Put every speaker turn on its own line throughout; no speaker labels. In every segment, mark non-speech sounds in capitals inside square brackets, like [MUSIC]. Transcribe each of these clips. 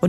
och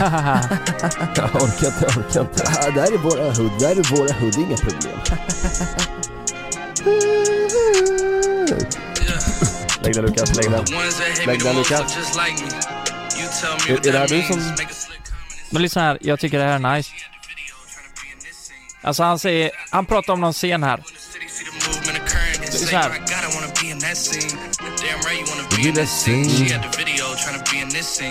Jag orkar inte, jag orkar inte.
Ah, där är våra hud, där är våra hud, inga problem.
Lägg den Lukas, lägg den.
Lägg den, Lukas.
Är, är det här du som...
Men lyssna här, jag tycker det här är nice. Alltså han säger, han pratar om någon scen här. Så här.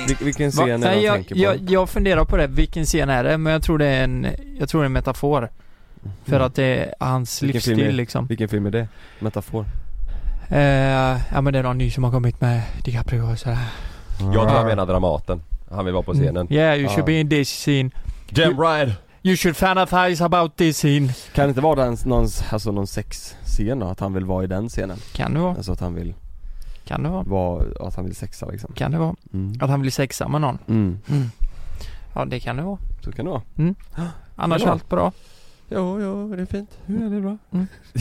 Vil, vilken
Va?
scen är det
Nej,
han
jag,
tänker på?
jag, jag funderar på det, vilken scen är det? Men jag tror det är en, jag tror det är en metafor. För att det är hans
Mm. Vilken film är
livsstil
det?
liksom.
Vilken film är det? Metafor.
Eh, ja men det är någon ny som har kommit med DiCaprio och sådär.
Jag tror han menar Dramaten. Han vill vara på scenen.
Yeah, you
Ja.
should be in this scene.
Jam Ride!
You should fantasize about this scene.
Kan det inte vara den, någon, alltså någon sexscen då? Att han vill vara i den scenen?
Kan det vara,
Alltså att han vill
kan det vara,
vara, att han vill sexa liksom.
kan det vara.
Mm.
Att han vill sexa med någon.
Mm.
Ja det kan det vara.
Så kan det vara.
Annars
Ja.
är allt bra.
Jo, jo, det är fint. Hur är det bra?
Mm.
[LAUGHS]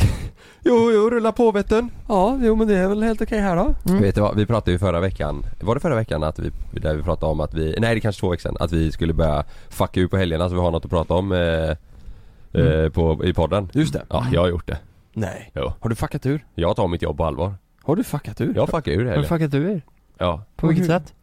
jo, jo, rulla på vetten. Ja, jo men det är väl helt okej här då.
Mm.
Vet du vad, vi pratade ju förra veckan, var det förra veckan att vi, där vi pratade om att vi, nej det är kanske två veckor sedan, att vi skulle börja fucka ur på helgerna så vi har något att prata om eh, eh, på, i podden.
Mm. Just det.
Ja, jag har gjort det.
Nej.
Jo.
Har du fuckat ur?
Jag tar mitt jobb på allvar.
Har du fuckat ur?
Jag fuckar ur
Hur
helgen.
fuckat du är?
Ja.
På vilket
Hur?
sätt?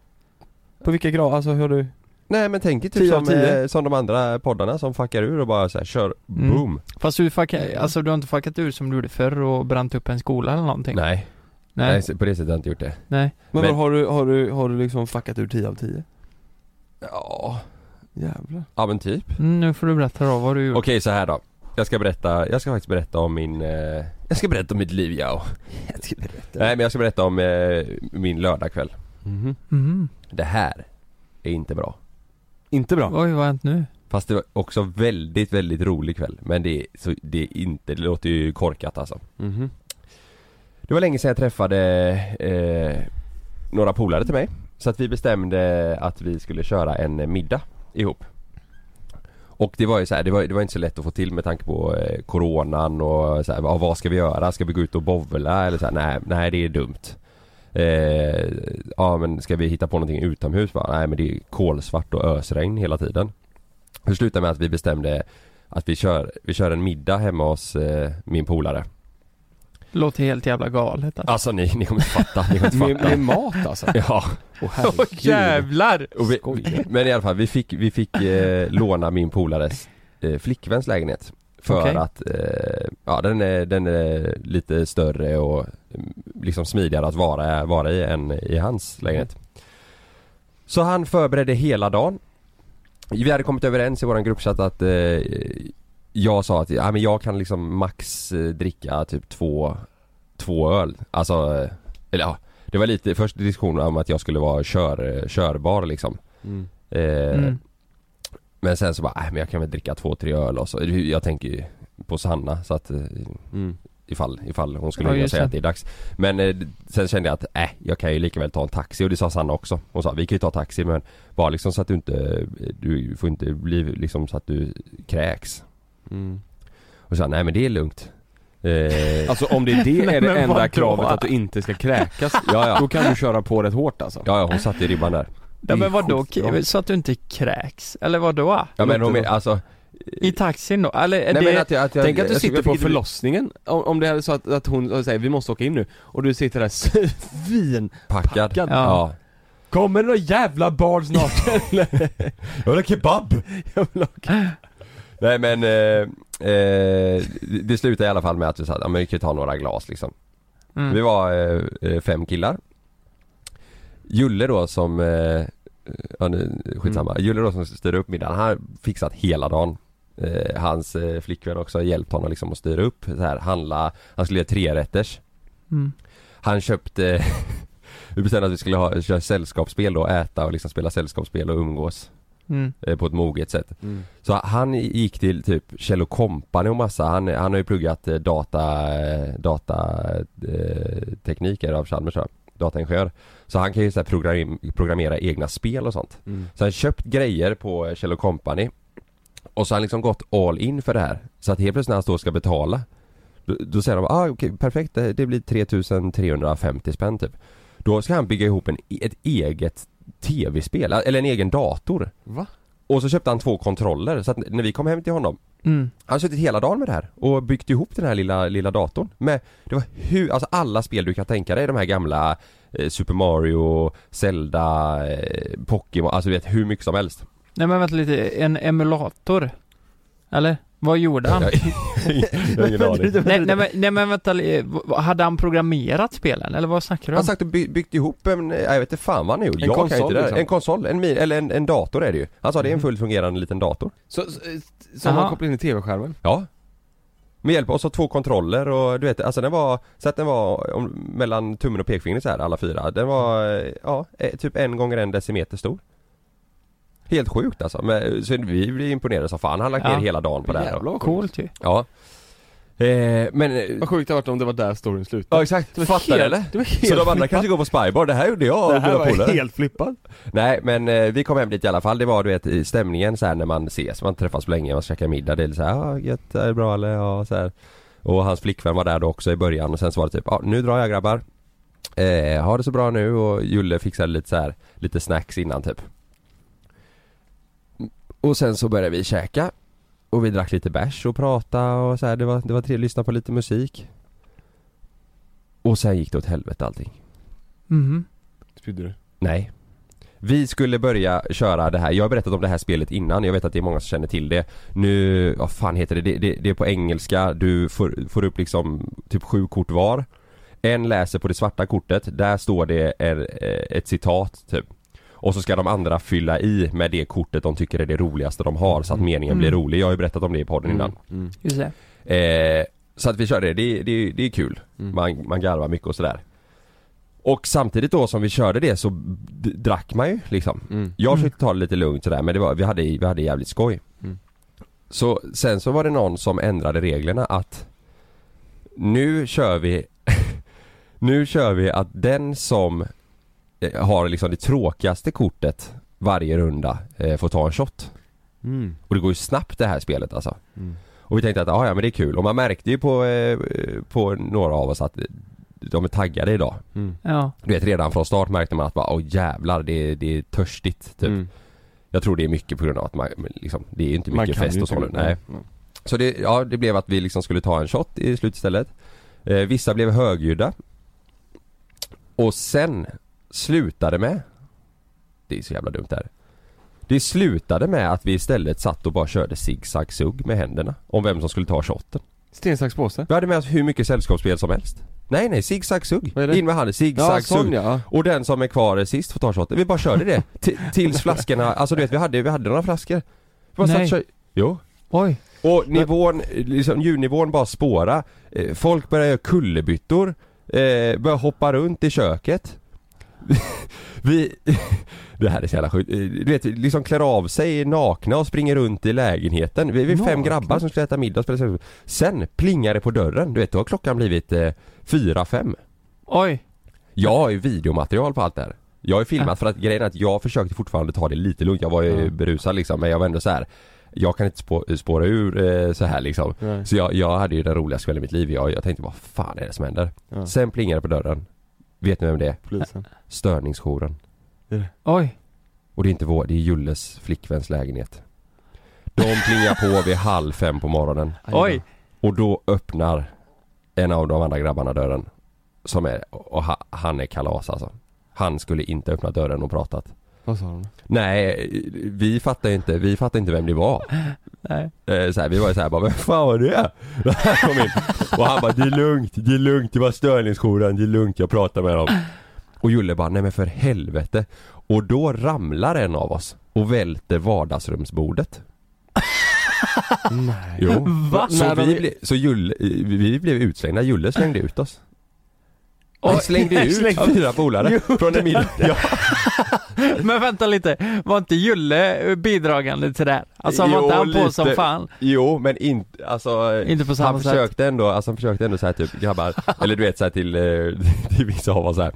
På vilka grad? Alltså hur har du?
Nej men tänk er typ
Tio av
som,
tio.
eh, som de andra poddarna som fuckar ur och bara så här, kör
Mm.
boom.
Fast du fuckar, alltså du har inte fuckat ur som du gjorde förr och bränt upp en skola eller någonting?
Nej.
Nej.
nej, på det sättet har jag inte gjort det.
Nej.
Men,
Men-
vad har du, har du, har du liksom fuckat ur 10 av 10?
Ja,
Jävlar.
ja men typ.
Mm, nu får du berätta då vad du gjorde.
Okej så här då. Jag ska berätta, jag ska faktiskt berätta om min, eh, jag ska berätta om mitt liv ja. Nej men jag ska berätta om eh, min lördagkväll.
Mhm.
Mm.
Det här är inte bra.
Inte bra.
Oj, vad har hänt nu?
Fast det var också väldigt, väldigt rolig kväll. Men det är, så, det är inte, det låter ju korkat alltså.
Mhm.
Det var länge sedan jag träffade eh, några polare till mig. Så att vi bestämde att vi skulle köra en eh, middag ihop. Och det var ju så här, det var, det var inte så lätt att få till med tanke på eh, coronan och så här, ja, vad ska vi göra? Ska vi gå ut och bovla? Eller så här, nej, nej det är dumt. Eh, ja men ska vi hitta på någonting utomhus? Bara, nej men det är kolsvart och ösregn hela tiden. Det slutade med att vi bestämde att vi kör, vi kör en middag hemma hos eh, min polare.
Låter helt jävla galet alltså.
Alltså ni, ni kommer inte fatta, ni kommer inte
Med, med
fatta.
mat alltså?
[LAUGHS] Ja,
Åh
Åh
herregud.
jävlar!
och vi, men i alla fall vi fick, vi fick eh, låna min polares eh, flickväns lägenhet. För
Okej.
att, eh, ja den är, den är lite större och mm, liksom smidigare att vara, vara i än i hans lägenhet. Så han förberedde hela dagen. Vi hade kommit överens i våran gruppchatt att eh, jag sa att ja, men jag kan liksom max eh, dricka typ två, två öl. Alltså, eh, eller ja, det var lite först diskussion om att jag skulle vara kör, körbar liksom.
Mm.
Eh,
Mm.
Men sen så bara, nej men jag kan väl dricka två, tre öl och så. Jag tänker ju på Sanna så att eh,
Mm.
ifall, ifall hon skulle
Ja,
vilja
just
säga
det.
att det är dags. Men eh, sen kände jag att, äh, jag kan ju lika väl ta en taxi och det sa Sanna också. Hon sa, vi kan ju ta taxi men bara liksom så att du inte, du får inte bli liksom så att du kräks.
Mm.
Och så sa, nej men det är lugnt. Eh,
Alltså om det är
[LAUGHS]
det är det
men
enda
vadå?
kravet att du inte ska kräkas,
ja, ja.
då kan du köra på rätt hårt alltså.
ja, ja hon satte ju ribban där.
Ja, men vadå?
sjukt bra.
Så att du inte kräks? Eller vadå?
Ja men
Låter
hon,
bra.
alltså,
I taxin då? Eller är
nej
det...
men att jag, att jag,
Tänk att du
jag-
sitter
jag
på
fick-
förlossningen, om, om det är så att, att hon säger vi måste åka in nu, och du sitter där [LAUGHS] svinpackad
packad.
Ja.
Ja.
Kommer det några jävla barn [LAUGHS] snart eller?
Jag vill ha kebab!
[LAUGHS] Jag vill ha-
Nej men, eh, eh, det- det slutade i alla fall med att vi sa att ja, men vi kan ju ta några glas liksom. Vi
Mm.
var eh, eh, fem killar. Julle då som, eh, ja nu, skitsamma.
Mm.
Julle då som styrde upp middagen, han har fixat hela dagen. Eh, hans eh, flickvän också har hjälpt honom liksom att styra upp, så här, handla, han skulle göra tre rätters.
Mm.
Han köpte, [LAUGHS] vi bestämde att vi skulle ha, köra sällskapsspel då, äta och liksom spela sällskapsspel och umgås
Mm.
eh, på ett moget sätt.
Mm,
Så han gick till typ Kjell Company och massa, han, han har ju pluggat eh, data, eh, datateknik eh, av Chalmers va? dataingenjör. Så han kan ju så här program, programmera egna spel och sånt.
mm.
Så han köpt grejer på eh, Kjell Company och så har han liksom gått all in för det här. Så att helt plötsligt när han står och ska betala då, då säger de ah, okej perfekt det, det blir 3350 spänn typ. Då ska han bygga ihop en, e-, ett eget tv-spel, eller en egen dator.
Va?
Och så köpte han två kontroller, så att när vi kom hem till honom
Mm.
Han har suttit hela dagen med det här och byggt ihop den här lilla, lilla datorn med Det var hur, alltså alla spel du kan tänka dig, de här gamla eh, Super Mario, Zelda, eh, Pokémon, alltså du vet hur mycket som helst
Nej men vänta lite, en emulator? Eller? Vad gjorde han?
Jag,
[LAUGHS]
jag har ingen aning
Nej, nej, men, nej men vänta, li- v- v- hade han programmerat spelen eller vad snackar du
Han har
om?
sagt att by, byggt ihop en, eh, jag vet inte fan vad han har gjort,
En
jag kan
konsol,
inte det där.
liksom. Mm-hmm.
En konsol, en, mi- eller en, en dator är det ju Han sa det är en fullt fungerande liten dator
Så, så, så
Aha.
man kopplar in i tv-skärmen?
Ja Med hjälp av så två kontroller och du vet, alltså den var Så att den var om, mellan tummen och pekfingret så här alla fyra Den var, eh, ja, eh, typ en gånger en decimeter stor Helt sjukt alltså, men, så vi blev imponerade som fan, han har lagt
Ja.
ner hela dagen på det här
vad coolt.
Coolt ju.
Ja eh, Men, eh,
Vad sjukt det hade varit om det var där storyn slutade.
ja exakt, fattar
helt-
du eller?
det var helt
Så de andra
flippat.
kanske går på spybar, det här gjorde jag
det
och
här
mina
var
polare
helt flippat.
Nej men eh, vi kom hem dit i alla fall, det var du vet i stämningen så här när man ses, man träffas på länge, man käkar middag, det är lite såhär, ja gött, är det bra eller? Ja så här. Och hans flickvän var där då också i början och sen så var det typ, ja nu drar jag grabbar eh, Ha det så bra nu och Julle fixade lite så här, lite snacks innan typ Och sen så började vi käka Och vi drack lite bärs och pratade och så här, det var, det var trevligt, lyssna på lite musik Och sen gick det åt helvete allting
Mhm.
Spydde du?
Nej. Vi skulle börja köra det här, jag har berättat om det här spelet innan, jag vet att det är många som känner till det Nu, vad fan heter det? Det, det, det är på engelska, du får, får upp liksom typ sju kort var En läser på det svarta kortet, där står det en, eh, ett citat typ Och så ska de andra fylla i med det kortet de tycker är det roligaste de har så att meningen
Mm.
blir rolig, jag har ju berättat om det i podden innan
Mm.
Just det.
Eh, så att vi körde det, det, det, det är kul.
Mm.
Man, man garvar mycket och sådär. Och samtidigt då som vi körde det så d- drack man ju liksom.
Mm.
Jag försökte ta det lite lugnt sådär men det var, vi, hade, vi hade jävligt skoj.
Mm.
Så sen så var det någon som ändrade reglerna att nu kör vi [LAUGHS] Nu kör vi att den som eh, har liksom det tråkigaste kortet varje runda eh, får ta en shot.
Mm.
Och det går ju snabbt det här spelet alltså.
Mm.
Och vi tänkte att ah, ja men det är kul och man märkte ju på, eh, på några av oss att de är taggade idag.
mm.
Ja.
Du vet redan från start märkte man att bara, åh jävlar det är, det är törstigt typ.
Mm.
Jag tror det är mycket på grund av att man, men liksom, det är ju inte
Man
mycket
kan
fest
ju
och så
inte-
nu. Nej. Så det, ja, det blev att vi liksom skulle ta en shot i slutstället eh, Vissa blev högljudda Och sen slutade med Det är så jävla dumt där Det slutade med att vi istället satt och bara körde zigzag sugg med händerna Om vem som skulle ta shotten
Sten, sax, påse?
Vi hade med oss hur mycket sällskapsspel som helst Nej nej, zigzag sugg
Vad är det?
In med handen,
Ja,
zigzag
sån
sugg
ja.
och den som är kvar sist får ta shotten. Vi bara körde det t-
[LAUGHS]
tills flaskorna, alltså du vet vi hade, vi hade några flaskor. Vi bara satt
Nej.
och kör... Jo.
Oj.
Och nivån, liksom ljudnivån bara spåra. Eh, Folk börjar göra kullerbyttor, eh, börjar hoppa runt i köket. [LAUGHS] Vi, [LAUGHS] det här är så jävla sjukt. Eh, Du vet, liksom klär av sig nakna och springer runt i lägenheten. Vi vi är fem
Nakna?
grabbar som skulle äta middag och spela sällskap. Sen plingar det på dörren, du vet då har klockan blivit eh, fyra, fem.
Oj.
Jag har ju videomaterial på allt det här. Jag har ju filmat för att grejen är att jag försökte fortfarande ta det lite lugnt. Jag var ju
Ja.
berusad liksom men jag var ändå så här. Jag kan inte spå, spåra ur eh, så här liksom.
Nej.
Så jag, jag hade ju den roligaste kvällen i mitt liv. Jag, jag tänkte vad fan är det som händer?
Ja.
Sen plingade det på dörren. Vet ni vem det är?
Polisen.
Störningsjouren.
Oj.
Och det är inte vår, det är Julles flickväns lägenhet. De plingar på vid halv fem på morgonen.
Oj.
Och då öppnar en av de andra grabbarna dörren. Som är, och ha, han är kalas alltså. Han skulle inte öppna dörren och pratat.
Vad sa de?
Nej, vi fattar ju inte, vi fattar inte vem det var.
Nej.
Eh, Så här, vi var ju såhär bara, vem fan var det? [LAUGHS] Kom in. Och han bara, det är lugnt, det är lugnt, det var störningsjouren, det är lugnt, jag pratar med dem. Och Julle bara, nej men för helvete. Och då ramlar en av oss och välter vardagsrumsbordet.
Nej.
Jo.
Va?
Så,
När de-
vi, ble, så Julle, vi blev utslängda, Julle slängde ut oss. Han
Oj.
slängde ut
Slängde-
fyra polare från en middag. Ja.
Men vänta lite, var inte Julle eh, bidragande till det här? Alltså var
Jo,
inte han på
lite.
som fan?
Jo men inte, alltså eh,
Inte på samma
han
sätt.
försökte ändå, alltså han försökte ändå säga typ grabbar,
[LAUGHS]
eller du vet såhär till, eh, [LAUGHS] till vissa av oss såhär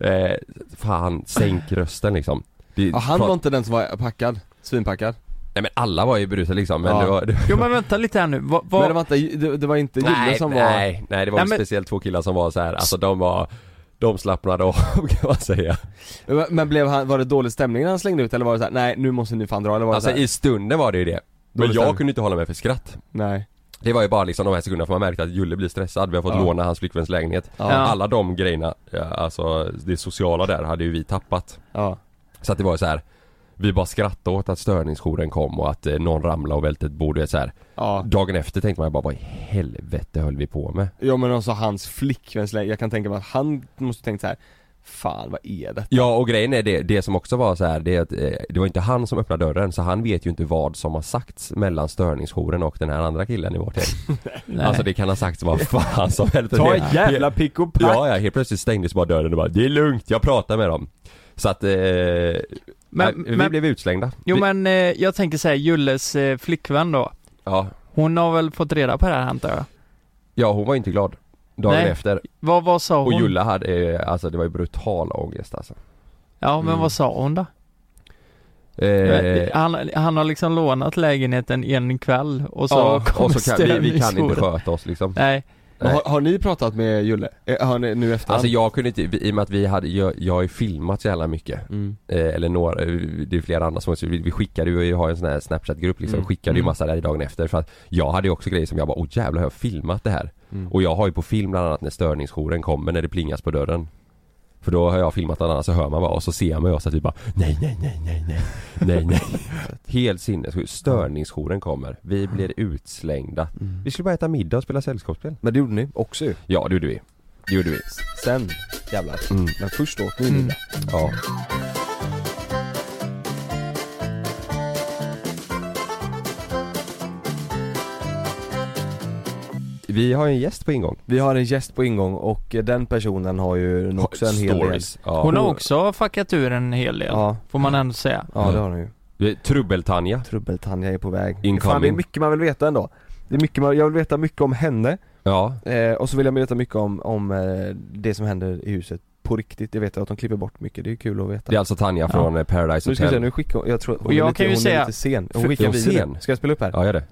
eh, Fan, sänk rösten liksom Vi
Ja, han
prat-
var inte den som var packad, svinpackad.
Nej men alla var ju berusade liksom men
Ja.
det var, det,
Jo men vänta lite här nu, vad... vad-
Men det var inte, det, det var inte Julle
nej,
som var...
nej, nej det var
Nej,
väl
men-
speciellt två killar som var så här. alltså de var de slappnade av [LAUGHS] kan man säga.
Men blev han, var det dålig stämning när han slängde ut eller var det såhär, nej nu måste ni fan dra eller var det
Alltså
såhär,
i stunden var det ju det. Men
Dålig stämning.
jag kunde inte hålla mig för skratt.
nej.
Det var ju bara liksom de här sekunderna för man märkte att Julle blir stressad, vi har fått
Ja.
låna hans flickväns lägenhet.
Ja.
Alla de grejerna, ja, alltså det sociala där hade ju vi tappat.
Ja.
Så att det var ju så här. Vi bara skrattade åt att störningsjouren kom och att eh, någon ramlade och välte ett bord och så här.
Ja.
Dagen efter tänkte man bara vad i helvete höll vi på med?
Ja men också hans flickväns läge, jag kan tänka mig att han måste tänkt så här. Fan vad är det?
Ja och grejen är det, det som också var så här, det är att eh, det var inte han som öppnade dörren så han vet ju inte vad som har sagts mellan störningsjouren och den här andra killen i vårt hem.
nej.
Alltså det kan ha sagts vad fan som helst.
Ta
Det-
ett jävla pick och pack!
Ja, ja, helt plötsligt stängdes bara dörren och bara Det är lugnt, jag pratar med dem Så att, eh, nej,
men,
vi
men,
blev utslängda
Jo
vi,
men eh, jag tänker säga Julles eh, flickvän då.
ja,
Hon har väl fått reda på det här antar jag?
ja, hon var inte glad Dagen
Nej,
efter,
Vad, vad sa
och
hon?
Julla hade, eh, alltså det var ju brutal ångest alltså
Ja men
Mm.
vad sa hon då?
Eh,
han, han har liksom lånat lägenheten en kväll och så
ja,
kommer
och så kan, vi, vi kan
störningsjouren.
inte sköta oss liksom
Nej,
Men
Nej.
Har, har ni pratat med Julle? Eh, Har ni nu efter
Alltså jag kunde inte, vi- i och med att vi hade, jag, jag har ju filmat så jävla mycket
mm.
eh, Eller några, eh, det är flera andra som också, vi, vi skickade ju, vi har ju en sån här snapchat-grupp liksom,
Mm.
skickade ju
Mm.
massa där i dagen efter för att Jag hade ju också grejer som jag bara, åh jävlar har jag filmat det här?
Mm.
Och jag har ju på film bland annat när störningsjouren kommer när det plingas på dörren För då har jag filmat bland annat så hör man bara och så ser man ju oss att vi bara Nej nej nej nej nej
[LAUGHS]
Nej nej Helt sinnessjukt, störningsjouren kommer Vi blir utslängda
Mm.
Vi skulle bara äta middag och spela sällskapsspel
Men det gjorde ni också ju.
Ja det gjorde vi Det gjorde vi
Sen jävlar.
Mm.
Men först åt ni middag.
Ja Vi har ju en gäst på ingång
Vi har en gäst på ingång och eh, den personen har ju också en hel del.
Stories. Ja.
hon har också fuckat ur en hel del.
Ja,
Får man ändå säga.
ja det har hon ju.
Det är Trubbel-Tanja
Trubbel-Tanja är på väg.
Incoming.
Fan det är mycket man vill veta ändå. Det är mycket man, jag vill veta mycket om henne
Ja,
eh, och så vill jag veta mycket om, om eh, det som händer i huset på riktigt. Jag vet att de klipper bort mycket, det är kul att veta.
det är alltså Tanja från eh, Paradise
Nu ska vi se,
Hotel
nu skickar hon, jag tror hon,
Och jag
är, lite,
kan ju
hon
säga-
är lite sen. Hon
För-
skickar
är hon
video
sen?
nu. Ska jag spela upp här?
Ja, gör det
Och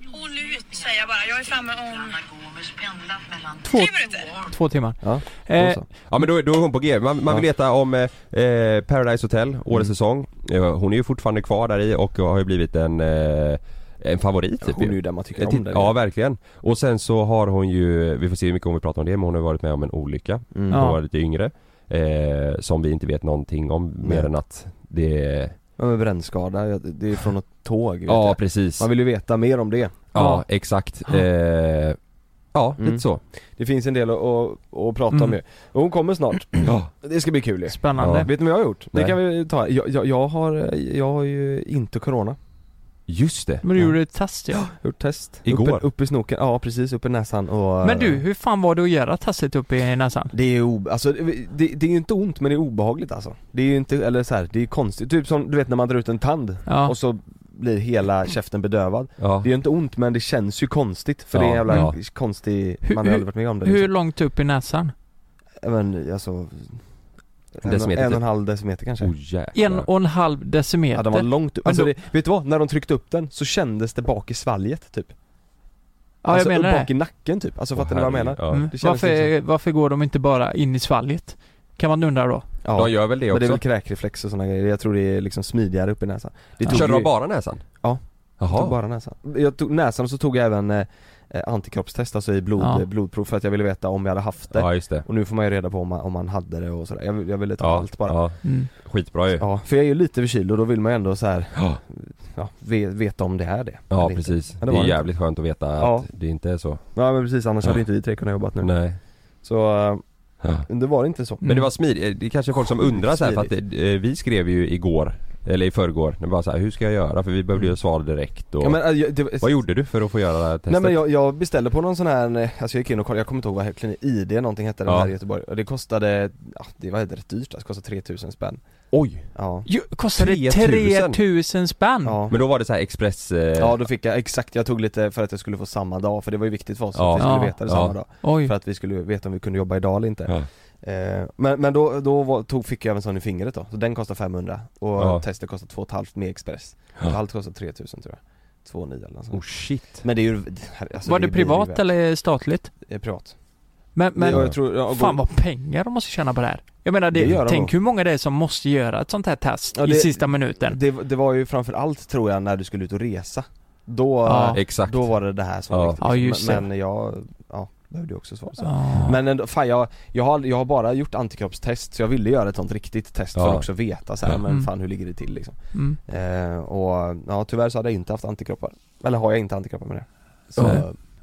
nu säger jag bara, jag är framme om...
Två, två timmar.
Ja,
eh,
Då så.
Ja men då, är- då är hon på G. Man, man vill
Ja. Mm.
veta om eh, eh, Paradise Hotel, årets säsong. Eh, hon är ju fortfarande kvar där i och har ju blivit en, eh, en favorit typ
Hon är
ju.
ju där man tycker
Eh,
om
titt-
det.
Ja verkligen. Och sen så har hon ju, vi får se hur mycket hon vill prata om det, men hon har ju varit med om en olycka.
Mm.
Ja.
Hon var lite yngre. Eh, som vi inte vet någonting om mer
Nej.
än att det
Ja men brännskada, jag- det är från något tåg vet
Ja
jag.
precis.
Man vill ju veta mer om det.
Ja exakt. Eh, ja
Mm.
lite så.
Det finns en del att, att, att prata om
Mm.
ju. Och hon kommer snart.
Ja.
Det ska bli kul ju.
Spännande.
Ja.
Vet ni vad jag har gjort?
Nej.
Det kan vi ta. Jag, jag, jag, har, jag har ju inte corona.
Just det.
Men du gjorde ett test ja.
Gjort test.
Igår.
Upp, upp i snoken, ja precis, upp i näsan och eh,
Men du, hur fan var det att göra testet uppe i näsan?
Det är ju o- alltså, det, det det är ju inte ont men det är obehagligt alltså. Det är ju inte, eller så här, det är konstigt. Typ som du vet när man drar ut en tand
Ja.
och så blir hela käften bedövad.
Ja.
Det är ju inte ont men det känns ju konstigt för det är
Ja,
en jävla
ja.
konstig,
Hur-
man har
hur-
aldrig varit med om det
Hur långt upp i näsan?
Ja, Men alltså en,
decimeter
en och en
typ.
halv decimeter kanske
Oh,
En
jäklar.
och en halv decimeter?
Ja den var långt upp, alltså
Men
det, vet du vad? När de tryckte upp den så kändes det bak i svalget typ
Ja, jag
Alltså
menar
bak
det.
i nacken typ, alltså
Åh,
fattar ni vad jag menar?
herregud. Ja.
Mm.
det kändes
Varför, varför går de inte bara in i svalget? Kan man undra då.
De gör väl det
Men det är
också?
väl kräkreflex och sådana grejer, jag tror det är liksom smidigare upp i näsan det
Körde
ju-
de bara näsan?
Ja.
Jaha.
tog bara näsan. Jag tog näsan och så tog jag även eh, eh, antikroppstest, alltså i blod,
Ja.
eh, blodprov för att jag ville veta om jag hade haft det.
Ja, just det.
Och nu får man ju reda på om man, om man hade det och sådär. Jag, vill- jag ville ta
Ja,
allt bara.
ja. Mm. Skitbra ju.
Ja, för jag är ju lite förkyld och då vill man ju ändå så här,
ja.
ve- veta om det är det.
Ja
eller inte.
precis,
Men
det
var
är
inte.
jävligt skönt att veta
Ja.
att det inte är så
Ja men precis, annars
Ja.
hade inte vi tre kunnat jobbat nu.
Nej
Så, eh, det var inte så.
Men det var smidigt, Eh, det är kanske folk som
Sjukt
undrar så här, för att eh, vi skrev ju igår Eller i förrgår, det var så här, hur ska jag göra? För vi behövde ju svar direkt och
Mm. Ja, men, eh, jag- det-
Vad gjorde du för att få göra det här testet?
Nej men jag, jag beställde på någon sån här, eh, alltså jag gick in och kollade, jag kommer inte ihåg vad klin- ID någonting hette den
Ja.
här i Göteborg och det kostade, ja det var rätt dyrt, alltså, det kostade 3000 spänn
Oj!
Ja
Jo, kostade 3000 spänn?
Ja.
Men då var det så här express... Eh...
Ja då fick jag, exakt, jag tog lite för att jag skulle få samma dag för det var ju viktigt för oss
Ja.
att vi skulle
Ja.
veta det
Ja.
samma dag
Oj.
För att vi skulle veta om vi kunde jobba idag eller inte Eh, Men, men då, då var, tog, fick jag även sån i fingret då, så den kostade 500 och
Ja.
testet kostade 2,5 med express
Ja.
Allt kostade 3000 tror jag 2,9 eller något sånt.
Oh shit
Men det är ju, alltså,
var det,
är- är ju
privat
värt-
eller statligt?
Eh, Privat
Men, men
Ja, jag tror- ja, och
fan
gå-
vad pengar de måste tjäna på det här. Jag menar, det,
Det gör de
tänk
nog.
hur många det är som måste göra ett sånt här test
Ja,
i
det-
sista minuten.
Det, det var ju framförallt tror jag när du skulle ut och resa Då,
Ja.
Exakt.
då var det det här som
Ja.
var viktigt.
Ja, just det.
men, men jag, ja, behövde ju också svar så.
Ja.
Men ändå, fan jag, jag, har, jag har bara gjort antikroppstest så jag ville göra ett sånt riktigt test för
Ja.
att också veta så här,
Ja.
men
Mm.
fan hur ligger det till liksom
Mm.
eh, Och ja, tyvärr så hade jag inte haft antikroppar Eller har jag inte antikroppar med det Så,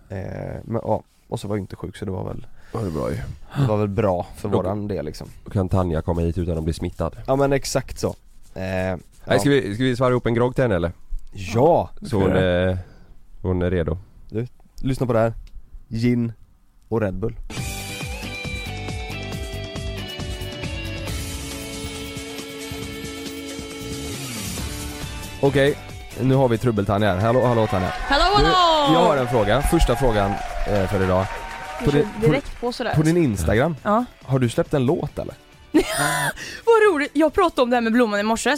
eh, men, ja, och så var jag inte sjuk så det var väl
Var det bra ju
det var väl bra för
Då-
våran del liksom
Då kan Tanja komma hit utan att bli smittad
Ja men exakt så eh, ja.
Nej ska vi, ska vi svara ihop en grogg till henne eller?
ja!
Så hon, eh, hon är redo
Lyssna på det här Gin och Red Bull Okej, nu har vi trubbel-Tanja här. Hallå, hallå Tanja.
Hallå
Du,
hallå!
jag har en fråga, första frågan eh, för idag. På din, på,
Direkt på sådär.
på din Instagram,
Ja.
har du släppt en låt eller?
[LAUGHS] Vad roligt, jag pratade om det här med blomman i morse.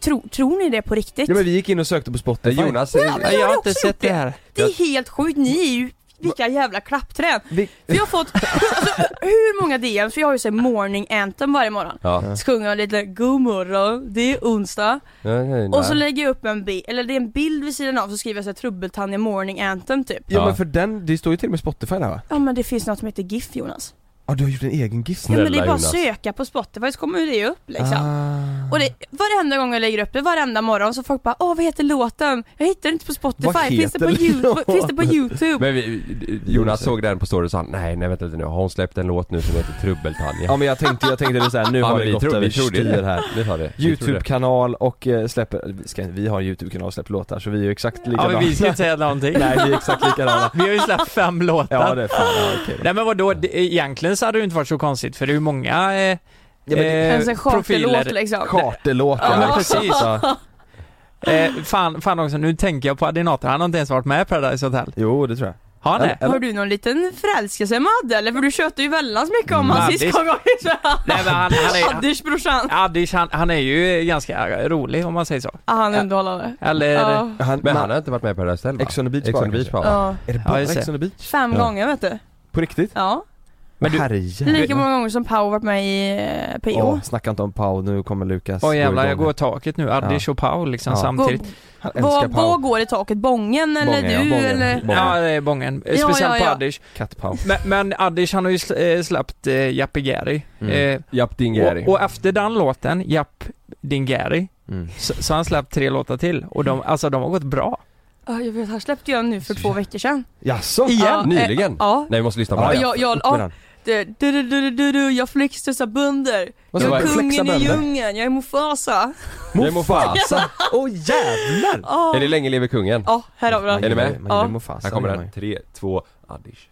Tro, tror ni det på riktigt?
Ja men vi gick in och sökte på Spotify.
Eh, Jonas,
Ja, men
Nej, jag har
också
inte sett
gjort
det här.
Det är helt sjukt, ni är ju vilka jävla klappträn.
Vi,
För jag har fått alltså, hur många DMs, för jag har ju såhär morning anthem varje morgon.
Ja.
Så sjunger jag lite god morgon, det är onsdag.
Nej, nej, nej.
Och så lägger jag upp en bild, eller det är en bild vid sidan av så skriver jag såhär trubbeltanja morning anthem typ.
ja
Ja.
men för den, det står ju till och med Spotify där va?
Ja men det finns något som heter GIF Jonas.
Ja du har gjort en egen GIF
Ja
Snälla
men det är bara att
Jonas.
söka på Spotify så kommer det ju upp liksom.
Ah.
Och det, varenda gång jag lägger upp det, varenda morgon så folk bara Åh vad heter låten? Jag hittar den inte på
Vad
Spotify, finns det på,
heter
you-
låten?"
finns
[LAUGHS]
det på youtube?
Men vi, Jonas såg den på story och sa nej nej vänta lite nu, har hon släppt en låt nu som heter Trubbeltanja?
Ja men jag tänkte, jag tänkte det såhär, nu
Ja,
har
men
det
vi
gått
trodde- vi
över
trodde det.
styr här
Vi tar det. Vi tror det.
Youtube-kanal och eh, släpper, vi, ska, vi har en Youtube-kanal och släpper låtar så vi är ju exakt
Ja,
likadana
men vi ska inte säga någonting.
[LAUGHS] Nej vi är exakt likadana
Vi har ju släppt fem låtar.
Ja det är fan, ja, okej då.
Nej men vadå, det, egentligen så hade det ju inte varit så konstigt för det är ju många eh,
Ja, men det-
eh,
En sån charterlåt
profiler.
liksom.
Charterlåtar
Ja, men
exakt.
precis.
Ja.
Eh, fan, fan också, nu tänker jag på Adinator, han har inte ens varit med i Paradise Hotel.
Jo det tror jag
Har han det?
Har du någon liten förälskelse med Adde eller? För du tjötade ju väldans mycket om
Mm.
honom sist
Addis.
gång
[LAUGHS] Nej men han, han är, han,
Adders brorsan.
Adish, han, han är ju ganska rolig om man säger så.
Ja han är underhållande.
Eller?
Ja.
han,
Men han har inte varit med på Paradise Hotel va?
Ex on the Beach
Ex
bara,
on the Beach
kanske.
bara. va?
Ja.
Är det
Ja,
bara
just det.
Ex on the Beach?
Fem
Ja.
gånger vet du.
På riktigt?
Ja.
Men du-
Lika många gånger som Pau varit med i eh, PO.
Åh, snacka inte om Pau, nu kommer Lukas
Åh jävlar,
igång.
jag går i taket nu. Adish och Paul liksom
Ja.
samtidigt.
Han älskar
Vad vad
Pau,
går i taket? Bången eller
Bången, ja,
du
bången.
eller?
Bången.
Ja, det är bången. Eh,
Ja,
Speciellt
ja, ja.
på Adish.
katt-Pau
Men, men Adish han har ju sl- eh, släppt eh, Japp Gary.
Mm.
Japp
Eh,
Dingeri.
och, och efter den låten, Japp Din Gary,
Mm.
så, så har han släppt tre låtar till. Och de, alltså de har gått bra.
Ja, jag vet, han släppte ju en nu för två veckor sedan.
Jaså?
Ja, eh,
Nyligen?
Ja.
Nej vi måste lyssna på
Ja,
det.
jag, jag,
Upp med
ja,
den.
du, du, du, du, du, du, jag flexar bönder.
Vad
Jag
sa
är
du? Flexa
kungen i
bönder?
djungeln, jag är Mufasa.
Jag är Mufasa.
[LAUGHS] Åh jävlar!
Ja,
Är det Länge leve kungen?
ja här har vi
Man
den.
Är ni
gillar-
med?
Man gillar
Ja.
Mufasa,
Här kommer
det gör man
den.
ju.
Tre, två, Adish.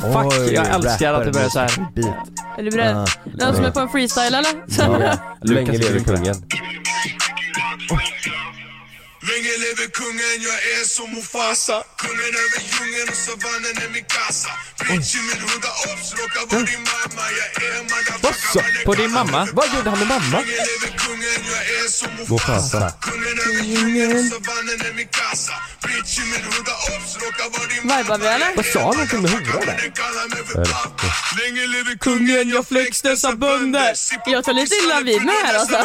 Fuck,
Oj,
jag älskar att det börjar så här.
rapper, Beat.
Är du beredd?
Ah,
Någon som är på en freestyle eller? [LAUGHS]
Länge
Lukas
leve
vill på det.
kungen.
Länge leve kungen, jag är som Mufasa Kungen över djungeln och savannen är min kassa Bitch i min hunda ops, råkar vara
Mm.
din mamma Jag är en
Så,
motherfucker
på din mamma?
Vad gjorde han med mamma?
Länge leve kungen, jag är som Mufasa
Mufasa.
Kungen över djungeln och savannen är min kassa Bitch i min hunda ops, råkar vara din mamma
Vibar vi eller?
Vad sa han någonting med hora där?
Den kallar mig för pappa Länge leve kungen, jag flex dessa bönder
Jag tar lite illa vid mig här, alltså.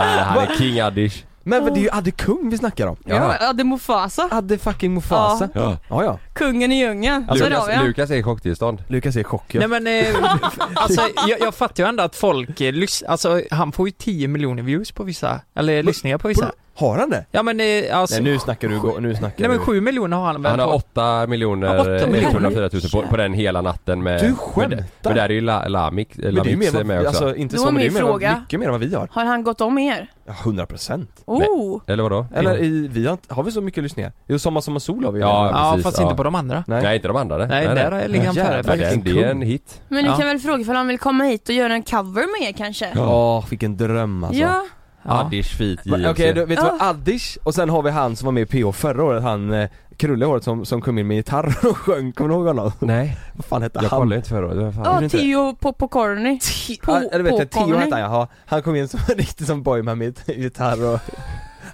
Ah, han är king Adish.
Men vad, det är ju Adde Kung vi snackar om.
Oh. Ja, Adde Mufasa.
Adde fucking Mufasa.
Ja.
Ja, ja.
Kungen i djungen.
Mm.
Där har vi
Lukas,
han.
Lukas är i chocktillstånd.
Lukas är i chock
Nej men, eh, [LAUGHS] alltså, jag, jag fattar ju ändå att folk eh, lyssnar, alltså han får ju 10 miljoner views på vissa, eller lyssningar på vissa.
Har han det?
Ja men eh, alltså,
Nej nu snackar du, gå- nu snackar
Nej men
du.
7 miljoner har han väl
Han har
på-
8
Ja, åtta
miljoner
miljoner.
104 000 på, på den hela natten med...
Du
Men, det- eh, men där är ju La- Lamix
Men det är ju
Lamix
mer
är
vad,
med också.
alltså inte
Det
så
var
men det är
min
mer vad,
fråga.
mycket mer än vad vi har.
Har han gått om er?
Ja, 100 procent.
Oh!
Eller vadå?
Eller i, vi har, inte- har vi så mycket lyssningar? Jo, Sommar Sommar Sol har vi
Ja,
Ja,
precis,
fast
ja.
inte på de andra.
Nej. inte de andra.
Nej, där har jag- ligger han före
Jävlar,
faktiskt.
den- Det är en hit.
Men ni
Ja.
kan väl fråga ifall han vill komma hit och göra en cover med er kanske?
Ja, vilken dröm alltså.
Ja.
Addish feat JLC.
Okej, då, vet du vad?
Ja.
Addish, och sen har vi han som var med i PH förra året, han eh, krulle i håret som, som kom in med gitarr [LAUGHS] och sjöng, kommer du ihåg honom? [LAUGHS]
Nej.
Vad fan hette
Jag
han?
kollade inte förra året. Vad fan?
Ja,
Är det inte?
Tio Popokorni.
Ja, Eller vet jag, Theo hette han
Popokorni.
ja. Han kom in som en riktig som boyman med gitarr och...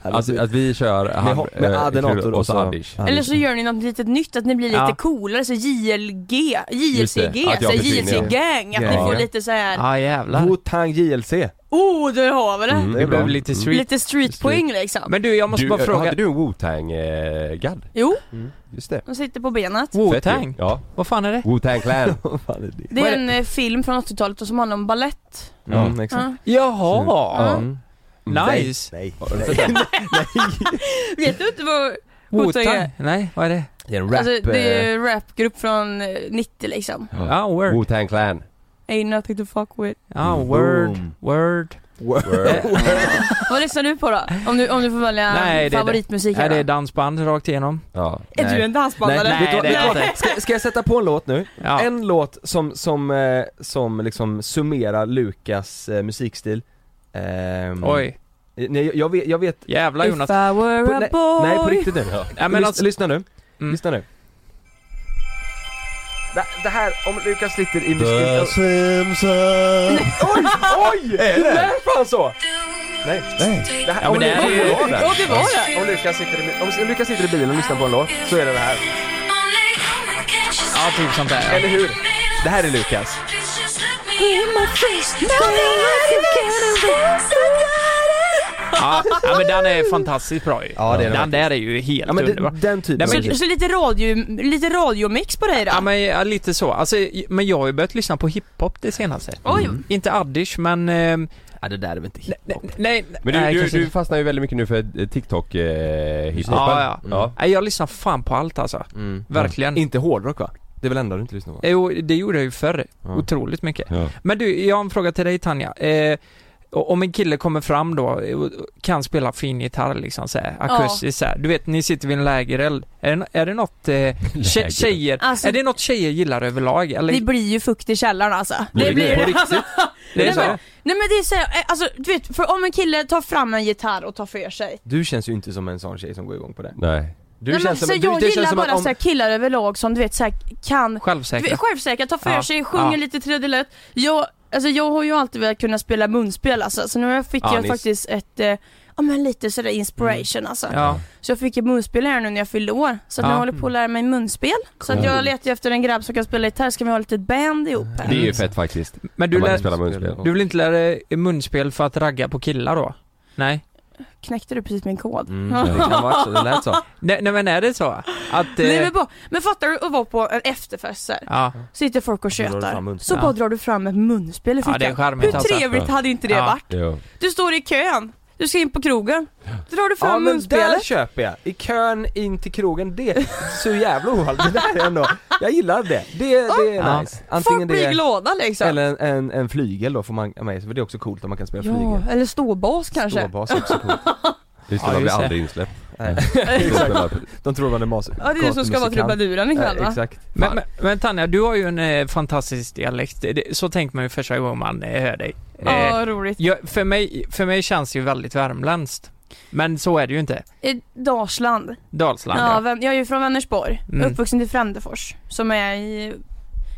Att, Alltså, att vi kör han,
ho- Alltså, med
eh,
Adenator
Krull
och
och
så-
så Adish.
Eller så gör ni något litet nytt, att ni blir lite
Ja.
coolare, så JLG,
Just det, att
JLCG,
jag
så
försvinner.
JLC-gang, att ni
Ja.
får lite så här.
Ja Ah, jävlar.
Wu-Tang JLC.
oh där har vi det!
Mm,
Vi behöver lite street.
Lite streetpoäng liksom.
Men du, jag måste
Du,
bara fråga.
Hade du en eh, Wu-Tang-gadd?
Jo,
Just det.
de sitter på benet.
Fett ju.
Wu-Tang?
Ja.
Vad fan är det?
Wu-Tang Clan.
Vad fan är det?
Det
Vad
är
är
en eh, film från 80-talet och som handlar om ballett.
Ja.
Mm, exakt.
Ja.
Jaha!
Mm. [LAUGHS]
Nice!
Nej.
Vet du inte vad Wu-Tang
Wu-Tang?
är?
Nej, vad är det?
Det är en rap...
alltså, det är
eh,
en rapgrupp från eh, 90 liksom.
Ah, word.
eh, Wu-Tang Clan.
Ain't nothing to fuck with.
Ah,
Boom.
word. Word. [LAUGHS] Eh.
Vad lyssnar du på då? Om du, om du får välja
Nej, det är-
favoritmusik
Är
här
det
då?
dansband rakt igenom?
Ja.
Är
Nej.
du en dansbandare?
Nej,
Vet du vad-
det är
vet du
det
vad?
inte.
Ska, ska jag sätta på en låt nu?
Ja.
En låt som, som, eh, som liksom summerar Lukas eh, musikstil Ehm,
Oj.
Nej jag- jag vet, jag vet
Jävlar Jonas.
If I were a
nej,
boy.
nej på riktigt nu.
Nej
Lys,
men alltså,
Lyssna nu,
Mm.
lyssna nu det, det här, om Lukas sitter i
The
musik...
Simpsons.
Oj! Oj! Det lät fan så! Nej, nej. Det här,
Ja,
om,
men det
Lukas-
är ju-
Ja, det
Ja, det var
om Lukas sitter i, om Lukas sitter i bilen och lyssnar på en låt så är det det här,
ja typ sånt där.
eller hur? Det här är Lukas
Ja, ja men den är fantastiskt bra ju.
Ja, det är den
den där är ju helt
Ja men det,
underbar.
den typen
Nej, men-
av
det.
musik
Så lite, radio, lite radiomix på dig då?
Ja men ja, lite så. Alltså, men jag har ju börjat lyssna på hiphop det senaste.
Oj. Mm.
Inte Addish men... Eh,
Ja det där är väl inte
nej, nej, nej,
Men du,
nej,
du,
kanske
du
inte.
fastnar ju väldigt mycket nu för eh, tiktok eh, hiphopen.
Ja, ja.
ja.
Nej, jag lyssnar fan på allt alltså.
Mm.
Verkligen.
Inte hårdrock va? Det är väl enda du inte lyssnar
Eh.
på?
Jo, det gjorde jag ju förr.
Ja.
Otroligt mycket.
Ja.
Men du, jag har en fråga till dig Tanja. Eh, o- om en kille kommer fram då eh, och och kan spela fin gitarr liksom så här, akustiskt så här. Du vet, ni sitter vid en lägereld. Är det, no- är det något eh, tje- tjejer,
Alltså-
är det något tjejer gillar överlag eller?
Det blir ju fukt i källaren alltså.
Blir det? På
det. [LAUGHS] Alltså,
det är så?
Nej men det är så här, eh, alltså du vet, för om en kille tar fram en gitarr och tar för sig.
Du känns ju inte som en sån tjej som går igång på det
Nej.
Du
nej, men, så jag
det
gillar bara
att om-
så här, killar överlag som du vet så här, kan
Självsäkra?
Du vet, självsäkra, tar för
Ja.
sig, sjunger
Ja.
lite tredjelöt. Jag, alltså, jag har ju alltid velat kunna spela munspel alltså, så nu fick
Ja,
jag
nice.
faktiskt ett eh, Ja men lite sådär inspiration alltså.
Mm. Ja.
Så jag fick ett munspel här nu när jag fyllde år. Så att
Ja.
nu håller jag på att lära mig munspel. Så
Mm.
att jag letar ju efter en grabb som kan spela gitarr, ska vi ha lite band ihop här?
Det är ju fett faktiskt.
Men
Du
du,
man
lär,
kan spela munspel.
du vill inte lära dig munspel för att ragga på killar då? Nej?
Knäckte du precis min kod?
Mm, det kan vara så, det lät så
Nej, nej men är det så? Att...
Nej, men,
Eh,
bara, men fattar du att vara på en efterfest så här,
ja.
sitter folk och
drar du fram
tjötar,
munspel.
så
Ja.
bara drar du fram ett munspel i
ja,
fickan.
det är
Hur
charmigt alltså.
trevligt hade inte det
Ja.
varit?
Jo.
Du står i kön, du ska in på krogen, drar du fram
Ja men där
munspelet.
köper jag! I kön in till krogen, det är så jävla ohalt, det där är ändå Jag gillar det, det, det är
Ja.
nice
Folk
Antingen
blir
det
glada liksom.
eller en, en, en flygel då får man med sig, för det är också coolt om man kan spela
ja,
flygel
eller ståbas kanske.
Ståbas är också coolt
Just
Ja,
det, man blir
just det.
aldrig insläppt.
[LAUGHS] Nej.
Exakt.
De tror man är mas
Ja det är du som ska vara trubaduren ikväll va?
Exakt
Men, men, men Tanja, du har ju en eh, fantastisk dialekt. Det- Det, så tänker man ju första gången man eh, hör dig.
Ja,
Eh,
vad roligt.
jag, för, mig, för mig känns det ju väldigt värmländskt. Men så är det ju inte.
Eh, Dalsland.
Dalsland
Ja,
ja.
vän, jag är ju från Vänersborg,
Mm.
uppvuxen i Frändefors, som är i,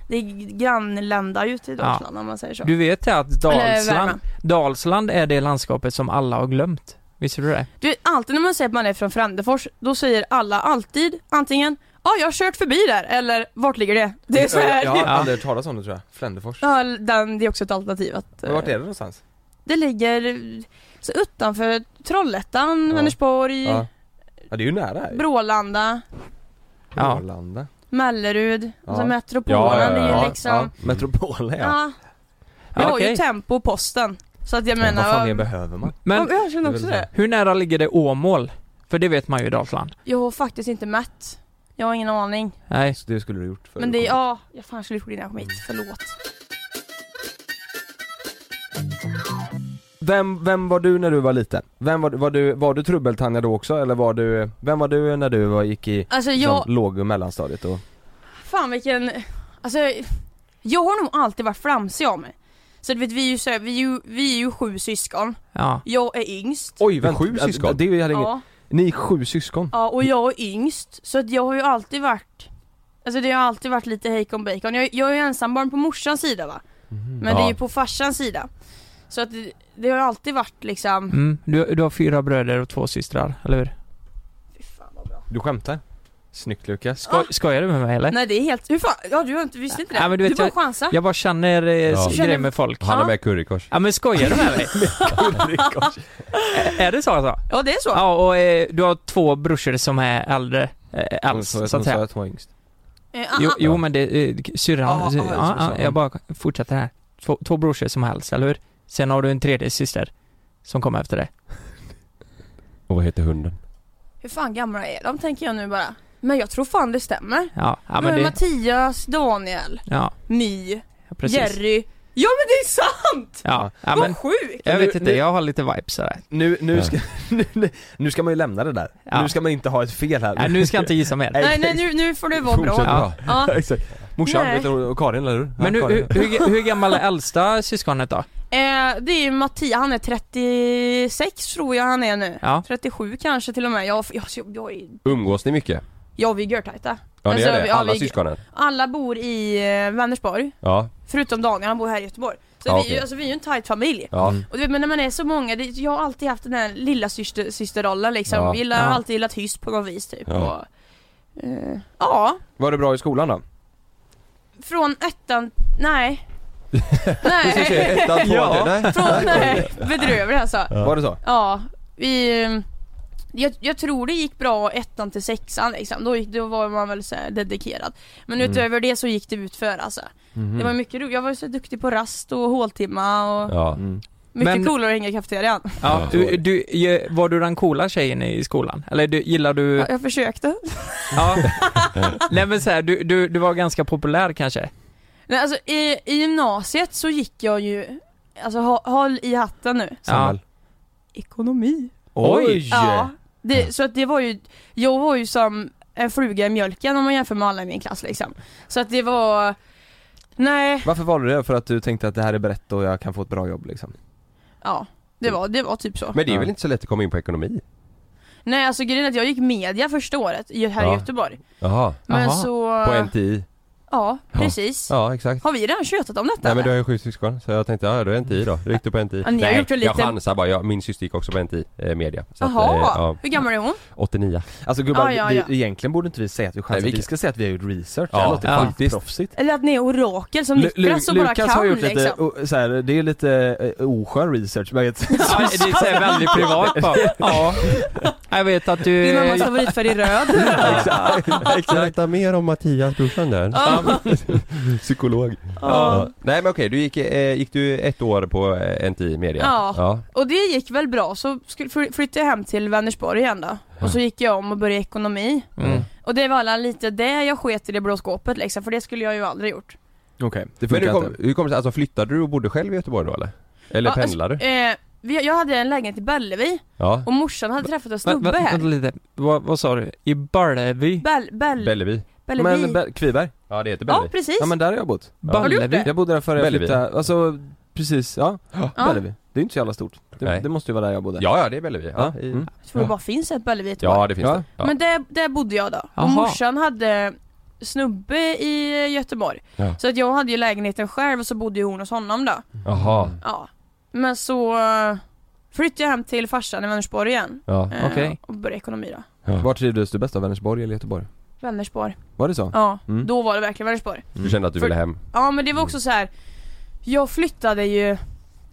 det är grannlända ute i Dalsland om man säger så.
Du vet det att
Eller
Dalsland,
Värmland.
Dalsland är det landskapet som alla har glömt. Visste du det?
Du, alltid när man säger att man är från Frändefors, då säger alla alltid antingen Ja, jag har kört förbi där, eller vart ligger det? Det är så här.
Jag har aldrig hört talas om det tror jag, Fländefors
Ja, den, det är också ett alternativ att...
Men vart är det någonstans?
det ligger så utanför Trollhättan, Mm, Vänersborg,
Ja. ja, det är ju nära här
Brålanda,
Arlanda
Mellerud, alltså
Ja.
metropolen, det är ju liksom
Metropolen ja.
Ja. Vi har ju
Okej.
Tempo och Posten. Så att jag
Men
menar...
vad fan mer behöver man?
Men
Ja, jag känner också det.
hur nära ligger det Åmål? För det vet man ju i Dalsland.
Jag har faktiskt inte mätt. Jag har ingen aning.
Nej.
Så det skulle du gjort för
Men det är, ja, jag fan skulle gjort det innan jag kom hit. Förlåt.
Vem, vem var du när du var liten? Vem var, var du, var du trubbeltanja då också eller var du, vem var du när du var, gick i
Alltså,
liksom,
jag-
låg och mellanstadiet och..
Fan vilken... Alltså, jag har nog alltid varit flamsig av mig. Så du vet, vi är ju, så här, vi är ju, vi är ju sju syskon.
Ja.
Jag är yngst.
Oj, vänta, sju syskon? Det, det hade
Ja.
inget, ni är sju syskon?
Ja, och jag är yngst. Så att jag har ju alltid varit... Alltså det har alltid varit lite hejkon bacon. Jag, jag är ju ensambarn på morsans sida va? Men det är
Ja.
ju på farsans sida. Så att det, det har ju alltid varit liksom...
Mm. Du, du har fyra bröder och två systrar, eller hur?
Du skämtar? Snyggt Lukas
Skoj, Skojar du med mig eller?
Nej det är helt... Hur fan? Ja du har inte, visste inte det?
Ja, men du vet,
bara
jag-
chansar.
Jag bara känner eh,
Ja.
grejer med folk.
Han har med currykors.
Ja men skojar du med mig? Ä- är det så alltså?
Ja det är så.
Ja och eh, du har två brorsor som är äldre eh,
Hon
alls
sa att
så att
hon sa
säga.
att hon var yngst
Eh,
Jo,
ah, ah.
jo men det, eh, syrran,
Ja,
sy-
ja,
ja,
så sa
ja,
hon.
jag bara fortsätter här. Två, två brorsor som är äldst, eller hur? Sen har du en tredje syster som kommer efter det.
Och vad heter hunden?
Hur fan gamla är de tänker jag nu bara. Men jag tror fan det stämmer.
Ja, ja
men
men det...
Mattias, Daniel,
Ja,
My,
ja, precis.
Jerry. Ja men det är sant!
Ja, ja
Vad
men
sjukt!
jag vet
Nu-
inte,
nu-
jag har lite vibes sådär.
Nu, nu,
Ja.
ska, [LAUGHS] nu, nu ska man ju lämna det där,
Ja.
nu ska man inte ha ett fel här
Nej, nu ska jag inte gissa mer.
Nej nej nu, nu får du vara bra.
Fortsätt
Ja.
bra.
[LAUGHS]
Ja.
Exakt. Morsan,
Nej.
vet du, och Karin eller hur?
Men
Ja, Karin.
hur, hur, hur, hur gammal är äldsta syskonet då?
Eh, det är ju Mattias, han är 36 tror jag han är nu.
Ja.
37 kanske till och med. Jag, jag, jag, jag, är-
Umgås ni mycket?
jag vi är görtajta.
Ja ni
Alltså,
gör
vi-
det?
ja,
Alla
vi-
syskonen?
Alla bor i eh, Vänersborg,
Ja.
förutom Daniel, han bor här i Göteborg. Så
Ja,
vi, är ju-
okej.
alltså, vi är ju en tight familj.
Ja.
Och du vet, men när man är så många, det, jag har alltid haft den här lilla syster, systerrollen liksom.
Ja.
Vi gillar,
Ja.
har alltid gillat hyss på något vis typ.
Ja.
Och, eh, ja,
Var det bra i skolan då?
från ettan,
[LAUGHS]
nej. nej,
Ettan, tvåan,
Ja.
tre- typ. nej.
från, nej, bedrövlig alltså.
Var det så?
Ja, vi... eh, Jag, jag tror det gick bra ettan till sexan liksom. då, gick, då var man väl så här dedikerad. Men
Mm.
utöver det så gick det ut för alltså.
Mm.
Det var mycket roligt, jag var så duktig på rast och håltimma och
Ja.
Mm.
mycket
Men-
coolare att hänga i cafeterian.
Ja, du, du, ju- var du den coola tjejen i skolan? Eller du, gillar du...
Ja, jag försökte. [LAUGHS]
Ja. Nej men så här, du, du, du var ganska populär kanske?
Nej, alltså, i, I gymnasiet så gick jag ju, alltså ha, håll i hatten nu,
Samuel?
ekonomi.
Oj.
Ja, det, så att det var ju, jag var ju som en fluga i mjölken om man jämför med alla i min klass liksom. Så att det var, nej,
Varför valde du det? För att du tänkte att det här är brett och jag kan få ett bra jobb liksom?
ja. Det var, det var typ så.
Men det är
Ja.
väl inte så lätt att komma in på ekonomi?
Nej alltså grejen är att jag gick media första året i- här i
Ja.
Göteborg.
Jaha.
Men
Jaha.
så...
På NTI?
Ja, precis.
Ja exakt.
Har vi redan tjötat om detta
Nej men du
eller?
har ju sju syskon så jag tänkte ja då är NTI då. Du gick du på NTI?
Ja, ni har
Nej,
gjort en
jag
liten-
chansar bara. Jag, min syster gick också på NTI eh, media. Så att,
Jaha,
eh, ja.
hur gammal är hon? [LAUGHS]
89.
Alltså gubbar,
Ja, ja,
vi-
ja.
Vi, egentligen borde inte vi säga att vi chansar,
Nej, vi-
vi ska säga att vi har gjort research,
Ja,
det här låter
ja.
faktiskt proffsigt
Eller att ni är orakel som
Lu- Lu-
Niklas och bara
Lukas
kan
har gjort lite,
Eh,
liksom.
o- så här, det är lite eh, oskön research, men jag vet
Ja, det är så här väldigt privat bara. Ja. Jag vet att du...
Din mammas favoritfärg är röd.
[LAUGHS] Berätta mer om Mattias, brorsan där. [LAUGHS] Psykolog. Ja. Nej men okej, du gick, eh, gick du ett år på eh, NTI media?
Ja.
ja.
Och det gick väl bra, så skulle- fly- flyttade jag hem till Vänersborg igen då. Och så gick jag om och började ekonomi.
Mm.
Och det var alla lite det jag sket i det blå skåpet liksom, för det skulle jag ju aldrig gjort.
Okej, det
Men hur
funkar
kom,
inte
hur kom det sig, alltså flyttade du och bodde själv i Göteborg då eller? Eller
Ja,
pendlade du?
alltså, eh, vi- jag hade en lägenhet i Bellevi
Ja,
och morsan hade träffat en
Vä- vä-
snubbe här.
Vänta lite, vad, vad sa du? I Barlevi?
Bell, Bell,
Bellevi.
Bellevi.
Men Be- Kviberg?
Ja det heter
ja
Bellevi.
precis.
Ja men där har jag bott
Har du gjort
Ballevi?
det?
Jag bodde där före jag
Bellevi.
flyttade, alltså precis, ja, [GASPS]
Ja.
Bellevi Det är inte så jävla stort, det,
Nej.
det måste ju vara där jag bodde
Ja, ja det är Bellevi. Ja,
Ja,
i-
mm.
Jag tror det bara finns ett Bellevi i Göteborg.
ja det finns
Ja.
det. Ja.
Men där, där bodde jag då. Och
Jaha.
morsan hade snubbe i Göteborg.
Ja.
Så att jag hade ju lägenheten själv och så bodde ju hon hos honom då.
Jaha.
Ja. Men så eh, flyttade jag hem till farsan i Vänersborg igen.
Ja.
Eh,
Okej.
Och började ekonomi då.
Var trivdes du bäst då? Vänersborg eller Göteborg?
Vänersborg.
Var det så?
Ja,
Mm.
då var det verkligen Vänersborg.
Du kände att du
För-
ville hem?
Ja men det var också så här. jag flyttade ju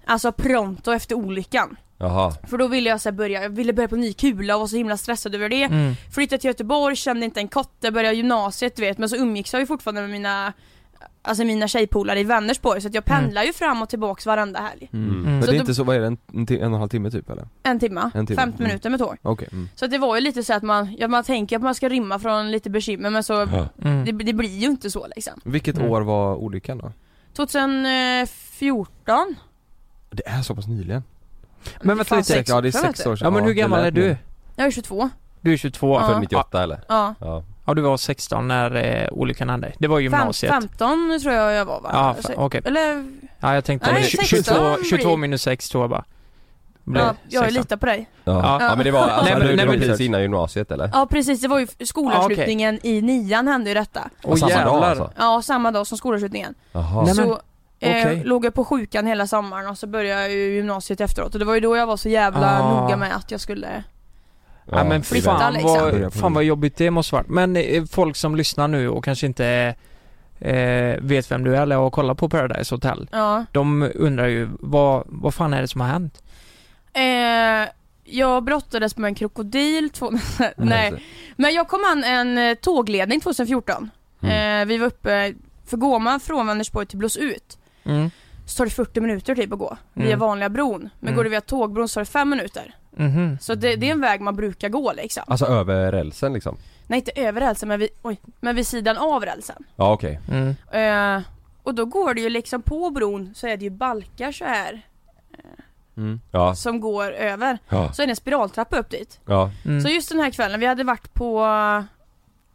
Alltså pronto efter olyckan
Jaha.
För då ville jag så här börja, jag ville börja på ny kula och var så himla stressad över det
Mm.
Flyttade till Göteborg, kände inte en kotte, började gymnasiet du vet men så umgicks jag ju fortfarande med mina Alltså mina tjejpolare i Vänersborg så att jag pendlar ju fram och tillbaks varenda helg
Mm.
Så
Men det är
då-
inte så, vad är det, en, en, ti- en och en halv timme typ eller?
En timme, 15 minuter med tåg
Mm. Okej, mm.
Så att det var ju lite så att man, ja, man tänker att man ska rymma från lite bekymmer men så
Mm.
Ja.
det,
mm.
det blir ju inte så liksom
Vilket år var olyckan då?
2014
Det är så pass nyligen
Men vänta
Fan,
lite.
sex- ja, det är sex år sedan.
Ja men
Ja,
hur
det
gammal
lät
är du?
nu.
Jag är 22
Du är 22?
Ja. Född 98,
eller?
Ja.
ja. Ja du var 16 när eh, olyckan hände. Det var i gymnasiet.
Fem, 15 tror jag jag var va?
Ja,
Så-
fa- okej.
Eller,
Ja jag tänkte
Nej,
20-
16
22,
blir-
22 minus 6 tror jag bara. Blev
ja, jag
16.
litar på dig.
Ja.
Ja.
Ja. men det var, alltså,
Nej, men-
det
nej,
var
men-
precis innan gymnasiet eller?
Ja precis, det var ju skolavslutningen i nian hände ju detta.
Och samma dag alltså?
Ja, samma dag som skolavslutningen.
Jaha.
Så
okej.
eh, låg jag på sjukan hela sommaren och så började jag ju gymnasiet efteråt och det var ju då jag var så jävla
Ah.
noga med att jag skulle
Ja, men
flytta
fan,
liksom.
vad, fan vad jobbigt det måste varit. Men eh, folk som lyssnar nu och kanske inte eh, vet vem du är eller har kollat på Paradise Hotel.
Ja.
De undrar ju vad, vad fan är det som har hänt?
Eh, jag brottades med en krokodil två... [LAUGHS]
Nej.
Nej. Men jag kom an en eh, tågledning 2014.
Mm.
Eh, vi var uppe, för går man från Vänersborg till Blåsut
Mm.
så tar det 40 minuter typ att gå via
Mm.
vanliga bron. Men
Mm.
går du via tågbron så tar det 5 minuter.
Mhm.
Så det,
Mm.
det är en väg man brukar gå liksom.
Alltså över rälsen liksom?
Nej inte över rälsen men vid, oj, men vid sidan av rälsen.
Ja okej.
mm,
Eh, och då går det ju liksom på bron så är det ju balkar så här
Mm.
Ja.
som går över.
Ja.
Så är det en spiraltrappa upp dit.
Ja.
mm.
Mm.
Så just den här kvällen, vi hade varit på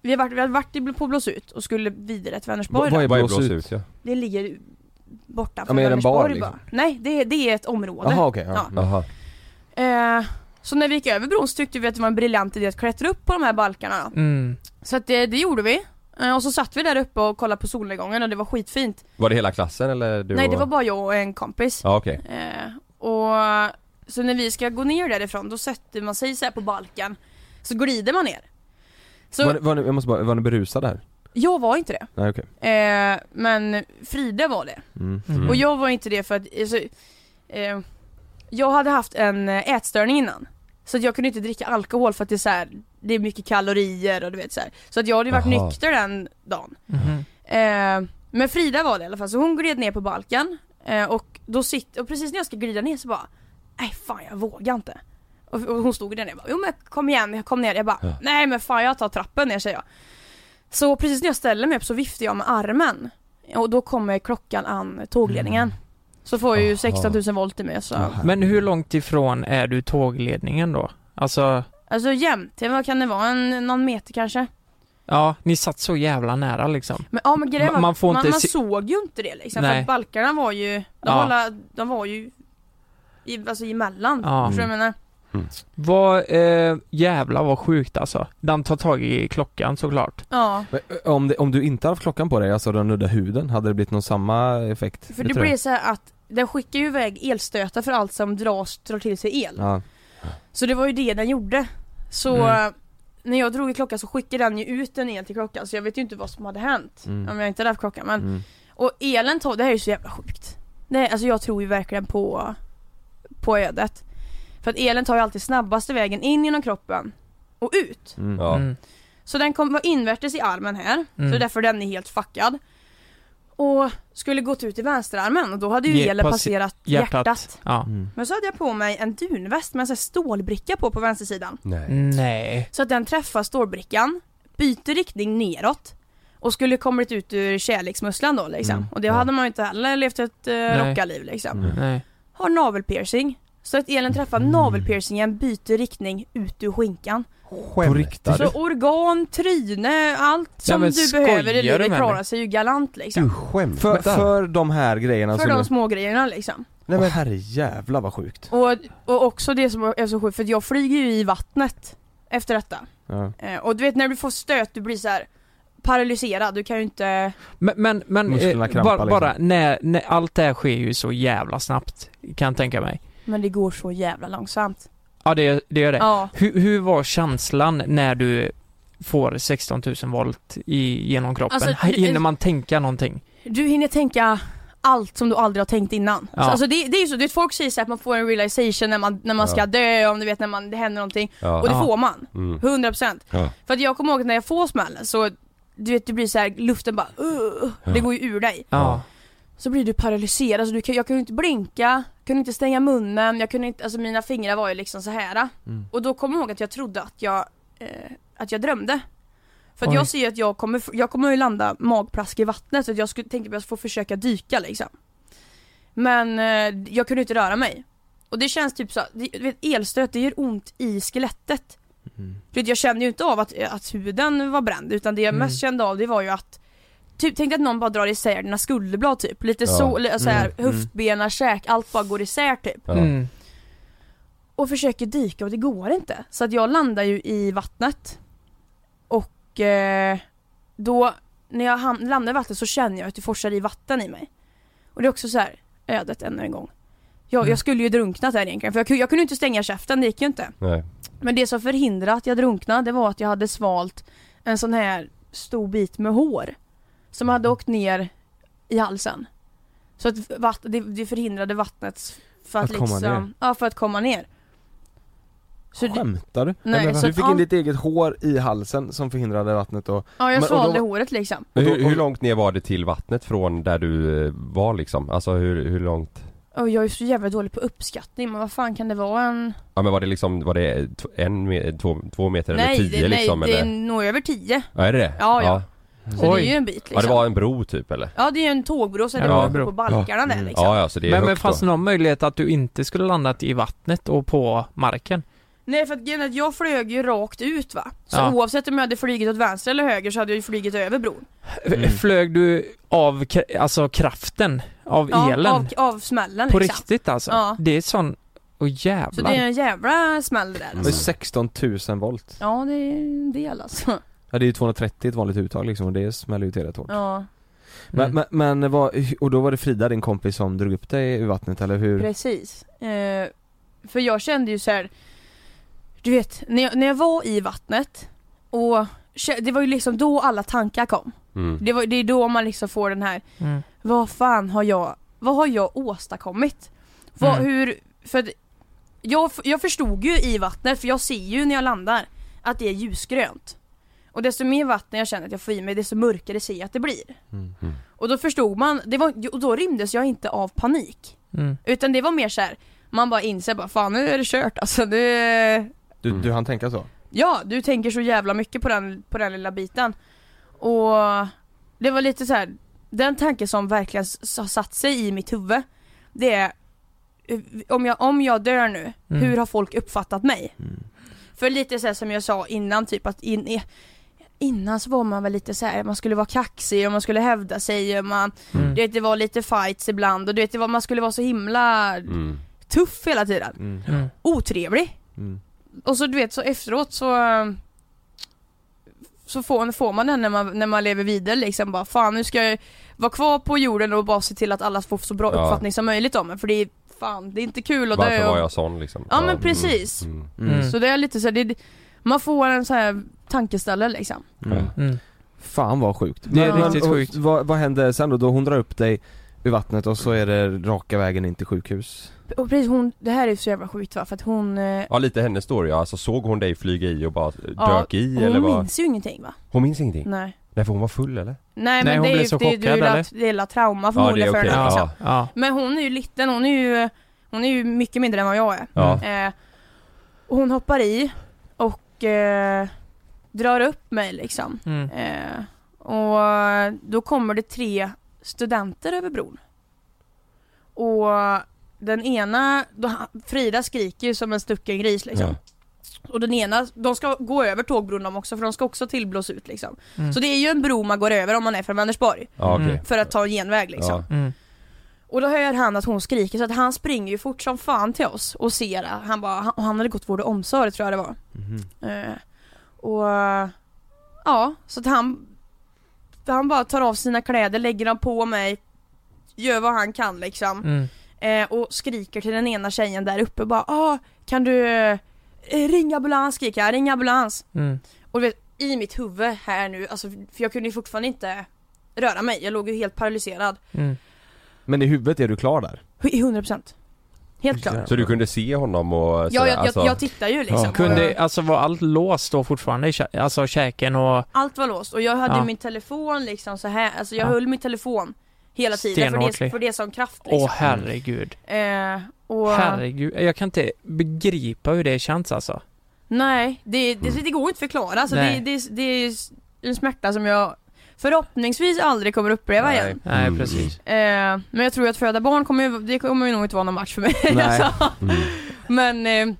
Vi hade varit, vi hade varit i- på Blåsut och skulle vidare till Vänersborg
Vad- vad är
då.
Vad är Blåsut? Blåsut, ja?
Det ligger borta
Ja,
från
men är det en bar,
Vänersborg
liksom?
bara. Nej, det, är- det är ett område
Jaha okej, ja.
Jaha.
Eh, Så när vi gick över bron så tyckte vi att det var en briljant idé att klättra upp på de här balkarna då.
Mm.
Så att det, det gjorde vi Eh, och så satt vi där uppe och kollade på solnedgången och det var skitfint
Var det hela klassen eller du
Nej
och...
det var bara jag och en kompis
Ja okej.
Eh, och så när vi ska gå ner därifrån då sätter man sig så här på balkan Så glider man ner Så
Var, var, ni- jag måste bara, var ni berusade här?
jag var inte det
Nej okej
Eh, men Frida var det.
Mm. Mm.
Och jag var inte det för att, alltså, eh, jag hade haft en eh, ätstörning innan. Så att jag kunde inte dricka alkohol för att det är så här, det är mycket kalorier och du vet så här. Så att jag hade ju varit
Aha.
nykter den dagen.
mhm.
Eh, men Frida var det i alla fall, så hon gled ner på balkan. Eh, och då sitter, och precis när jag ska glida ner så bara, nej fan jag vågar inte. Och, och hon stod där nere och bara, jo men kom igen, jag kom ner. Jag bara,
Ja.
nej men fan jag tar trappen ner säger jag. Så precis när jag ställer mig upp så viftar jag med armen. Och då kommer klockan an tågledningen. Så får jag ju 16 000 volt i mig så.
Men hur långt ifrån är du tågledningen då? Alltså,
Alltså jämt, vad kan det vara? En, någon meter kanske?
ja ni satt så jävla nära liksom.
Men, ja, men
Man-
grejen man,
man
man,
får
man,
inte se-
såg ju inte det liksom, för
Nej.
att balkarna var ju, de,
Ja.
var, alla, de var ju i, alltså emellan,
Ja.
förstår du vad jag menar?
Mm.
Vad, eh, jävlar vad sjukt alltså. De tar tag i klockan såklart.
Ja,
Men, ö, om, det, om du inte hade haft klockan på dig, alltså den nudda huden, hade det blivit någon samma effekt?
för det
tror jag.
blir så här att den skickar ju iväg elstötar för allt som dras, drar till sig el.
Ja.
Så det var ju det den gjorde. Så
Mm.
eh, när jag drog i klockan så skickade den ju ut en el till klockan så jag vet ju inte vad som hade hänt
Mm.
om jag inte hade haft klockan men
Mm.
Och elen tog, det här är ju så jävla sjukt. Nej, alltså jag tror ju verkligen på, på ödet. För att elen tar ju alltid snabbaste vägen in genom kroppen och ut.
Mm.
Ja.
Mm.
Så den kom, var invärtes i armen här,
Mm.
så därför den är helt fuckad. Och skulle gått ut i vänsterarmen och då hade ju
Ge-
elen
passi-
passerat hjärtat.
Ja.
Mm.
Men så hade jag på mig en dunväst med en sån här stålbricka på på vänstersidan.
Nej.
Så att den träffar stålbrickan, byter riktning neråt och skulle kommit ut ur kärleksmusslan då liksom.
Mm,
Och det hade man ju inte heller levt ett eh, rockarliv liksom.
Mm.
Mm.
Nej.
Har navelpiercing. Så att elen träffar navelpiercingen, byter riktning ut ur skinkan.
På riktigt?
Så organ, tryne, allt som
men
du behöver i
skojar du
livet
med
klarar
mig?
sig ju galant liksom.
För, för de här grejerna
För
som
de små grejerna liksom.
Nej men herrejävlar vad sjukt
Och, och också det som är så sjukt, för att jag flyger ju i vattnet efter detta.
ja.
Eh, och du vet när du får stöt, du blir så här paralyserad, du kan ju inte...
Men, men, men
Musklerna
eh,
krampar
bara,
liksom.
bara när, när, allt det här sker ju så jävla snabbt, kan jag tänka mig.
Men det går så jävla långsamt.
Ja, det, det gör det.
Ja.
Hur, hur var känslan när du får 16 000 volt i, genom kroppen?
Alltså, det-
Hinner man tänka någonting?
Du hinner tänka allt som du aldrig har tänkt innan.
Ja.
Så, alltså det, det är ju så, du vet, folk säger så här att man får en realization när man, när man ska
Ja.
dö, om du vet när man, det händer någonting.
Ja.
Och det
Ja.
får man.
Mm.
100%.
Ja.
För att jag kommer ihåg när jag får smällen så, du vet det blir så här, luften bara "Ugh", det
Ja.
går ju ur dig.
Ja.
Så blir du paralyserad, så du kan, jag kunde inte blinka, kunde inte stänga munnen, jag kunde inte, alltså mina fingrar var ju liksom så här.
Mm.
Och då kommer jag ihåg att jag trodde att jag, eh, att jag drömde. För att
Oj.
jag ser ju att jag kommer, jag kommer ju landa magplask i vattnet så att jag skulle tänka att jag får försöka dyka liksom. Men eh, jag kunde inte röra mig. Och det känns typ så, det- du vet elstöt det gör ont i skelettet.
Mm.
Du vet, jag kände ju inte av att, att huden var bränd utan det jag
Mm.
mest kände av det var ju att Typ tänk dig att någon bara drar isär dina skulderblad typ, lite
Ja.
så, eller så här,
Mm, mm.
höftbena, käk, allt bara går isär typ
Ja. Mm.
och försöker dyka och det går inte. Så att jag landar ju i vattnet. Och eh, då, när jag ham- landar i vattnet så känner jag att det forsar i vatten i mig. Och det är också så här ödet ännu en gång. Jag,
Mm.
jag skulle ju drunknat här egentligen för jag, ku- jag kunde ju inte stänga käften, det gick ju inte.
Nej.
Men det som förhindrade att jag drunknade det var att jag hade svalt en sån här stor bit med hår. Som
Mm.
hade åkt ner i halsen. Så att vatt, det, det förhindrade vattnet för att,
Att komma
liksom,
ner.
ja för att komma ner. Så det-
Skämtar du?
Nej,
men
så
vad- du
att
fick
all-
in ditt eget hår i halsen som förhindrade vattnet och...
Ja jag
Men- och då-
svalde håret liksom.
Men hur, hur långt ner var det till vattnet från där du eh, var liksom? Alltså hur, hur långt?
Och jag är så jävla dålig på uppskattning men vad fan kan det vara en...
Ja men var det liksom, var det t- en, me- två, två meter eller
nej,
tio
det,
liksom
nej det är
eller?
nog över 10.
Ja är det det?
Ja, ja. Så det är
Oj.
ju en bit, liksom.
Ja det var en bro typ eller?
Ja det är ju en tågbro sen
Ja,
ja,
bro.
på balkarna där
Mm.
liksom.
Ja, ja, så det är
men, men
högt
fanns
då.
det någon möjlighet att du inte skulle landat i vattnet och på marken?
Nej för att grejen är att jag flög ju rakt ut va. Så
Ja.
oavsett om jag hade flugit åt vänster eller höger så hade jag ju flugit över bron.
Mm.
Flög du av kra- alltså kraften av
Ja,
elen?
Av, av smällen
På
liksom.
riktigt alltså?
Ja.
Det är sån... Åh jävlar. Mm,
Så det är en jävla smäll det där. alltså.
Det är 16 000 volt.
Ja det är en del alltså. [LAUGHS]
Ja det är ju 230 ett vanligt uttag liksom och det smäller ju till rätt hårt.
Ja
Mm.
Men, men, men vad, och då var det Frida din kompis som drog upp dig ur vattnet eller hur?
precis. Eh, för jag kände ju så här. Du vet när jag, när jag var i vattnet och kä- det var ju liksom då alla tankar kom.
Mm.
Det, var, det är då man liksom får den här
Mm.
Vad fan har jag, vad har jag åstadkommit? Vad,
Mm.
hur, för att jag, jag förstod ju i vattnet, för jag ser ju när jag landar att det är ljusgrönt. Och desto mer vatten jag känner att jag får i mig, desto mörkare ser jag att det blir.
Mm.
Och då förstod man, det var, och då rymdes jag inte av panik.
Mm.
Utan det var mer så här, man bara inser bara fan nu är det kört alltså nu,
Du,
Mm.
du hann tänka så?
Ja, du tänker så jävla mycket på den, på den lilla biten. Och det var lite så här. den tanke som verkligen s- har satt sig i mitt huvud, det är eh, om jag, om jag dör nu,
Mm.
hur har folk uppfattat mig? För lite så här som jag sa innan, typ att in, i- innan så var man väl lite så här, man skulle vara kaxig och man skulle hävda sig och man,
Mm.
du vet det var lite fights ibland och du vet det var, man skulle vara så himla
Mm.
tuff hela tiden.
Mm.
Otrevlig.
Mm.
Och så du vet så efteråt så eh, Så får, får man den när man, när man lever vidare liksom bara fan nu ska jag vara kvar på jorden och bara se till att alla får så bra
Ja.
uppfattning som möjligt om en för det är fan det är inte kul att
Varför
dö
var
och-
jag sån liksom?
Ja, men precis.
Mm.
Så det är lite så här, det, det- man får en så här tankeställare liksom
Mm. Fan vad sjukt.
Det är riktigt
och
sjukt.
Vad, vad hände sen då? Då hon drar upp dig ur vattnet och så är det raka vägen in till sjukhus?
Och precis hon, det här är så jävla sjukt va för att hon eh,
Ja lite hennes story, ja. alltså såg hon dig flyga i och bara eh,
ja, Mm.
dök i
Hon
eller vad?
minns ju ingenting va?
Hon minns ingenting?
Nej
Nej för hon var full eller?
Nej men det är ju, det, är- det är ju la- det är la trauma förmodligen för henne liksom. Men hon är ju liten, hon är ju, hon är ju mycket mindre än vad jag är.
Ja.
Eh, och hon hoppar i och eh, drar upp mig liksom.
Mm.
Eh, och då kommer det tre studenter över bron. Och den ena, då, Frida skriker ju som en stucken gris liksom. Och den ena, de ska gå över tågbron de också för de ska också tillblås ut liksom.
Mm.
Så det är ju en bro man går över om man är från Vänersborg.
Ja, okej.
För att ta en genväg Mm. liksom.
mm,
Och då hör han att hon skriker så att han springer ju fort som fan till oss och ser det. Han bara, han, och han hade gått vård och omsorg tror jag det var.
Mhm.
Eh, och eh, ja, så att han han bara tar av sina kläder, lägger dem på mig, gör vad han kan liksom.
Mm.
Eh, och skriker till den ena tjejen där uppe bara ah, kan du eh, ringa ambulans skriker han, ring ambulans.
Mm.
Och du vet, i mitt huvud här nu, alltså, för jag kunde ju fortfarande inte röra mig, jag låg ju helt paralyserad.
Mm.
Men i huvudet är du klar där?
100% Helt klart
Så du kunde se honom och
Ja,
sådär, alltså?
jag, jag, jag tittar ju liksom
Alltså, Kunde, alltså var allt låst då fortfarande i kä- alltså käken och...
Allt var låst och jag hade
Ja.
ju min telefon liksom så här. alltså jag
Ja.
höll min telefon hela tiden för det,
Stenhårt.
för det som kraft liksom.
Åh herregud.
Eh, och,
Herregud, jag kan inte begripa hur det känns alltså.
Nej, det, det,
Mm.
det går inte att förklara alltså, det,
Nej.
det, det är en smärta som jag förhoppningsvis aldrig kommer uppleva igen
Nej,
Mm.
precis.
Eh, men jag tror att föda barn kommer ju, det kommer ju nog inte vara någon match för mig.
Nej.
[LAUGHS] alltså. Men, eh,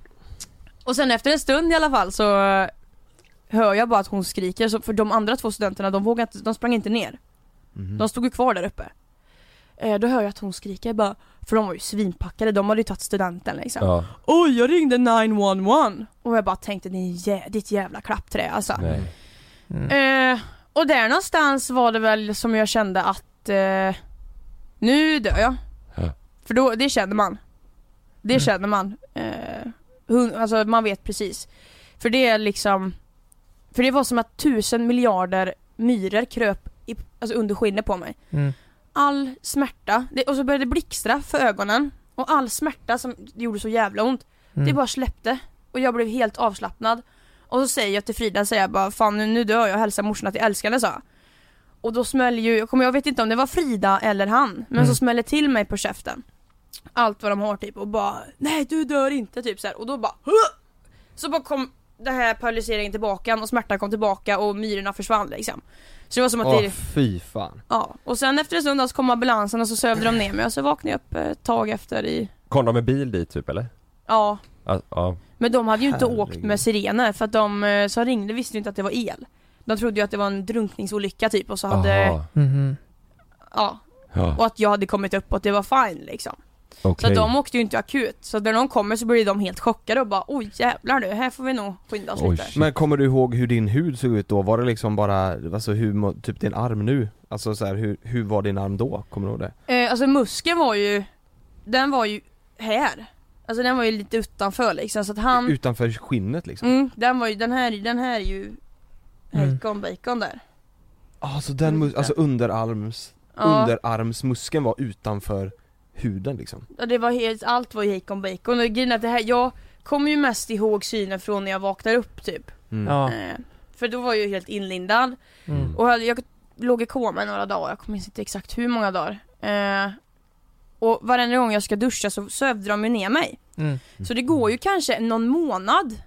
och sen efter en stund i alla fall så eh, hör jag bara att hon skriker, så, för de andra två studenterna de vågade inte, de sprang inte ner. De stod ju kvar där uppe. Eh, då hör jag att hon skriker bara, för de var ju svinpackade, de hade ju tagit studenten liksom.
Ja.
Oj jag ringde 911! Och jag bara tänkte din jä- ditt jävla klappträ alltså.
Nej.
Eh, och där någonstans var det väl som jag kände att eh, nu dör jag.
Ja.
För då, det känner man. Det känner man. Eh, hun, alltså man vet precis. För det är liksom, för det var som att tusen miljarder myror kröp i, alltså under skinnet på mig.
Mm.
All smärta, det, och så började det blixtra för ögonen. Och all smärta som gjorde så jävla ont,
Mm.
det bara släppte. Och jag blev helt avslappnad. Och så säger jag till Frida, säger jag bara fan nu, nu dör jag, hälsa morsan att jag älskar henne sa jag. Och då smäller ju, jag kommer- jag vet inte om det var Frida eller han, men
Mm.
så smäller till mig på käften. Allt vad de har typ och bara nej du dör inte typ så här. och då bara "Huh!" Så bara kom det här paralyseringen tillbaka och smärtan kom tillbaka och myrorna försvann liksom. Så det var som att
Åh
det
fy fan
Ja, och sen efter en stund så kom ambulansen och så sövde de ner mig och så vaknade jag upp eh, ett tag efter i,
Kom de med bil dit typ eller?
ja.
Ja, ja.
Men de hade ju inte
Herregud.
åkt med sirener för att de eh, som ringde visste ju inte att det var el. De trodde ju att det var en drunkningsolycka typ och så hade,
Aha.
Mm,
ja.
Ja.
Och att jag hade kommit upp och att det var fine liksom.
Okej.
Så att de åkte ju inte akut, så när de kommer så blir de helt chockade och bara oj jävlar nu, här får vi nog skynda oss lite.
Men kommer du ihåg hur din hud såg ut då? Var det liksom bara, alltså hur, må- typ din arm nu? Alltså så här, hur, hur var din arm då? Kommer du ihåg det?
Eh, alltså muskeln var ju, den var ju här. Alltså den var ju lite utanför liksom så att han,
Utanför skinnet liksom?
mm, den var ju, den här, den här är ju
Mm.
Bacon, bacon där.
Alltså den mus- alltså underarms,
Ja.
underarmsmuskeln var utanför huden liksom
Ja, det var helt, allt var hejkon bacon och grejen är att det här, jag kommer ju mest ihåg synen från när jag vaknar upp typ
Mm. Ja.
Eh, För då var jag ju helt inlindad
Mm.
och jag, jag låg i koma i några dagar, jag minns inte exakt hur många dagar eh, Och varenda gång jag ska duscha så sövde de ju ner mig
Mm.
Så det går ju kanske någon månad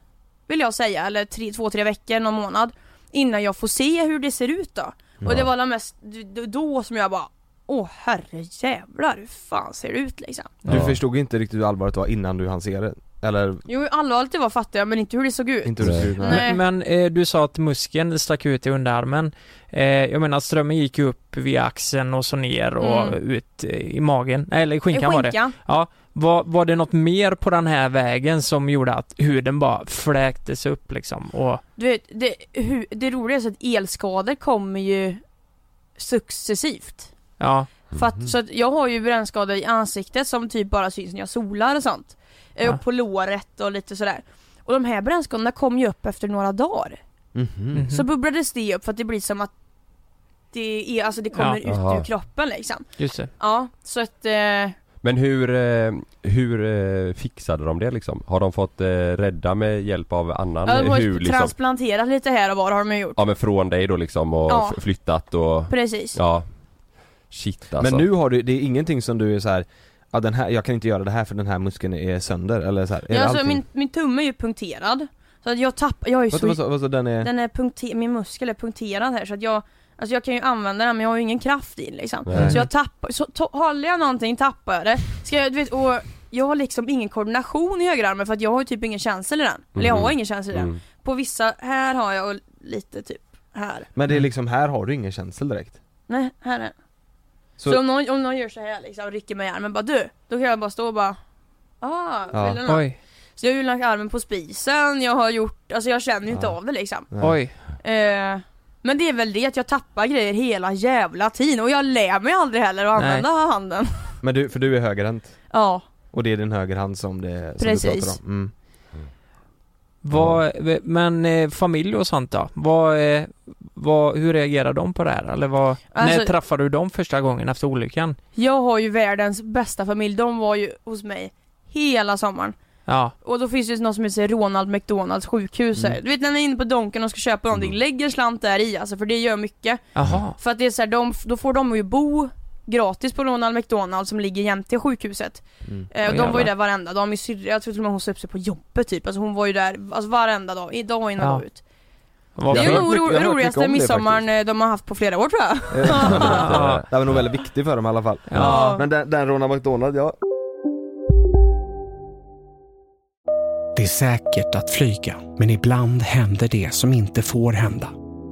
Vill jag säga, eller tre, två, tre veckor, någon månad Innan jag får se hur det ser ut då Och
Ja.
det var det mest, d- d- då som jag bara Åh herrejävlar, hur fan ser det ut liksom?
Du förstod inte riktigt hur allvarligt det var innan du hann se det? Eller?
Jo allvarligt det var fattade jag men inte hur det såg ut.
Inte hur det såg ut, nej.
Nej.
Men, men eh, du sa att muskeln stack ut i underarmen. Eh, jag menar strömmen gick ju upp via axeln och så ner och
Mm.
ut eh, i magen, Nej, eller i skinkan,
I
var det.
skinkan.
Ja. Var, var det något mer på den här vägen som gjorde att huden bara fläktes upp liksom? Och,
Du vet, det, hur, det roliga är så att elskador kommer ju successivt.
ja.
För
Mhm.
att, så att jag har ju brännskador i ansiktet som typ bara syns när jag solar och sånt. Eh,
Ja.
Och på låret och lite sådär. Och de här brännskadorna kom ju upp efter några dagar.
Mm-hmm.
Mm-hmm.
Så bubblades det upp för att det blir som att det är, alltså det kommer
Ja.
ut ur
Aha.
kroppen liksom.
Just det.
Ja, så att eh,
Men hur, eh, hur eh, fixade de det liksom? Har de fått eh, rädda med hjälp av annan
ja, de har
hud
ju
liksom?
transplanterat lite här och var har de ju gjort.
Ja men från dig då liksom och
Ja.
f- flyttat och
Precis.
Ja Shit alltså
Men nu har du, det är ingenting som du är så här, ja, den här, jag kan inte göra det här för den här muskeln är sönder eller så här, är
Ja,
det
alltså,
allting?
min, min tumme är ju punkterad. Så att jag tappar, jag är ju
Vänta,
så...
vad sa- vad sa den är-
Den är punkter, min muskel är punkterad här så att jag Alltså jag kan ju använda den men jag har ju ingen kraft i den liksom.
Nej.
Så jag tappar, så to- håller jag någonting tappar jag det. Ska jag, du vet, och jag har liksom ingen koordination i högerarmen för att jag har ju typ ingen känsel i den. Eller jag har
Mhm.
ingen känsel i den.
Mm.
På vissa, här har jag och lite typ här.
Men det är liksom, här har du ingen känsel direkt
Nej, här är Så,
Så-
om, någon, om någon gör så här liksom, rycker mig i armen bara du, då kan jag bara stå och bara Ah,
Ja.
vill du något?
Oj.
Så jag har ju lagt armen på spisen, jag har gjort, alltså jag känner ju inte
Ja.
av det liksom
Nej. Oj.
eh, Men det är väl det att jag tappar grejer hela jävla tiden och jag lär mig aldrig heller att
Nej.
använda handen
Men du, för du är högerhänt?
Ja,
Och det är din högerhand som det som
Precis.
du pratar om? Mm.
Vad, men eh, familj och sånt då? Vad, eh, vad, hur reagerar de på det här? Eller vad, när
Alltså-
träffade du dem första gången efter olyckan?
Jag har ju världens bästa familj, de var ju hos mig hela sommaren.
Ja,
Och då finns det ju något som heter Ronald McDonalds sjukhus här.
Mm.
Du vet när man är inne på Donken och ska köpa någonting,
Mm.
lägger slant där i alltså för det gör mycket.
Jaha.
För att det är så här, de, då får de ju bo gratis på Ronald McDonalds som ligger jämte sjukhuset.
Mm.
Eh, och
Åh,
de var ju
jävlar.
där varenda dag, min syrra, jag tror till och med hon sa upp sig på jobbet typ. Alltså hon var ju där alltså varenda dag, i- dag in och
Ja.
dag ut.
Vad
det är ju
fint.
nog
mycket- jag har hört
ro-
mycket om
roligaste
det
midsommaren eh, de har haft på flera år tror jag.
ja. Eh, [LAUGHS] Det var nog väldigt viktig för dem i alla fall
Ja.
Men den, den Ronald McDonald, ja
Det är säkert att flyga, men ibland händer det som inte får hända.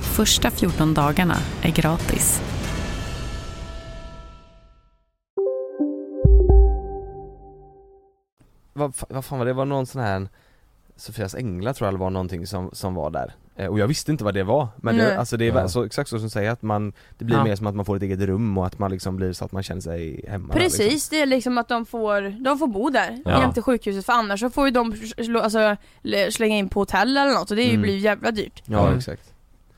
Första 14 dagarna är gratis.
vad, fa- vad fan var det? det? var någon sån här Sofias änglar tror jag eller var någonting som, som var där Eh, Och jag visste inte vad det var, men
Nej.
det, alltså det är
Ja.
väl så, exakt så som du säger att man Det blir
Ja.
mer som att man får ett eget rum och att man liksom blir så att man känner sig hemma där,
Precis,
liksom.
det är liksom att de får, de får bo där
Ja.
jämte sjukhuset för annars så får ju de slå, alltså, l- slänga in på hotell eller något och det är ju
Mm.
blir ju jävla dyrt.
exakt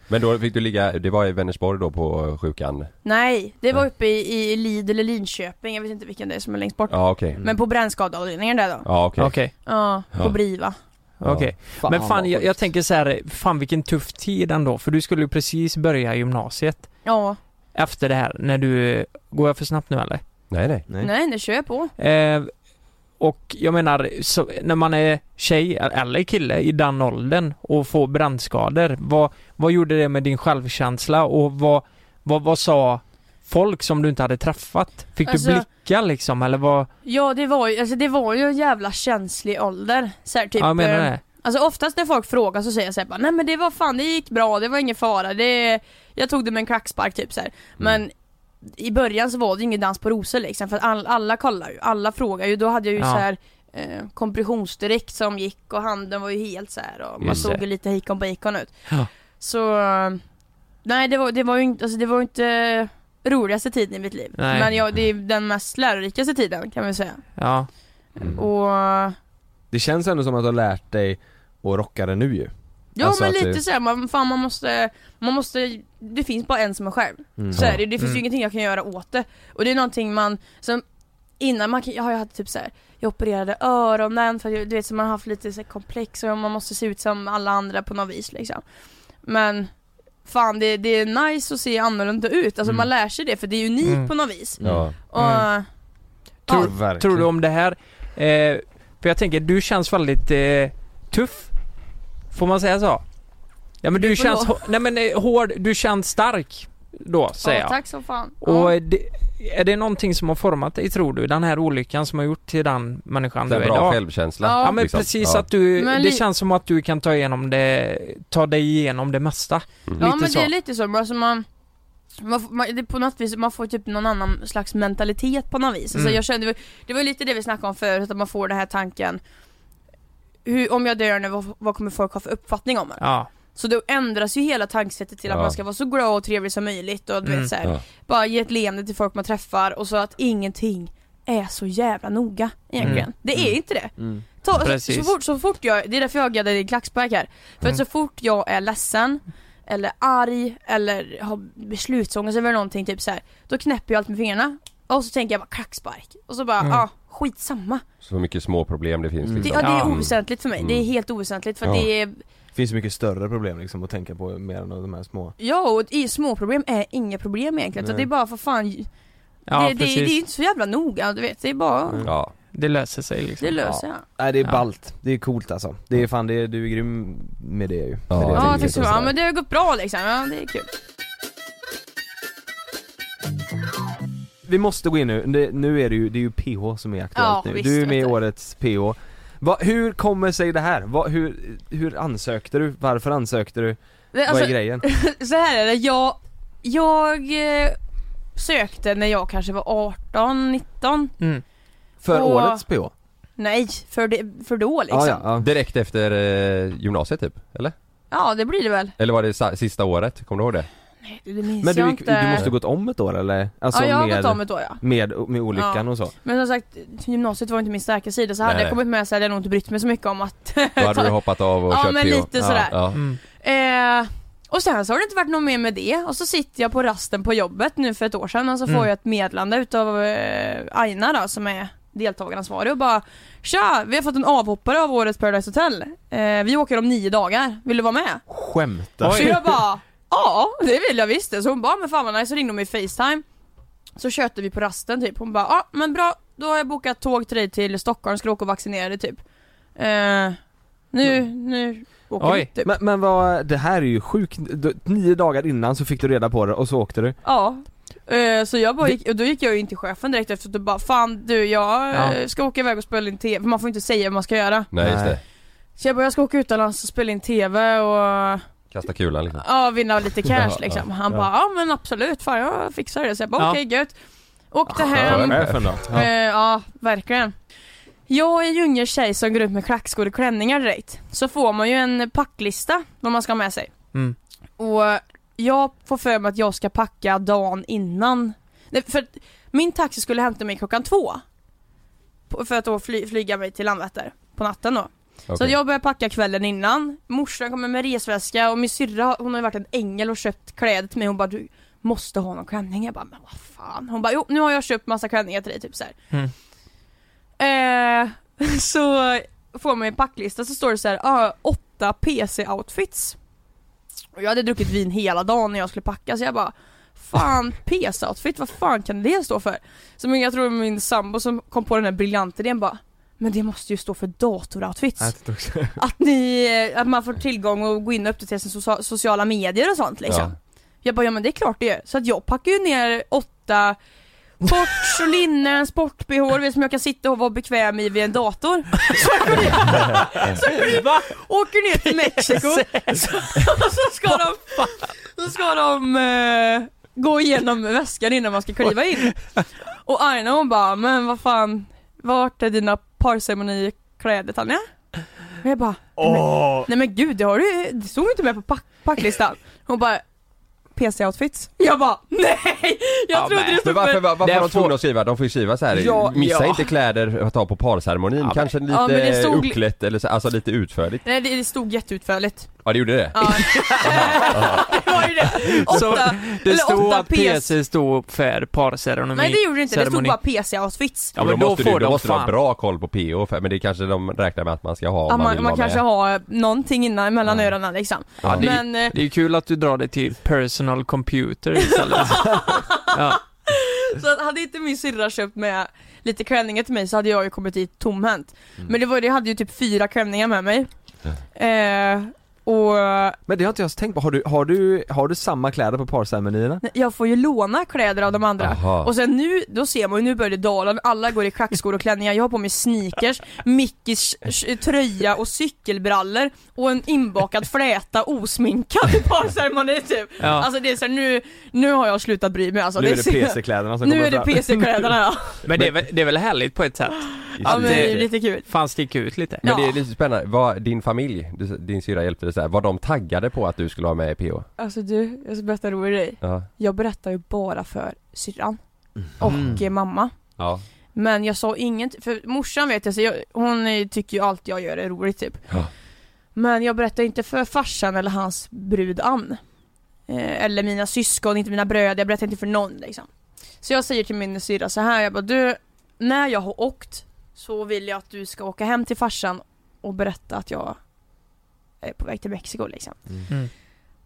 Men då fick du ligga, det var i Vänersborg då på eh, sjukan?
Nej, det var uppe i, i Lidl eller Linköping, jag vet inte vilken det är som är längst bort.
Ja okej
Mm.
Men på brännskadeavdelningen där då. Ja,
Ja okej
på
Ja.
Briva.
Okej,
Fan,
men fan
vad
jag, jag tänker så här, fan vilken tuff tid ändå, för du skulle ju precis börja gymnasiet
Ja.
efter det här, när du, går jag för snabbt nu eller?
Nej nej
Nej, nej, kör på.
Eh, och jag menar, så, när man är tjej eller kille i den åldern och får brandskador, vad, vad gjorde det med din självkänsla och vad, vad, vad sa folk som du inte hade träffat? Fick
Alltså-
du blickar liksom eller vad?
Ja det var ju, alltså det var ju en jävla känslig ålder. Så här, typ,
Ja, jag menar
eh,
det.
Alltså oftast när folk frågar så säger jag såhär nej men det var fan, det gick bra, det var ingen fara, det, jag tog det med en klackspark typ så här.
Mm.
Men i början så var det ju ingen dans på rosor liksom, för att all, alla kollar ju, alla frågar ju, då hade jag ju
Ja.
så här eh, kompressionsdräkt som gick och handen var ju helt så här och man
Just
såg
det.
ju lite hikon bacon ut.
Ja.
Så, eh, nej det var, det var ju inte, alltså det var ju inte roligaste tiden i mitt liv.
Nej. Mm.
Men jag, det är den mest lärorikaste tiden kan man säga.
Ja
Mm.
Och
Det känns ändå som att du har lärt dig att rocka det nu ju
Ja
Alltså
men
att
lite
det-
så här, man, fan man måste, man måste, det finns bara en som är själv.
Mm.
Så är det, det finns
Mm.
ju ingenting jag kan göra åt det. Och det är någonting man, som innan man kan, jag har ju haft typ så här, jag opererade öronen för att jag- du vet så man har haft lite så här komplex och man måste se ut som alla andra på något vis liksom. Men fan det, det är nice att se annorlunda ut, alltså
Mm.
man lär sig det för det är unikt
Mm.
på något vis.
Ja.
Och,
Mm. Tror, tror du om det här? Eh, för jag tänker, du känns väldigt eh, tuff. Får man säga så? Ja men du,
Du får
känns,
lov.
hå- nej men eh, hård, du känns stark då säger
ja,
jag.
tack så fan.
Och är det, är det någonting som har format dig tror du? Den här olyckan som har gjort till den människan
Det är
du är
bra
idag?
självkänsla,
Ja, men
liksom.
precis
Ja.
att du,
Men
det
li-
känns som att du kan ta igenom det, ta dig igenom det mesta.
Ja
Lite
men
så.
det är lite så, men alltså man, man, får- man det är på något vis, man får typ någon annan slags mentalitet på något vis. Alltså
Mm.
jag kände, det var ju lite det vi snackade om förut, att man får den här tanken hur, om jag dör nu, vad, vad kommer folk ha för uppfattning om mig?
Ja.
Så då ändras ju hela tankesättet till att
Ja.
man ska vara så glad och trevlig som möjligt och du
Mm.
vet så här,
Ja.
bara ge ett leende till folk man träffar och så att ingenting är så jävla noga egentligen.
Mm.
Det är
Mm.
inte det.
Mm.
Ta, alltså,
Precis.
så, fort, så fort jag, det är därför jag gaddar i klackspark här. För
Mm.
att så fort jag är ledsen eller arg eller har beslutsångest över någonting typ så här, då knäpper jag allt med fingrarna och så tänker jag bara klackspark och så bara
Mm.
ja, ah, skitsamma.
Så mycket små problem det
Mm.
finns
Det,
liksom.
ja, det är oväsentligt för mig, det är helt oväsentligt för att
Ja.
det är
Finns mycket större problem liksom att tänka på mer än de här små
Ja och i småproblem är inga problem egentligen, så
Nej.
det är bara för fan
Ja,
det, det, det
precis.
är inte så jävla noga, du vet, det är bara
Mm.
Ja.
Det löser sig liksom.
Det löser jag.
Nej det är
Ja.
ballt, det är coolt alltså. Det är fan, det är, du är grym med det ju. Med det
Ja,
tänket
tack så
och
mycket. Ja
sådär.
men det har gått bra liksom, ja det är kul.
Vi måste gå in nu, det, nu är det ju, det är ju PH som är aktuellt
Ja,
nu.
visst,
du är med i
vet
årets PH. Va, hur kommer sig det här? Va, hur, hur ansökte du? Varför ansökte du?
Det-
Vad
alltså,
är grejen?
så här är det, jag, jag eh, sökte när jag kanske var 18, 19.
Mm,
För
Och-
årets PH?
Nej, för, det, för då liksom.
Ah,
Ja, ja, ja. Direkt efter eh, gymnasiet typ, eller?
Ja, det blir det väl.
Eller var det sa- sista året? Kommer du ihåg det?
Nej, det minns
Men
jag
du, gick-
inte.
du måste ha gått om ett år eller? Alltså,
Ja, jag har
med,
gått om ett år, ja.
Med, med olyckan
Ja.
och så?
Men som sagt, gymnasiet var inte min starka sida så hade
Nej.
jag kommit med så hade jag nog inte brytt mig så mycket om att
Då hade du hoppat av och
[LAUGHS] Ja,
kört
men
PH.
lite sådär.
Ja, ja.
mm.
Eh, och sen så har det inte varit något mer med det och så sitter jag på rasten på jobbet nu för ett år sedan och så
Mm.
får jag ett meddelande utav eh, Aina då som är deltagaransvarig och bara Tja! Vi har fått en avhoppare av årets Paradise Hotel. Eh, vi åker om nio dagar. Vill du vara med?
Skämtar
Så jag bara Ja, det vill jag visst det. Så hon bara men fan vad nice. Så ringde hon mig i Facetime. Så köpte vi på rasten typ. Hon bara ja men bra då har jag bokat tåg till dig till Stockholm. Ska du åka och vaccinera dig typ. Eh, nu, nu åker vi
Oj.
typ.
Men, men vad, det här är ju sjukt. Du- Nio dagar innan så fick du reda på det och så åkte du.
Ja, eh, så jag bara gick, och då gick jag ju in till chefen direkt efter och bara fan du jag eh,
Ja.
ska åka iväg och spela in TV, för man får inte säga vad man ska göra.
Nej, just det.
Så jag bara jag ska åka utomlands och spela in TV och
Kasta kulan liksom.
ja, vinna lite
Ja,
cash
ja,
liksom. Han
ja.
bara ja men absolut fan jag fixar det. Så jag bara
Ja.
okej gött. Åkte hem.
Skön chef ändå.
Ja. Eh, ja verkligen. Jag är ju ingen tjej som går ut med klackskor och klänningar direkt. Så får man ju en packlista vad man ska ha med sig.
Mm.
Och jag får för mig att jag ska packa dagen innan. Nej, för att min taxi skulle hämta mig klockan två. På- För att då fly, flyga mig till Landvetter på natten då. Så
Okej.
att jag börjar packa kvällen innan. Morsan kommer med resväska och min syrra hon har ju varit en ängel och köpt kläder till mig. Hon bara du måste ha någon klänning. Jag bara men vad fan. Hon bara jo nu har jag köpt massa klänningar till dig typ så här.
Mm.
Eh, [LAUGHS] så får man en packlista så står det så här, ah, åtta PC-outfits. Och jag hade druckit vin hela dagen när jag skulle packa så jag bara Fan, PC-outfit, vad fan kan det stå för? Så men jag tror min sambo som kom på den här briljanta idén bara Men det måste ju stå för
Jag
datoroutfits
tyckte också-
Att ni, eh, att man får tillgång och gå in och uppdatera sina socia- sociala medier och sånt liksom Jag bara, ja men det är klart det gör. Så att jag packar ju ner åtta Shorts [LAUGHS] och linnen, sport-bh, du vet, som jag kan sitta och vara bekväm i vid en [LAUGHS] dator.
[LAUGHS]
Så vi åker ner till Mexiko, [LAUGHS] så, så ska de, så ska de eh, gå igenom väskan innan man ska kliva in. Och Aina hon bara, men vad fan, vart är dina parceremonikläder Tanja? Och jag bara, nej men,
Åh.
nej men gud det har du, det stod ju inte med på pack, packlistan. Hon bara, PC-outfits. Jag bara, nej! Jag trodde det
Men
stod
varför, var- varför
Det
var de
får-
tvungna att skriva? De får ju skriva så här.
Ja,
missa
ja.
inte kläder att ta på parceremonin, kanske lite
Ja, men det stod-
uppklätt eller så, alltså lite utförligt.
Nej det, det stod jätteutförligt.
Ja det gjorde det?
Ja. [LAUGHS] det var ju det. Åtta,
Så det
eller
stod
åtta
att
PC.
PC stod för parceremoni.
Nej det gjorde det inte, det stod
ceremoni.
bara PC-outfits.
Ja, men då, måste, du, då måste du ha bra koll på PO, för, men det kanske de räknar med att man ska ha om
Ja,
man vill
man, man
vara
kanske
med.
har någonting innan mellan öronen liksom.
Ja, det, är,
men, eh,
det är kul att du drar det till personal computer istället. [LAUGHS] ja.
[LAUGHS] så att hade inte min syrra köpt med lite klänningar till mig så hade jag ju kommit dit tomhänt. Men det var, jag hade ju typ fyra klänningar med mig. Eh, och
Men det har inte jag ens tänkt på. Har du, har du, har du samma kläder på parceremonierna?
jag får ju låna kläder av de andra.
Aha.
Och sen nu, då ser man ju, nu börjar det dala, alla går i klackskor och klänningar, jag har på mig sneakers, Mickis sh- sh- tröja och cykelbrallor och en inbakad fläta osminkad [LAUGHS] i parceremoni typ.
Ja.
Alltså det är så här, nu, nu har jag slutat bry mig alltså.
Nu är det
ser-
PC-kläderna som
Nu
kommer
är det
fram. [LAUGHS]
PC-kläderna ja.
Men det är, väl, det är väl härligt på ett sätt?
Ja, men det är
eh,
lite kul.
Fan sticka ut lite.
Men det är lite spännande, vad, din familj, du, din syrra hjälpte dig så här, var de taggade på att du skulle vara med i PO?
Alltså du, jag ska berätta en rolig grej.
Ja.
Jag berättar ju bara för syrran
Mm.
och eh, mamma.
Ja.
Men jag sa inget, för morsan vet jag, så jag hon eh, tycker ju allt jag gör är roligt typ.
Ja.
Men jag berättar inte för farsan eller hans brud Ann. Eh, eller mina syskon, inte mina bröder, jag berättar inte för någon liksom. Så jag säger till min syrra så här, jag bara du, när jag har åkt så vill jag att du ska åka hem till farsan och berätta att jag är på väg till Mexiko liksom.
Mm.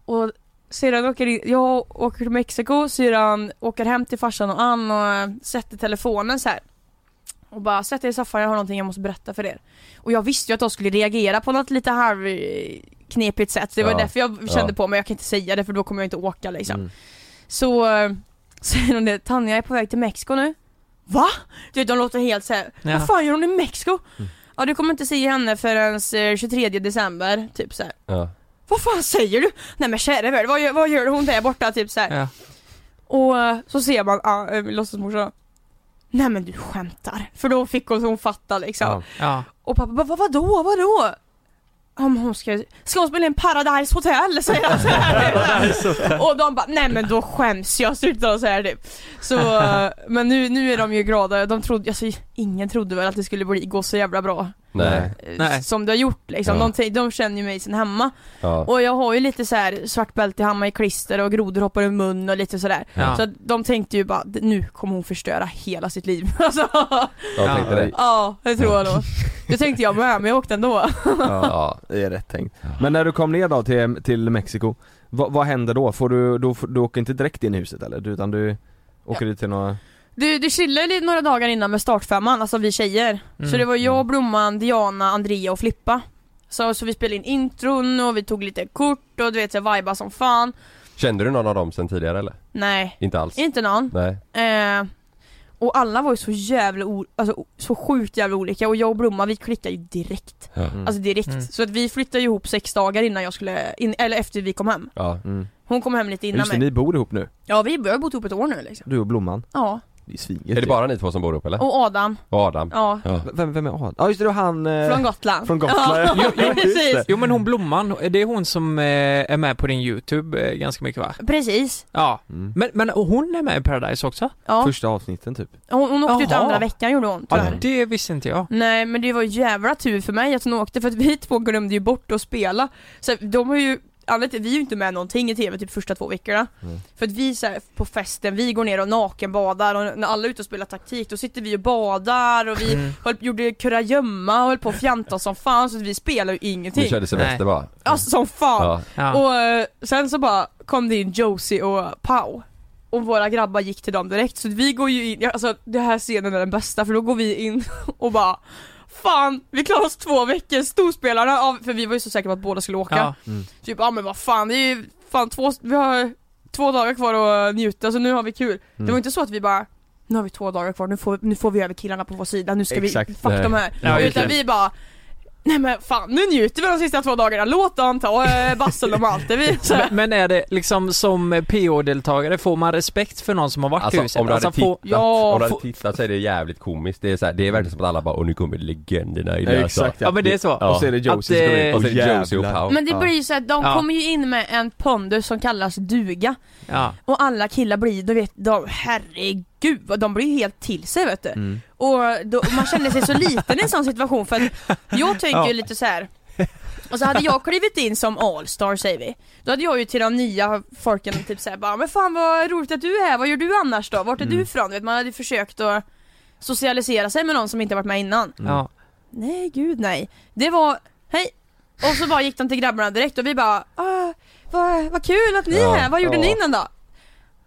Och syrran åker in, jag åker till Mexiko, syrran åker hem till farsan och Ann och eh, sätter telefonen så här. Och bara sätt er i soffan, jag har någonting jag måste berätta för er. Och jag visste ju att de skulle reagera på något lite halv eh, knepigt sätt, så det var
Ja.
därför jag kände
Ja.
på mig, jag kan inte säga det för då kommer jag inte åka liksom. Så [LAUGHS] eh, säger hon det, Tanja jag är på väg till Mexiko nu. Va? Du vet de låter helt såhär,
Ja.
vad fan gör hon i Mexiko? Ja du kommer inte se henne förrän eh, 23 december, typ såhär.
Ja.
Vad fan säger du? Nej men kära värld, vad, gör- vad gör hon där borta? Typ såhär.
Ja.
Och eh, så ser man ah, eh, låtsasmorsan. Nej men du skämtar. För då fick hon, hon fatta liksom.
Ja.
Och pappa bara, "Vad- vadå, vadå? Om hon ska, ska hon spela in Paradise Hotel? Säger han så här. Och de bara, nej men då skäms jag, sluta och så här typ. Så, eh, men nu, nu är de ju glada, de trodde, alltså ingen trodde väl att det skulle bli, gå så jävla bra.
Nej.
eh, Som det har gjort liksom,
Ja.
de, t- de känner ju mig sen hemma.
Ja.
Och jag har ju lite så här svart bälte i hammar i klister och grodor hoppar ur mun och lite sådär.
Ja.
Så att de tänkte ju bara, nu kommer hon förstöra hela sitt liv. [LAUGHS] Alltså,
Jag tänkte det.
Ja, det tror jag nog. Det tänkte jag med, men jag åkte ändå.
Ja,
det är rätt tänkt. Men när du kom ner då till, till Mexiko, vad, vad händer då? Får du, då, får- du åker inte direkt in i huset eller? Du- Utan du åker ut till några...
Du, du chillade lite några dagar innan med startfemman, alltså vi tjejer.
Mm.
Så det var jag, Blomman, Diana, Andrea och Flippa. Så, så vi spelade in intron och vi tog lite kort och du vet jag vibade som fan.
Kände du någon av dem sen tidigare eller?
Nej,
Inte alls?
inte någon.
Nej.
Eh, och alla var ju så jävla, o- alltså, o- så sjukt jävla olika och jag och Blomman vi klickade ju direkt.
Ja.
Alltså direkt.
Mm.
Så att vi flyttade ju ihop sex dagar innan jag skulle, in, eller efter vi kom hem.
Ja.
Hon kom hem lite innan
Mm. Just det,
mig.
ni bor ihop nu?
Ja vi vi har ju bott ihop ett år nu liksom.
Du och Blomman?
Ja.
Det är svingigt
Är det bara ni två som bor ihop eller?
Och Adam.
Och Adam?
Ja.
Vem, vem är Adam? Ja just det, det var han... eh, [LAUGHS]
Från [LAUGHS] Gotland.
Från Gotland,
[LAUGHS] Ja,
ja.
jo, precis.
Jo men hon Blomman, det är hon som eh, är med på din YouTube eh, ganska mycket va?
Precis.
Ja. Men, men och hon är med i Paradise också?
Ja.
Mm. Första avsnitten typ.
Hon, hon åkte ut
Jaha.
andra veckan gjorde hon
Ja,
tyvärr.
det visste inte jag.
Nej men det var jävla tur för mig att hon åkte för att vi två glömde ju bort att spela. Så de har ju, anledningen till- vi är ju inte med någonting i TV typ första två veckorna.
Mm.
För att vi så här, på festen, vi går ner och nakenbadar och när alla är ute och spelar taktik då sitter vi och badar och vi
Mm.
höll, gjorde kurragömma och höll på och fjanta som fan så att vi spelar ju ingenting.
Ni körde semester bara?
Alltså som fan!
Ah.
Ja.
Och eh, sen så bara kom det in Josie och Pau och våra grabbar gick till dem direkt så vi går ju in, ja, alltså det här scenen är den bästa för då går vi in [LAUGHS] och bara Fan, vi klarar oss två veckor, storspelarna av, för vi var ju så säkra på att båda skulle åka
Ja.
Typ, ja men vad fan, det är ju fan två, vi har två dagar kvar att njuta så nu har vi kul Det
Mm.
var inte så att vi bara Nu har vi två dagar kvar, nu får, nu får vi över killarna på vår sida, nu ska vi,
Exakt.
fuck
Nej.
de här
Ja, just
Utan
det.
vi bara Nej men fan, nu njuter vi de sista två dagarna, låt dem ta eh, bassen och allt det vi så här.
[LAUGHS] Men, men är det liksom som eh, PO-deltagare, får man respekt för någon som har varit i
Alltså
huset?
om du hade
alltså, får-
tittat, om du hade tittat så är det jävligt komiskt. Det är, så här, det är verkligen som att alla bara 'Åh nu kommer legenderna in'
Ja, exakt, ja. Ja, men det är så. Och så är det Josie som kommer in.
Och så är det
Åh,
Josie och
jävlar.
Pau.
Men det blir ju så att de
Ja.
kommer ju in med en pondus som kallas duga
Ja.
Och alla killar blir, du vet, de, herregud, vad de blir ju helt till sig vet du
Mm.
Och då, man känner sig så liten i en sån situation för att jag tänker ju
Ja.
lite så här. Och så hade jag klivit in som allstar säger vi Då hade jag ju till de nya folken typ såhär bara Men fan vad roligt att du är här, vad gör du annars då? Vart är
Mm.
du ifrån? Du vet, Man hade ju försökt att socialisera sig med någon som inte varit med innan
Mm.
Mm.
Ja.
Nej gud nej Det var, hej! Och så bara gick de till grabbarna direkt och vi bara "Ah, vad, vad kul att ni är
Ja,
här, vad gjorde
ja.
ni innan då?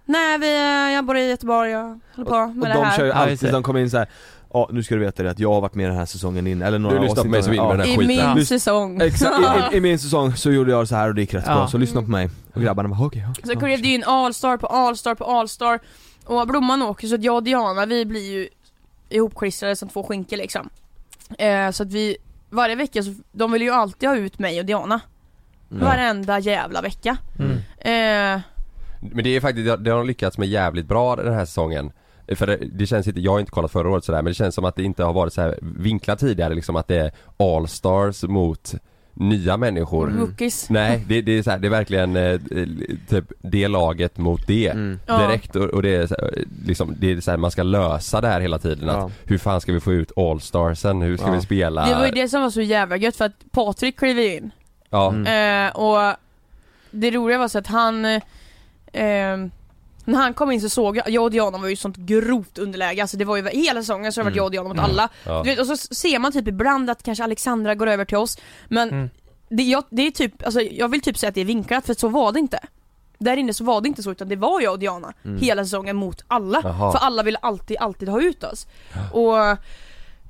Nej vi, jag bor i Göteborg, jag håller på med
Och
det
de
här
kör ju
Ja, just det.
alltid, de kommer in så här. Ja nu ska du veta det att jag har varit med den här säsongen in, eller några
Du lyssnar på
avsnitt
mig som
innan.
in med den här I skiten. min
Lys-
säsong.
Exakt, I, i, i min säsong så gjorde jag så här och det gick rätt
Ja.
bra, så lyssna på mig. Och grabbarna bara okej, okej.
[LAUGHS] Så klev det ju in Allstar på Allstar på Allstar Och Blomman åker så att jag och Diana vi blir ju ihopklistrade som två skinkor liksom eh, Så att vi, varje vecka så, de vill ju alltid ha ut mig och Diana
Mm.
Varenda jävla vecka eh,
Men det är faktiskt, det har de lyckats med jävligt bra den här säsongen för det, det känns inte, jag har inte kollat förra året sådär men det känns som att det inte har varit så här vinklat tidigare liksom att det är Allstars mot nya människor.
Mm.
Mm. Rookies.
Nej, det, det, är så här, det är verkligen eh, typ det laget mot det
Mm.
Mm.
Ja.
direkt och, och det är så här, liksom, det är så här, man ska lösa det här hela tiden att hur fan ska vi få ut allstarsen, hur ska
Ja.
vi spela?
Det var ju det som var så jävla gött för att Patrik klev ju in
Ja.
Mm.
Mm.
Eh, och det roliga var så att han eh, eh, när han kom in så såg jag, jag och Diana var ju i sånt grovt underläge, alltså det var ju hela säsongen så har det
Mm.
varit jag och Diana mot
Mm.
alla.
Ja.
Du vet, och så ser man typ ibland att kanske Alexandra går över till oss, men
Mm.
det, jag, det är typ, alltså, jag vill typ säga att det är vinklat för så var det inte. Där inne så var det inte så utan det var jag och Diana
Mm.
hela säsongen mot alla.
Jaha.
För alla ville alltid, alltid ha ut oss. Och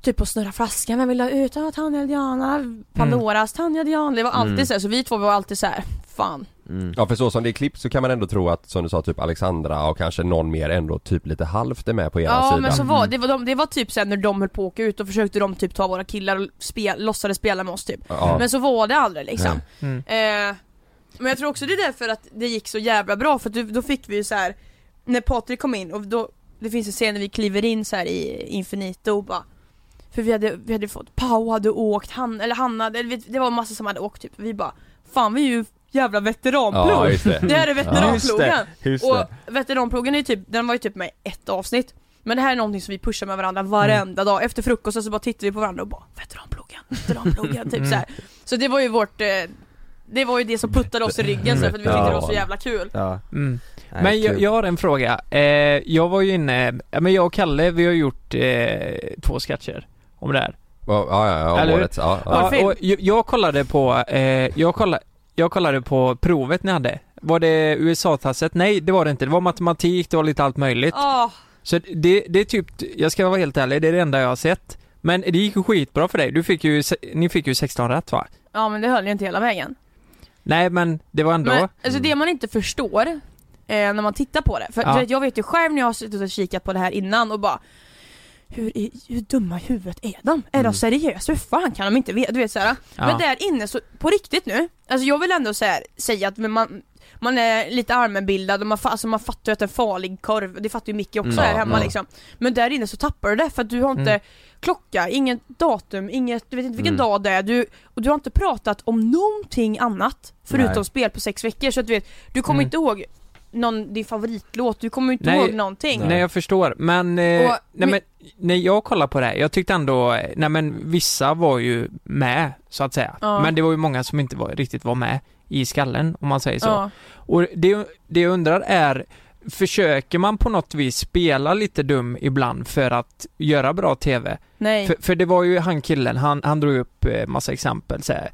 Typ på snurra flaskan, vem vill ha ut? Ja, Tanja och Diana, Pandoras, Tanja och Diana. Det var alltid
Mm.
så här, så vi två var alltid så här, fan.
Mm.
Ja för så som det är klippt så kan man ändå tro att som du sa typ Alexandra och kanske någon mer ändå typ lite halvt är med på era
Ja
sida.
men så
Mm.
var det, var de, det var typ sen när de höll på att åka ut och försökte de typ ta våra killar och spel, låtsades spela med oss typ.
Ja.
Men så var det aldrig liksom.
Nej.
Eh, men jag tror också det är därför att det gick så jävla bra för att du, då fick vi ju så här när Patrik kom in och då, det finns en scen när vi kliver in så här i Infinito och bara för vi hade, vi hade fått, Pau hade åkt, han, eller Hanna, det, det var massa som hade åkt typ, vi bara Fan vi är ju jävla veteranplog!
Ja, just det.
här är
Ja.
veteranplogen!
Just det, just
och
det.
veteranplogen är ju typ, den var ju typ med i ett avsnitt Men det här är någonting som vi pushar med varandra varenda
Mm.
dag, efter frukosten så bara tittar vi på varandra och bara Veteranplogen, veteranplogen, typ
Mm. [LAUGHS]
så här. Så det var ju vårt, eh, det var ju det som puttade oss i ryggen så här, för att vi tyckte det var så jävla kul
Mm.
Nej,
men jag,
kul.
jag har en fråga. Eh, jag var ju inne, ja, men jag och Kalle vi har gjort eh, två sketcher om det här.
Ja, ja, ja, om
Eller hur?
årets, ja, ja.
Ja, och jag, jag kollade på, eh, jag, kollade, jag kollade på provet ni hade. Var det USA-tasset? Nej, det var det inte. Det var matematik, det var lite allt möjligt.
Ah.
Så det, det är typ, jag ska vara helt ärlig, det är det enda jag har sett. Men det gick ju skitbra för dig. Du fick ju, se- ni fick ju 16 rätt va?
Ja men det höll ju inte hela vägen
Nej men det var ändå...
Men alltså det man inte förstår eh, när man tittar på det, för
Ja.
du vet, jag vet ju själv när jag har suttit och kikat på det här innan och bara hur, i- hur dumma i huvudet är de? Är
Mm.
de seriösa? Hur fan kan de inte veta? Du vet såhär.
Ja.
Men där inne, så, på riktigt nu, alltså jag vill ändå så här, säga att man, man är lite allmänbildad och man, fa- alltså man fattar ju att en farlig korv, det fattar ju Micke också
Mm.
här
Ja,
hemma
ja.
liksom. Men där inne så tappar du det för att du har inte
Mm.
klocka, inget datum, inget, du vet inte vilken
Mm.
dag det är, du, och du har inte pratat om någonting annat förutom
Nej.
spel på sex veckor så att du vet, du kommer
Mm.
inte ihåg någon, din favoritlåt, du kommer inte ihåg någonting.
Nej, jag förstår. Men, eh,
Och-
nej,
men-
men när jag kollar på det här, jag tyckte ändå, eh, nej men vissa var ju med, så att säga.
Ja.
Men det var ju många som inte var, riktigt var med i skallen, om man säger så.
Ja.
Och det, det jag undrar är, försöker man på något vis spela lite dum ibland för att göra bra TV?
Nej.
För, för det var ju han killen, han, han drog upp eh, massa exempel så här.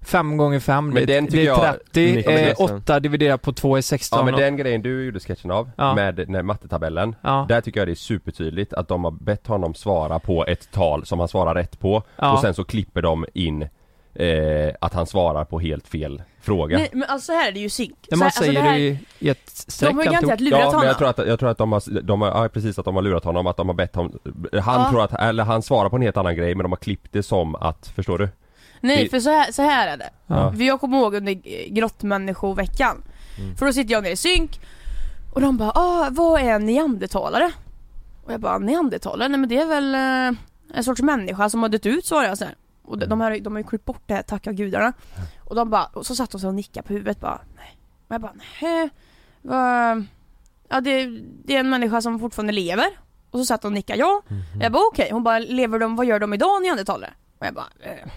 5 gånger 5
Men
det,
den tycker
det är
jag-
30,
Niklas
eh,
Nilsson.
8 dividerat på 2 är 16
Ja men
och-
den grejen du gjorde sketchen av
Ja.
med nej, mattetabellen
Ja.
Där tycker jag det är supertydligt att de har bett honom svara på ett tal som han svarar rätt på
Ja.
och sen så klipper de in eh, att han svarar på helt fel fråga
Nej, men alltså här är det ju synk.
Ja,
Så
man
här- alltså
säger
det här-
det ju i ett streck
De har ju garanterat
alltihop.
lurat
ja, Men
honom.
jag tror att, jag tror att de har, de har, ja, precis att de har lurat honom, att de har bett honom Han
Ja.
tror att, eller han svarar på en helt annan grej men de har klippt det som att, förstår du?
Nej
Det-
för så här, så här är det.
Ja.
För jag kommer ihåg under eh, grottmänniskoveckan. För då sitter jag nere i synk och de bara ah, vad är en neandertalare? Och jag bara neandertalare? Nej men det är väl eh, en sorts människa som har dött ut svarade jag så här. Och de, de, här, de har ju klippt bort det här, tacka gudarna. Och de bara, och så satt de sig och nickade på huvudet bara nej. Och jag bara nej. Vad... Ja det, det är en människa som fortfarande lever. Och så satt hon och nickade ja.
Mhm.
Jag bara okej, hon bara lever de, vad gör de idag neandertalare? Och jag bara eh.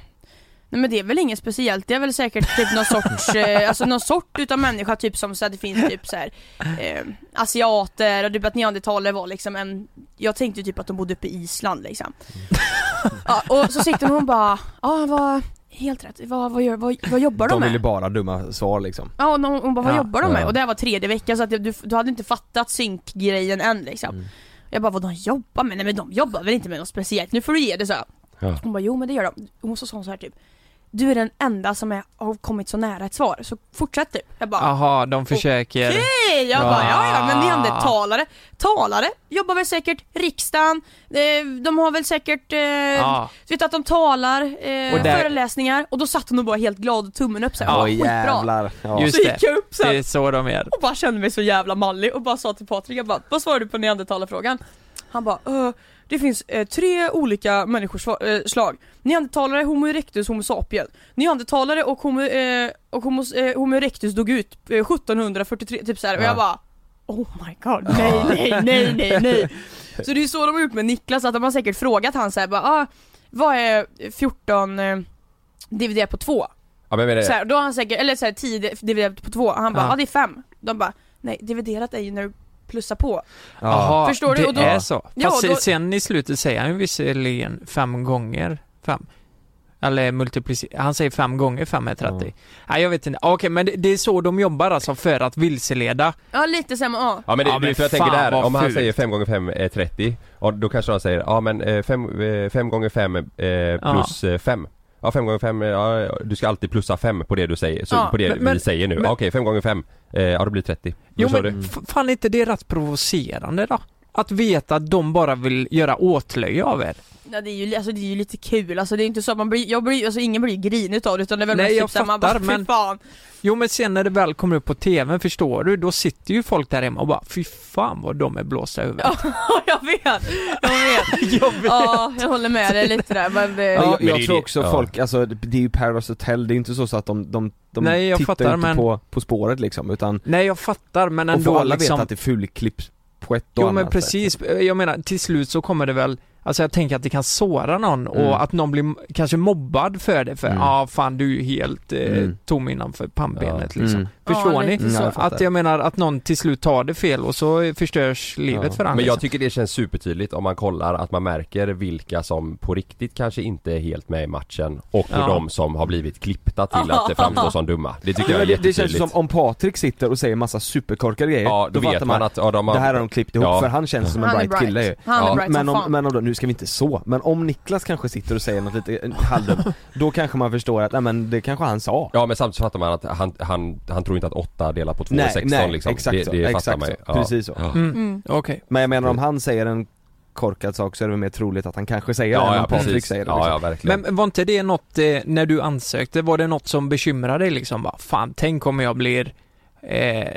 Nej men det är väl inget speciellt, det är väl säkert typ
[LAUGHS]
någon sorts, eh, alltså någon sort utav människa typ som så att det finns typ så här, eh, asiater och typ att neandertalare var liksom en, jag tänkte ju typ att de bodde uppe i Island liksom.
Mm.
Ja, och så sitter hon och bara, ja vad, helt rätt, vad, vad, gör, vad, vad jobbar de,
De
med?
vill ju bara dumma svar liksom
Ja och hon, hon bara vad
Ja,
jobbar de med?
ja.
Och det här var tredje veckan så att du, du hade inte fattat synkgrejen än liksom
Mm.
Jag bara vad de jobbar med? Nej men de jobbar väl inte med något speciellt, nu får du ge det så här.
Ja.
Hon bara jo men det gör de, hon så sa hon så här typ Du är den enda som är, har kommit så nära ett svar, så fortsätt typ Jag bara
Jaha, de försöker...
Okej! Jag bara ja ja men neandertalare, talare jobbar väl säkert riksdagen, eh, de har väl säkert, eh,
Ja.
du vet att de talar, eh,
Och där-
föreläsningar och då satt hon och bara helt glad och tummen upp såhär,
Ja,
skitbra!
jävlar. Ja. Just
Så gick
det.
jag upp sen
Det är så de är.
och bara kände mig så jävla mallig och bara sa till Patrik, jag bara, vad svarar du på neandertalarfrågan? Han bara, "Öh, Det finns eh, tre olika människoslag. Neandertalare, Homo erectus, Homo sapien. Neandertalare och Homo, eh, och homo, eh, homo erectus dog ut eh, 1743, typ såhär. Och
Ja.
jag bara Oh my god, nej nej nej nej nej. Så det är så de har gjort med Niklas, att de har säkert frågat han såhär bara ah, vad är 14 eh, dividerat på 2?
Ja men jag menar
Så här, då har han säkert, eller så här, 10 di- dividerat på 2, han bara
Ja.
ja ah, det är 5 De bara nej dividerat är ju när du plussar på
Jaha,
Förstår du?
det
Och då-
är så.
Ja,
Fast
då-
sen i slutet säger han ju visserligen fem gånger fem. Eller multiplicer... Han säger fem gånger fem är 30. Nej, jag vet inte. Okej, men det, det är så de jobbar alltså för att vilseleda.
Ja lite såhär, ja
Ja men det, det är för jag tänker
fan
där,
vad
om han
fult.
säger 5 gånger 5 är 30 och då kanske han säger ja men eh, 5 gånger 5 plus 5 Ja 5 gånger 5 ja, du ska alltid plussa 5 på det du säger, så,
Ja,
på det
men- men-
vi säger nu.
men-
Ja, Okej 5 gånger 5, ja då blir det 30. Då
Jo
sa
men
du.
f- fan är inte det rätt provocerande då? Att veta att de bara vill göra åtlöje av er.
Ja, det, är ju, alltså, det är ju lite kul, alltså det är inte så att man blir, jag blir, alltså ingen blir grinig utav det utan det är väl
Nej,
mest
jag
typ såhär, man
fattar,
bara, "Fy
men-
fan. [LAUGHS]
Jo men sen när det väl kommer upp på TVn förstår du, då sitter ju folk där hemma och bara fy fan vad de är blåsta i huvudet.
jag vet, jag vet. Ja, jag håller med dig lite där men, eh,
Ja, jag,
men det
jag
är
tror
det-
också
ja.
folk, alltså det det är ju Paradise Hotel, det är inte så, så att de, de, de
Nej, jag
tittar
fattar,
inte
men-
på, på spåret liksom utan
Nej jag fattar men
och
ändå
får alla
liksom...
veta att det är fulklipps på ett och
Jo
annat
men
sätt.
precis, jag menar till slut så kommer det väl Alltså jag tänker att det kan såra någon
Mm.
och att någon blir m- kanske mobbad för det för ja ah, fan du är ju helt eh,
Mm.
tom innanför pannbenet
Ja.
liksom.
Mm.
Förstår
Ja,
ni?
lite så. Ja, jag fattar.
att jag menar att någon till slut tar det fel och så eh, förstörs livet för
Men
andra.
jag tycker det känns supertydligt om man kollar att man märker vilka som på riktigt kanske inte är helt med i matchen och
Ja.
de som har blivit klippta till att framstå som dumma. Det tycker jag är
Men det, det känns
jättetydligt.
ju som om Patrik sitter och säger massa superkorkade grejer,
Ja, då vet
fattar
man att, ja, de har-
det här har de klippt ihop
Ja.
för han känns som en
Han är
bright,
bright.
kille ju.
Han är Ja. bright som
men, om,
fan.
men om, då- nu ska vi inte så, men om Niklas kanske sitter och säger något lite eh, halvdumt, då kanske man förstår att nej men det kanske han sa.
Ja men samtidigt fattar man att han, han, han tror inte att 8 delat på 2 är
Nej,
16
nej,
liksom.
exakt
det,
så,
det fattar
exakt
man ju.
så. Precis så.
Ja.
Mm. Okej.
Men jag menar om han säger en korkad sak så är det väl mer troligt att han kanske säger
Ja,
det än
ja,
om Patrik
precis.
säger det
Ja,
liksom.
ja, verkligen.
Men var inte det något, eh, när du ansökte, var det något som bekymrade dig liksom? Bara, fan, tänk om jag blir, eh,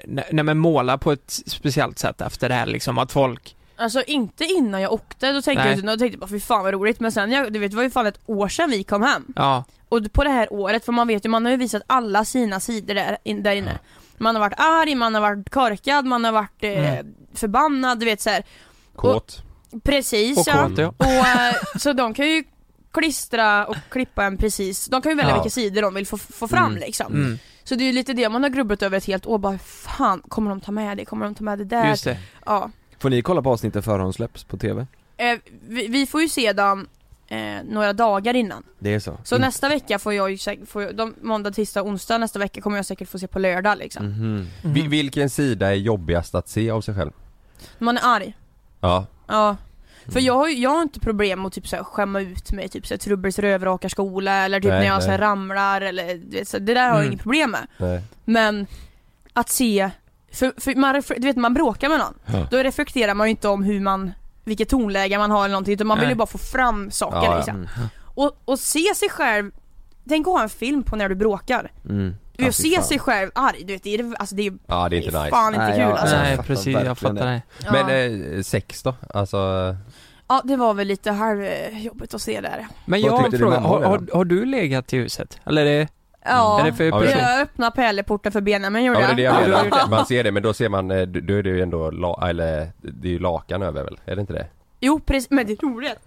nej nej, men måla på ett speciellt sätt efter det här liksom, att folk
Alltså inte innan jag åkte, då tänkte
Nej.
jag inte- då tänkte jag bara fy fan vad roligt men sen, jag, du vet det var ju fan ett år sedan vi kom hem
Ja.
Och på det här året, för man vet ju, man har ju visat alla sina sidor där, in, där inne Man har varit arg, man har varit korkad, man har varit eh,
Mm.
förbannad, du vet så här.
Kåt.
Precis
Och
ja.
kåt, ja.
Och, eh, så de kan ju klistra och klippa en precis, de kan ju välja
Ja.
vilka sidor de vill få, få fram
Mm.
liksom
Mm.
Så det är ju lite det man har grubblat över ett helt år, bara fan kommer de ta med det, kommer de ta med det
Mm.
där?
Just det.
Ja.
Får ni kolla på avsnittet före hon släpps på TV?
Eh, vi, vi får ju se dem eh, några dagar innan.
Det är så?
Så
Mm.
nästa vecka får jag ju säkert, får jag, de, måndag, tisdag, onsdag nästa vecka kommer jag säkert få se på lördag liksom.
Mm.
Mhm,
Vi- vilken sida är jobbigast att se av sig själv?
Man är arg.
Ja.
Ja. För
Mm.
jag har, ju- jag har inte problem med att typ så här, skämma ut mig, typ så här, Trubbels rövrökarskola eller typ
Nej,
när jag så här,
nej.
ramlar eller du vet, så, här, det där har jag
Mm.
inget problem med.
Nej.
Men att se, för, för man, refle- du vet man bråkar med någon,
Ja.
då reflekterar man ju inte om hur man, vilket tonläge man har eller någonting utan man vill
Nej.
ju bara få fram saker
Ja, ja.
liksom.
Mm.
Och, och se sig själv, tänk att ha en film på när du bråkar.
Mm.
Du vet, se sig själv arg, du vet, det är, alltså, det är
Ja det är inte nice.
fan inte kul alltså.
Nej, precis, jag fattar det.
Ja.
Men eh, sex då? Alltså...
Ja det var väl lite halvjobbigt att se där.
Vad
Men jag har en
tyckte din
fråga,
mamma
har,
redan?
har, har du legat i huset? Eller är det,
Ja,
är det för
Ja,
person?
jag öppnade pärleporten för Benjamin
Ja men
gjorde
det är det jag
Ja, du har gjort
menar.
det.
Man ser det men då ser man, eh, d- då är det ju ändå, la, eller det är ju lakan över väl? Är det inte det?
Jo precis, men det roliga är att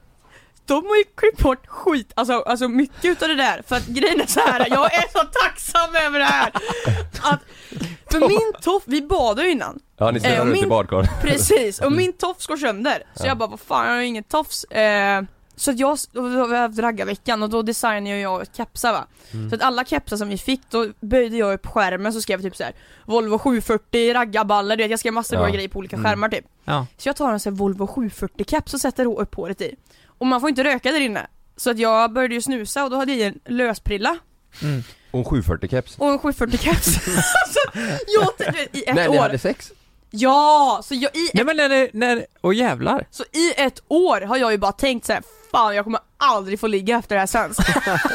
de har ju klippt bort skit, alltså, alltså mycket utav det där för att grejen är så här. jag är så tacksam över det här! Att,
[LAUGHS]
för min tofs, vi badade ju innan
Ja ni
Eh,
snurrar
och
runt i
min-
badkar.
Precis, och min tofs går sönder så
Mm. Ja.
jag bara vad fan jag har ju ingen tofs eh, Så att jag, då har vi haft raggarveckan och då designade ju jag ett kepsar va
Mm.
Så att alla kepsar som vi fick då böjde jag upp skärmen så skrev jag typ så här Volvo 740 raggarballar, du vet jag skrev massor
Ja.
av grejer på olika
Mm.
skärmar typ
Ja.
Så jag tar en sån här Volvo 740 keps och sätter då upp håret i Och man får inte röka där inne Så att jag började ju snusa och då hade jag i en lösprilla
[LAUGHS] Och en 740 keps.
och en 740 keps [LAUGHS] Så jag tänkte i ett
Nej, ni
år
hade sex?
Ja! Så jag, i
Nej men när, det- när, åh jävlar.
så i ett år har jag ju bara tänkt så här, fan jag kommer aldrig få ligga efter det här sen.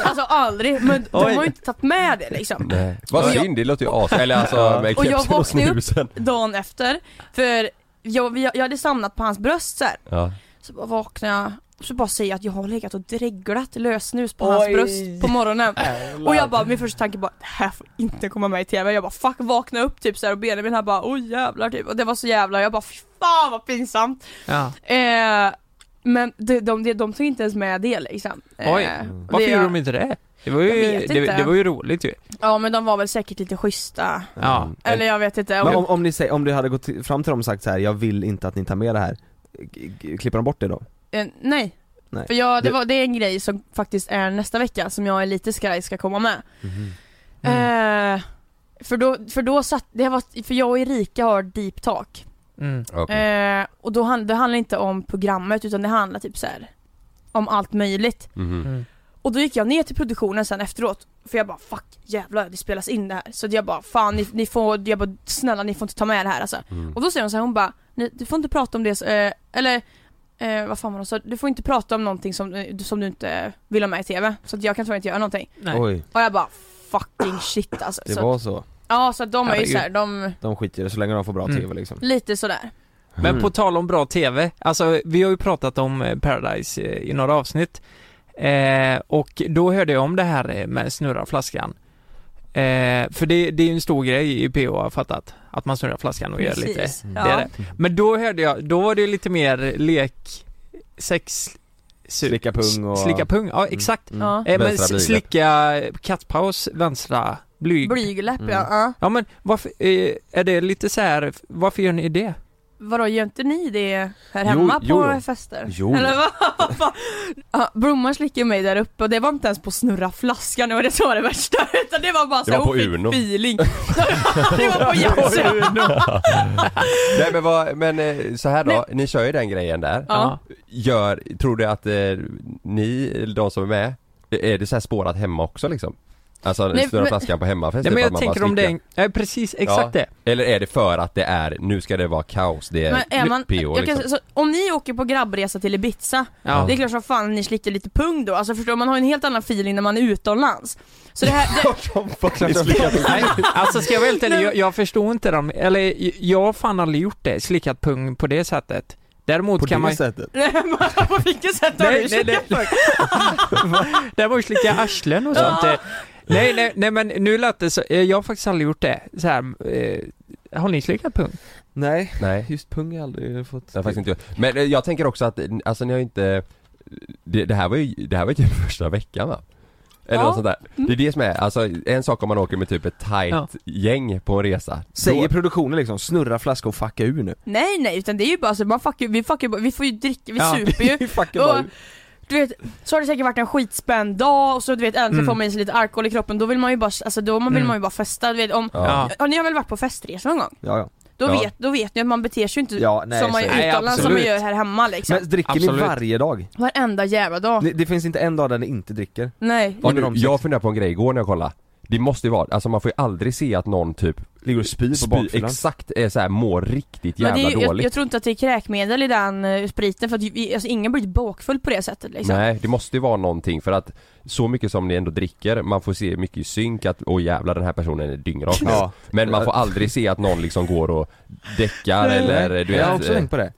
alltså aldrig, men de
Oj.
har ju inte tagit med det liksom.
Nej. Vad
Och jag-
synd, det låter ju as... Eller alltså med
och jag
kepsen och
vaknade
snusen.
upp dagen efter, för jag, vi- jag hade samlat på hans bröst så här.
Ja.
Så bara vaknade jag och så bara säger jag att jag har legat och dreglat lösnus på hans
Oj.
bröst på morgonen.
Jävlar.
Äh, och jag bara, min första tanke bara det här får inte komma med i TV. Jag bara fuck vakna upp typ så här och Benjamin här bara oj jävlar typ och det var så jävla jag bara fy fan vad pinsamt.
Ja.
Eh, men de, de, de, de tog inte ens med det liksom. Eh,
Oj,
och
varför
det-
gjorde de inte det? Det var
Jag
ju,
vet
det,
inte.
det var ju roligt ju.
Ja men de var väl säkert lite schyssta.
Ja.
Eller jag vet inte.
Mm. Men om, om, ni säger, om du hade gått till- fram till dem och sagt så här: jag vill inte att ni tar med det här, k- k- klipper de bort det då?
Eh, nej.
Nej.
För jag, det,
Du-
var, det är en grej som faktiskt är nästa vecka som jag är lite skraj ska komma med.
Mm.
Eh, för då, för då satt, det var, för jag och Erika har deep talk.
Mm.
Eh, och då hand, det handlar inte om programmet utan det handlar typ så här om allt möjligt.
Mhm,
Mm. Och då gick jag ner till produktionen sen efteråt För jag bara fuck jävlar det spelas in det här Så jag bara fan ni, ni får, jag bara snälla ni får inte ta med det här alltså
mhm.
Mm.
Och då säger hon så här, hon bara "Ni- du får inte prata om det så, eh, eller eh, vad fan var det hon sa? Du får inte prata om någonting som, eh, som du inte vill ha med i TV Så att jag kan tyvärr inte göra någonting
Nej. Oj.
Och jag bara fucking shit alltså
Det
så,
var
att-
så?
Ja så att de är ju
Herregud.
såhär, de,
De skiter i det så länge de får bra
Mm.
TV liksom
lite sådär
Men på tal om bra TV, alltså vi har ju pratat om eh, Paradise eh, i några avsnitt eh, och då hörde jag om det här eh, med snurra flaskan. Eh, för det, det är ju en stor grej i PO har jag fattat, att man snurrar flaskan och gör lite.
Precis,
Det är
ja.
det. Men då hörde jag, då var det lite mer lek, sex, su-
Slicka pung och-
Typ. Slicka pung, ja exakt.
Mm. Ja.
Eh, men
Vänstra
s-
blygdläpp.
slicka kattpaus, vänstra blyg.
blygläpp
Mm.
ja, ja.
Ja men varför, eh, är det lite så här, varför gör ni det?
Vadå gör inte ni det här
Jo,
hemma
jo,
på
jo.
fester?
Jo.
Eller [LAUGHS] vad? Fan. ja, Bromma slickade mig där uppe och det var inte ens på snurra flaskan, det var det som var det värsta [LAUGHS] utan det var bara
Det
så här,
var på
hon fick
Uno.
feeling Det var på Jazzö
Nej men vad, men eh, så här då, ni kör ju den grejen där.
Ja.
Gör, tror du att eh, ni, eller de som är med, är det så här spårat hemma också liksom? Alltså
Nej,
snurra
men-
flaskan på hemmafest?
Nej
typ,
men
att
jag
man bara
tänker om det är
slickar?
en, ja, precis, exakt
Ja.
det.
Eller är det för att det är, nu ska det vara kaos, det är,
Men är man,
PO
jag kan,
liksom.
så, om ni åker på grabbresa till Ibiza,
Ja.
det är klart som fan ni slickar lite pung då, alltså förstår du? man har en helt annan feeling när man är utomlands Så det här, [LAUGHS]
[LAUGHS]
det,
Nej, alltså ska jag vara helt ärlig, jag, jag förstår inte dem, eller jag har fan aldrig gjort det, slickat pung på det sättet. Däremot
På
kan
det
man...
sättet?
Nej, men på vilket sätt har
Nej,
du
nej, nej.
slickat pung?
[LAUGHS] Däremot slicka arslen och sånt. eh. Nej, nej, nej men nu lät det så, eh, jag har faktiskt aldrig gjort det. Så här, eh, har ni slickat pung?
Nej,
Nej.
just pung har jag aldrig fått
Jag har faktiskt inte gjort. Men eh, jag tänker också att, eh, alltså ni har ju inte det, det här var ju, det här var ju typ [LAUGHS] första veckan va? Eller
Ja.
något sånt där. Det är det som är, alltså en sak om man åker med typ ett tight
Ja.
gäng på en resa.
Säger produktionen liksom, snurra flaska och fucka ur
[LAUGHS]
nu
Nej nej, utan det är ju bara så, man fuckar, vi fuckar bara, vi får ju dricka, vi
Ja,
super ju
vi fuckar bara
och, Du vet, så har det säkert varit en skitspänd dag och så du vet äntligen
Mm.
får man i sig lite alkohol i kroppen, då vill man ju bara, alltså då vill
Mm.
man ju bara festa, du vet om,
Ja.
ja. ni har väl varit på festresa någon gång?
[LAUGHS] Ja, ja.
Då, vet, då vet ni att man beter sig ju inte
Ja, nej,
som man
så-
gör
Nej,
utomlands som man
absolut.
gör här hemma liksom
Men dricker ni varje dag?
Varenda jävla dag
Ni- Det finns inte en dag där ni inte dricker?
Nej
Ja, nu, jag funderar på en grej igår när jag kollade. Det måste ju vara, alltså man får ju aldrig se att någon typ
Ligger och spyr på bakfyllan.
Exakt, är så här, mår riktigt
Men
jävla
det är, ju- jag,
dåligt.
jag tror inte att det är kräkmedel i den eh, spriten för att vi, alltså, ingen blir bakfull på det sättet liksom
Nej, det måste ju vara någonting för att så mycket som ni ändå dricker, man får se mycket i synk att åh jävlar den här personen är dyngrak nu.
Ja.
Men man får aldrig se att någon liksom går och däckar eller du vet.
Jag har också tänkt på det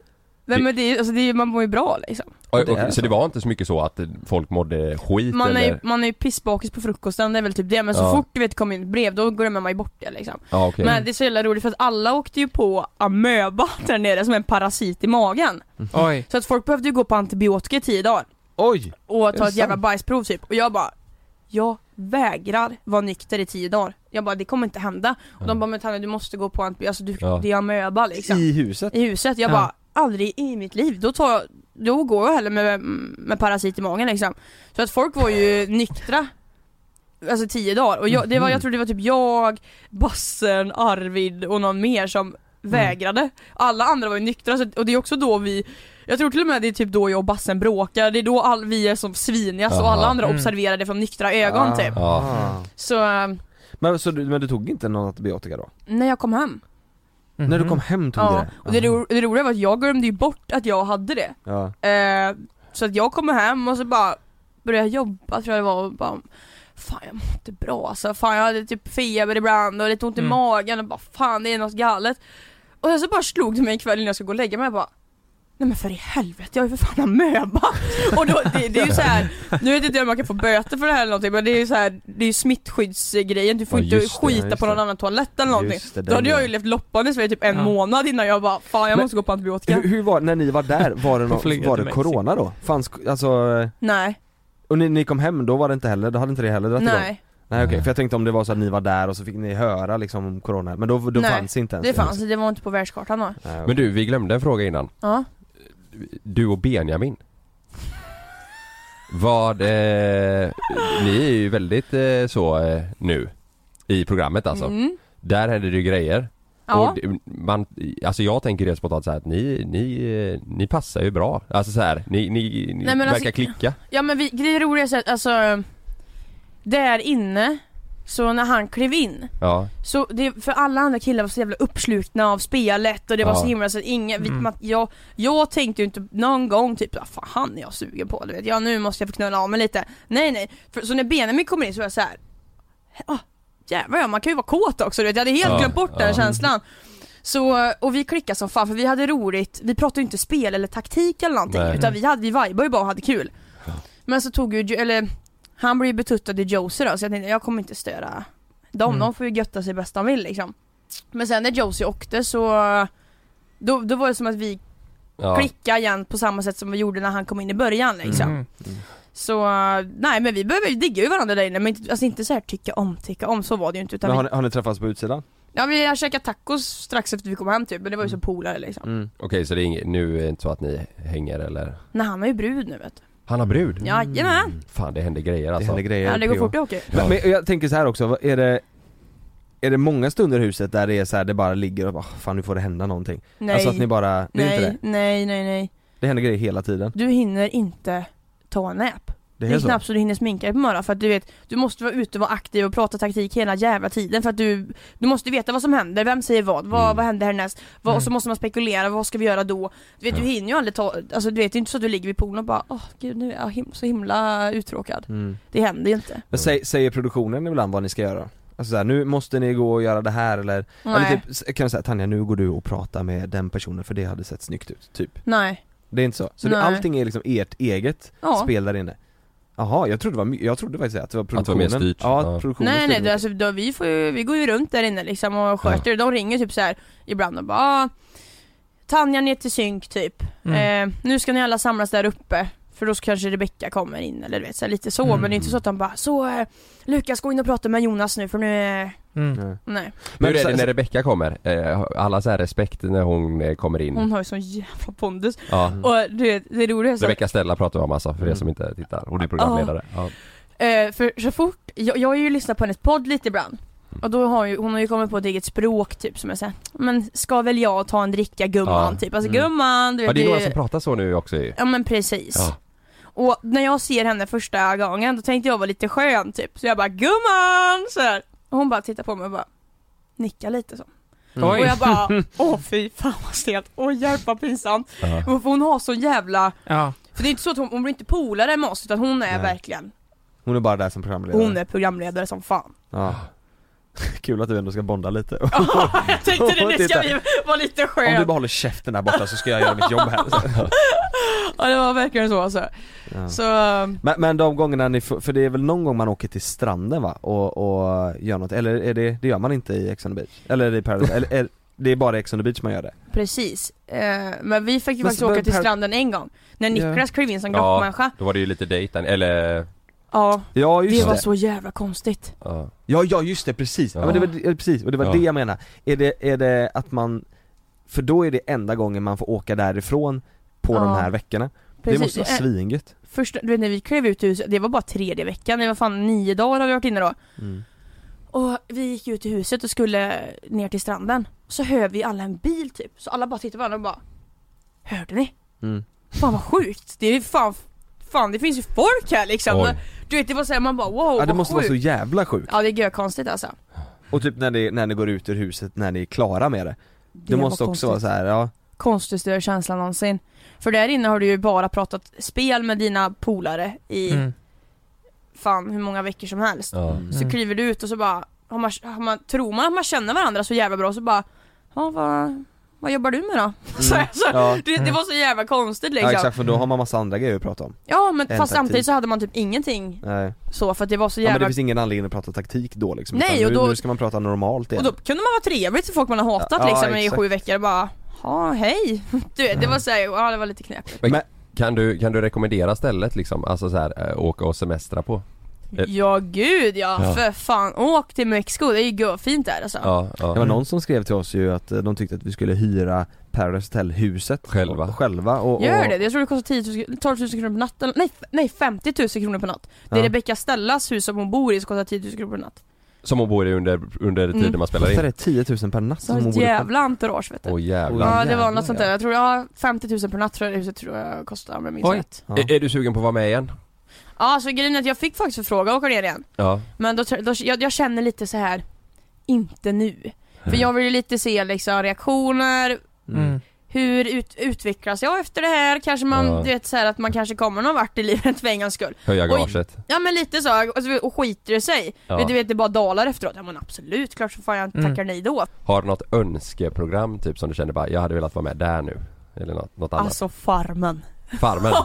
Nej men det är ju, alltså, det är, ju- man mår ju bra liksom
Och, och,
Det är
så, det var inte så mycket så att folk mådde skit
Man är,
eller?
ju- man är ju pissbakis på frukosten, det är väl typ det, men så
Ja.
fort du vet kommer in ett brev då glömmer man ju bort det liksom
Ja, okej.
Men det är så jävla roligt för att alla åkte ju på amöba [LAUGHS] där nere som en parasit i magen
Oj.
Så att folk behövde ju gå på antibiotika i tio dagar
Oj!
och
det
ta ett jävla
sant?
bajsprov typ och jag bara Jag vägrar vara nykter i tio dagar Jag bara det kommer inte hända Och de bara men Tanja du måste gå på antibiotika, alltså du,
Ja.
det är amöba liksom
I huset?
I huset, jag
Ja.
bara aldrig i mitt liv, då tar jag, då går jag hellre med, med parasit i magen liksom Så att folk var ju nyktra Alltså tio dagar, och jag, det
Mhm.
var, jag tror det var typ jag, Bassen, Arvid och någon mer
Mm.
som vägrade Alla andra var ju nyktra, så, att- och det är också då vi Jag tror till och med det är typ då jag och Bassen bråkar, det är då all, vi är som svinigast och alla
Aha.
andra
Mm.
observerar det från nyktra ögon
Ah.
typ
Ah.
Så, eh,
Men, så du, men du tog inte någon antibiotika då?
när jag kom hem
När
Mhm.
du kom hem tog du
Mm-hmm. Ja,
det? Ah.
och det, ro, det roliga var att jag glömde ju bort att jag hade det
Ja.
Eh, så att jag kommer hem och så bara började jag jobba tror jag det var och bara Fan jag mår inte bra alltså, fan jag hade typ feber ibland och lite ont i
Mm.
magen och bara fan det är något galet Och sen så bara slog det mig en kväll innan jag skulle gå och lägga mig jag bara Nej men för i helvete, jag är ju för fan amöba! [LAUGHS] Och då, det, det är ju så här, nu vet inte jag om man kan få böter för det här eller någonting men det är ju så här, det är ju smittskyddsgrejen, du får
Ja,
inte
just det,
skita
just
på någon
det.
annan toalett eller någonting.
Just det,
då hade
den
jag ju
grejen.
levt loppan i Sverige typ en
Ja.
månad innan jag bara, fan jag
Men-
måste gå på antibiotika.
Hur, hur var när ni var
[LAUGHS]
där, var det,
På flyget
no- var
till
det
Mexiko.
corona då? Fanns, alltså,
Nej,
och ni, ni kom hem, då var det inte heller, då hade inte det heller dragit
Nej.
igång? Nej okej, för jag tänkte om det var så att ni var där och så fick ni höra liksom om corona, men då, då
Nej,
fanns inte ens
det fanns det var inte på världskartan då.
Men du, vi glömde en fråga innan.
Ja.
Du och Benjamin. Vad, eh, ni är ju väldigt eh, så eh, nu i programmet alltså.
Mm.
Där händer det ju grejer.
Ja.
Och det- man, alltså jag tänker rent spontant så här att ni, ni, eh, ni passar ju bra. Alltså så här, ni, ni, ni
Nej, men
verkar
alltså-
klicka.
Ja men vi, det roliga är att alltså, där inne, så när han klev in
Ja.
Så det, för alla andra killar var så jävla uppslukna av spelet och det var
Ja.
så himla så att ingen, vi,
Mm.
man, jag, jag tänkte ju inte någon gång typ "Ah, fan han är jag sugen på, du vet, ja nu måste jag få knulla av mig lite Nej nej, för, så när Benjamin kommer in så var jag så här. "Åh, jävlar ja, man kan ju vara kåt också du vet, jag hade helt
Ja,
glömt bort
ja.
den känslan så, och vi klickade som fan för vi hade roligt, vi pratade ju inte spel eller taktik eller någonting
Nej.
utan vi, hade, vi vibade ju bara och hade kul Men så tog ju, Jo- eller han blev ju betuttad i Josie då så jag tänkte jag kommer inte störa dem,
Mm.
de får ju götta sig bäst de vill liksom Men sen när Josie åkte så då, då var det som att vi
Ja.
klickade igen på samma sätt som vi gjorde när han kom in i början liksom
Mm.
Så nej men vi behöver ju digga ju varandra där inne men inte, alltså inte så här tycka om, tycka om, så var det ju inte utan
Men har
vi,
ni, har ni träffats på utsidan?
Ja vi har käkat tacos strax efter vi kom hem typ men det
Mm.
var ju som polare liksom
Okej så det är inget, nu är det inte så att ni hänger eller?
Nej han är ju brud nu vet du
Han har brud?
Jajamän!
Fan det händer grejer alltså.
händer grejer,
Ja, det går
P.O.
fort det åker.
Men, men jag tänker så här också, vad- är det är det många stunder i huset där det är så här, det bara ligger och bara, fan nu får det hända någonting?
Nej.
Alltså att ni bara, det är
nej,
inte det?
nej, nej, nej.
Det händer grejer hela tiden?
Du hinner inte ta en nap.
Det
Det
är
är,
så?
knappt så du hinner sminka dig på morgonen för att du vet, du måste vara ute och vara aktiv och prata taktik hela jävla tiden för att du, du måste veta vad som händer, vem säger vad, vad,
Mm.
vad händer härnäst, vad, och så måste man spekulera, vad ska vi göra då? Du vet du hinner ju aldrig ta, alltså du vet det är inte så att du ligger vid poolen och bara åh gud nu är jag him- så himla uttråkad.
Mm.
Det händer ju inte.
Men sä, säger produktionen ibland vad ni ska göra? Alltså så här, nu måste ni gå och göra det här eller, eller
Nej.
typ, s- kan du säga Tanja nu går du och pratar med den personen för det hade sett snyggt ut, typ
Nej.
Det är inte så? Så det,
Nej.
allting är liksom ert eget
Ja.
spel där inne? Jaha, jag trodde, det var, my- jag trodde faktiskt att det var
det var
produktionen
mer styrt.
Ja,
Ja.
produktionen
Nej nej,
styrde
det, alltså, då, vi, får ju, vi går ju runt där inne liksom och sköter De ringer typ så här ibland och bara "Ah, Tanja ner till synk typ
Mm.
eh, Nu ska ni alla samlas där uppe För då kanske Rebecka kommer in eller du vet så här, lite så Men
Mm.
det är inte så att de bara så eh, Lukas gå in och prata med Jonas nu för nu är...
Mm.
Mm.
Nej
Men
Men
hur är
så-
det när Rebecka kommer? Eh, har Alla så här respekt när hon eh, kommer in.
Hon har ju sån jävla pondus
Ja.
Och du vet, det roliga är så
Rebecka Stella pratar vi om alltså, för er som inte tittar. Hon är programledare. Ja.
Eh, för så fort, jag, jag har ju lyssnat på hennes podd lite ibland
Mm.
och då har ju, hon har ju kommit på ett eget språk typ som är såhär, men ska väl jag ta en dricka gumman
Ja.
typ, alltså
Mm.
gumman du
Ja,
vet
det är
ju-
några som pratar så nu också ju.
Ja men precis.
Ja.
Och när jag ser henne första gången då tänkte jag vara lite skön typ, så jag bara gumman sådär. Och hon bara tittar på mig och bara nickar lite så.
Mm. Oj.
Och
[LAUGHS]
jag bara åh fy fan vad stelt, åh hjälp vad pinsamt.
Ja.
För Hon har så jävla,
Ja.
för det är inte så att hon, hon blir inte polare med oss utan hon är
Nej.
verkligen,
Hon är bara där som programledare
hon är programledare som fan.
[LAUGHS]
[LAUGHS]
Ja. Kul att du ändå ska bonda lite
Jag tänkte det, det ska
Titta.
vi vara lite
Om du
skönt.
bara håller käften där borta så ska jag göra mitt jobb
[LAUGHS]
här
Ja det var verkligen så alltså.
Ja.
Så, ehm,
Men, men de gångerna ni, får- för det är väl någon gång man åker till stranden va? Och, och gör något, eller är det, det gör man inte i Ex on the beach? Eller är det i Paradise, eller är, det är bara i Ex on the beach man gör det?
precis. Eh, Men vi fick
Men
ju faktiskt
så-
åka
men
till
per-
stranden en gång. När Niklas
Ja.
klev in som grottmänniska.
då var det ju lite dejten, eller...
Ja,
Ja just
det
det!
var så jävla konstigt.
Ja.
Ja, ja just det, precis! Ja. men det var, det- precis, och det var
Ja.
det jag menar. Är det, är det att man, för då är det enda gången man får åka därifrån på
Ja.
de här veckorna
Precis.
Det måste vara
Eh,
svinget
Första, du vet när vi klev ut ur huset, det var bara tredje veckan, det var fan nio dagar har vi varit inne då.
Mm.
Och vi gick ut i huset och skulle ner till stranden. Så hör vi alla en bil typ, så alla bara tittar på varandra och bara Hörde ni?
Mm.
Fan vad sjukt! Det är fan, fan det finns ju folk här liksom!
Oj.
Du vet det var såhär man bara wow
Ja det
vad
måste vara
sjukt.
så jävla sjukt
Ja det är konstigt alltså.
Och typ när ni, när ni går ut ur huset, när ni är klara med det Det,
Det var
måste också vara
konstigt.
så här, ja
Konstigaste känslan någonsin. För där inne har du ju bara pratat spel med dina polare i
Mm.
fan hur många veckor som helst.
Ja.
Så
Mm.
kliver du ut och så bara, har man, har man, tror man att man känner varandra så jävla bra så bara, ja vad, vad jobbar du med då? [LAUGHS] [LAUGHS] Så,
Mm.
alltså,
Ja.
det, det var så jävla konstigt liksom
Ja exakt, för då har man massa andra grejer att prata om
Ja, men
Än
fast samtidigt
taktik.
så hade man typ ingenting
Nej.
så för att det var så
Ja men
jävla
det finns ingen anledning att prata taktik då liksom
Nej,
utan
och då-
nu, nu ska man prata normalt igen
Och då kunde man vara trevlig till folk man har hatat
Ja,
liksom i
exakt.
sju veckor och bara Ja, hej! [LAUGHS] Du vet, det
Mm.
var såhär, ja det var lite knepigt
Men, kan, du, kan du rekommendera stället liksom, alltså så här, eh, åka och semestra på? Eh,
Ja gud ja,
Ja.
för fan, åk till Mexiko, det är ju fint där alltså
Det var någon som skrev till oss ju att eh, de tyckte att vi skulle hyra Paradise Hotel huset Själva och, Själva och, och
Gör det, jag tror det kostar 10 000, 12 000 kronor per natt, eller, nej, f- nej 50 000 kronor per natt Det är
Ja.
Rebecca Stellas hus som hon bor i som kostar 10 000 kronor per natt
Som hon bor i under, under tiden
Mm.
man spelar in?
Kostar
10
det
000 per natt
Så har ett jävla entourage vet du
Åh jävlar
Ja det var något sånt där, jag tror, ja 50 000 per natt tror jag det huset tror jag kostar om jag minns
Oj.
rätt
Ja. Är, är du sugen på att vara med igen?
Ja så grejen är att jag fick faktiskt förfrågan att åka ner igen
Ja
Men då, då jag, jag känner lite så här inte nu.
Mm.
För jag vill ju lite se liksom reaktioner,
Mm.
hur ut, utvecklas jag efter det här? Kanske man,
Ja.
du vet så här att man kanske kommer någon vart i livet för en gångs skull.
Höja
Och-
gaget
Ja men lite så, alltså, och skiter det sig?
Ja.
Vet Du vet det bara dalar efteråt, ja men absolut, klart så fan jag
Mm.
tackar nej då.
Har du något önskeprogram typ som du känner bara, jag hade velat vara med där nu? Eller något, något annat?
Alltså farmen. [LAUGHS]
Farmen? Mm.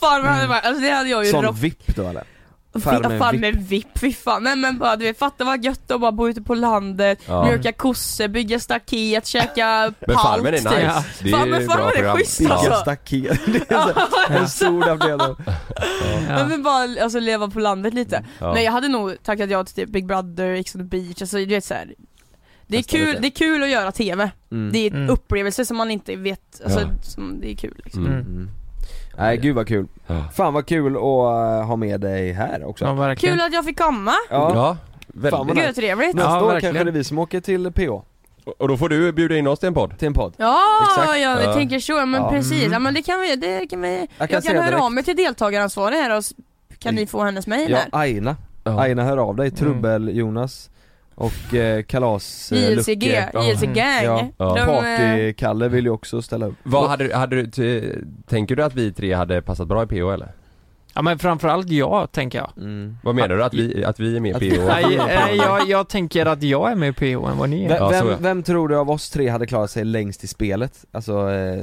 farmen hade bara, alltså det hade jag ju
Sån
rock-
VIP då
[LAUGHS] Alltså.
eller?
Farmen fan med VIP, fy fan. Nej men bara du vet, fatta vad gött att bara bo ute på landet,
Ja.
mjölka kossor, bygga staket, käka
Men
palt,
Farmen är
typ. [LAUGHS]
nice, det är
Fan, men
ju
farmen
bra
är
program.
schysst
Ja.
alltså. [LAUGHS]
Staket,
[LAUGHS]
det är så- en stor där blev det
Man vill bara alltså, leva på landet lite.
Ja.
Nej jag hade nog tackat ja till typ Big Brother, Ex on the beach, alltså du vet såhär det är,
Testa
kul,
lite.
det är kul att göra TV,
Mm.
det är
Mm.
en upplevelse som man inte vet, alltså,
Ja.
som, det är kul liksom.
Mm. Mm. Nej gud vad kul. Fan vad kul att eh, ha med dig här också.
Ja, verkligen.
Kul att jag fick komma!
väldigt.
Fan, vad
Gud,
nice.
trevligt.
Nästa
Ja,
år
verkligen.
kanske det är vi som åker till PH.
Och då får du bjuda in oss till en podd.
Till en podd.
Ja,
Exakt.
ja, vi
Ja.
tänker så, men
Ja.
precis,
Mm.
ja, men det kan vi, det kan vi Jag
kan
kan,
säga
höra
direkt. Mm.
av mig till deltagaransvarig här och s- kan ni få hennes mail
Ja,
här?
Aina. Aina hör av dig, Trubbel-Jonas och eh, kalas eh,
JLCG,
Lucke.
JLC-gang.
Ja.
Ja. De, eh,
Party-Kalle vill ju också ställa upp.
Vad hade, du- hade du, t- tänker du att vi tre hade passat bra i PO eller?
Ja men framförallt jag, tänker jag.
Mm.
Vad menar du? Att vi, att vi är med i PO?
Nej, eh, jag, jag tänker att jag är mer PO än vad ni är.
Vem, vem, vem tror du av oss tre hade klarat sig längst i spelet? Alltså, eh,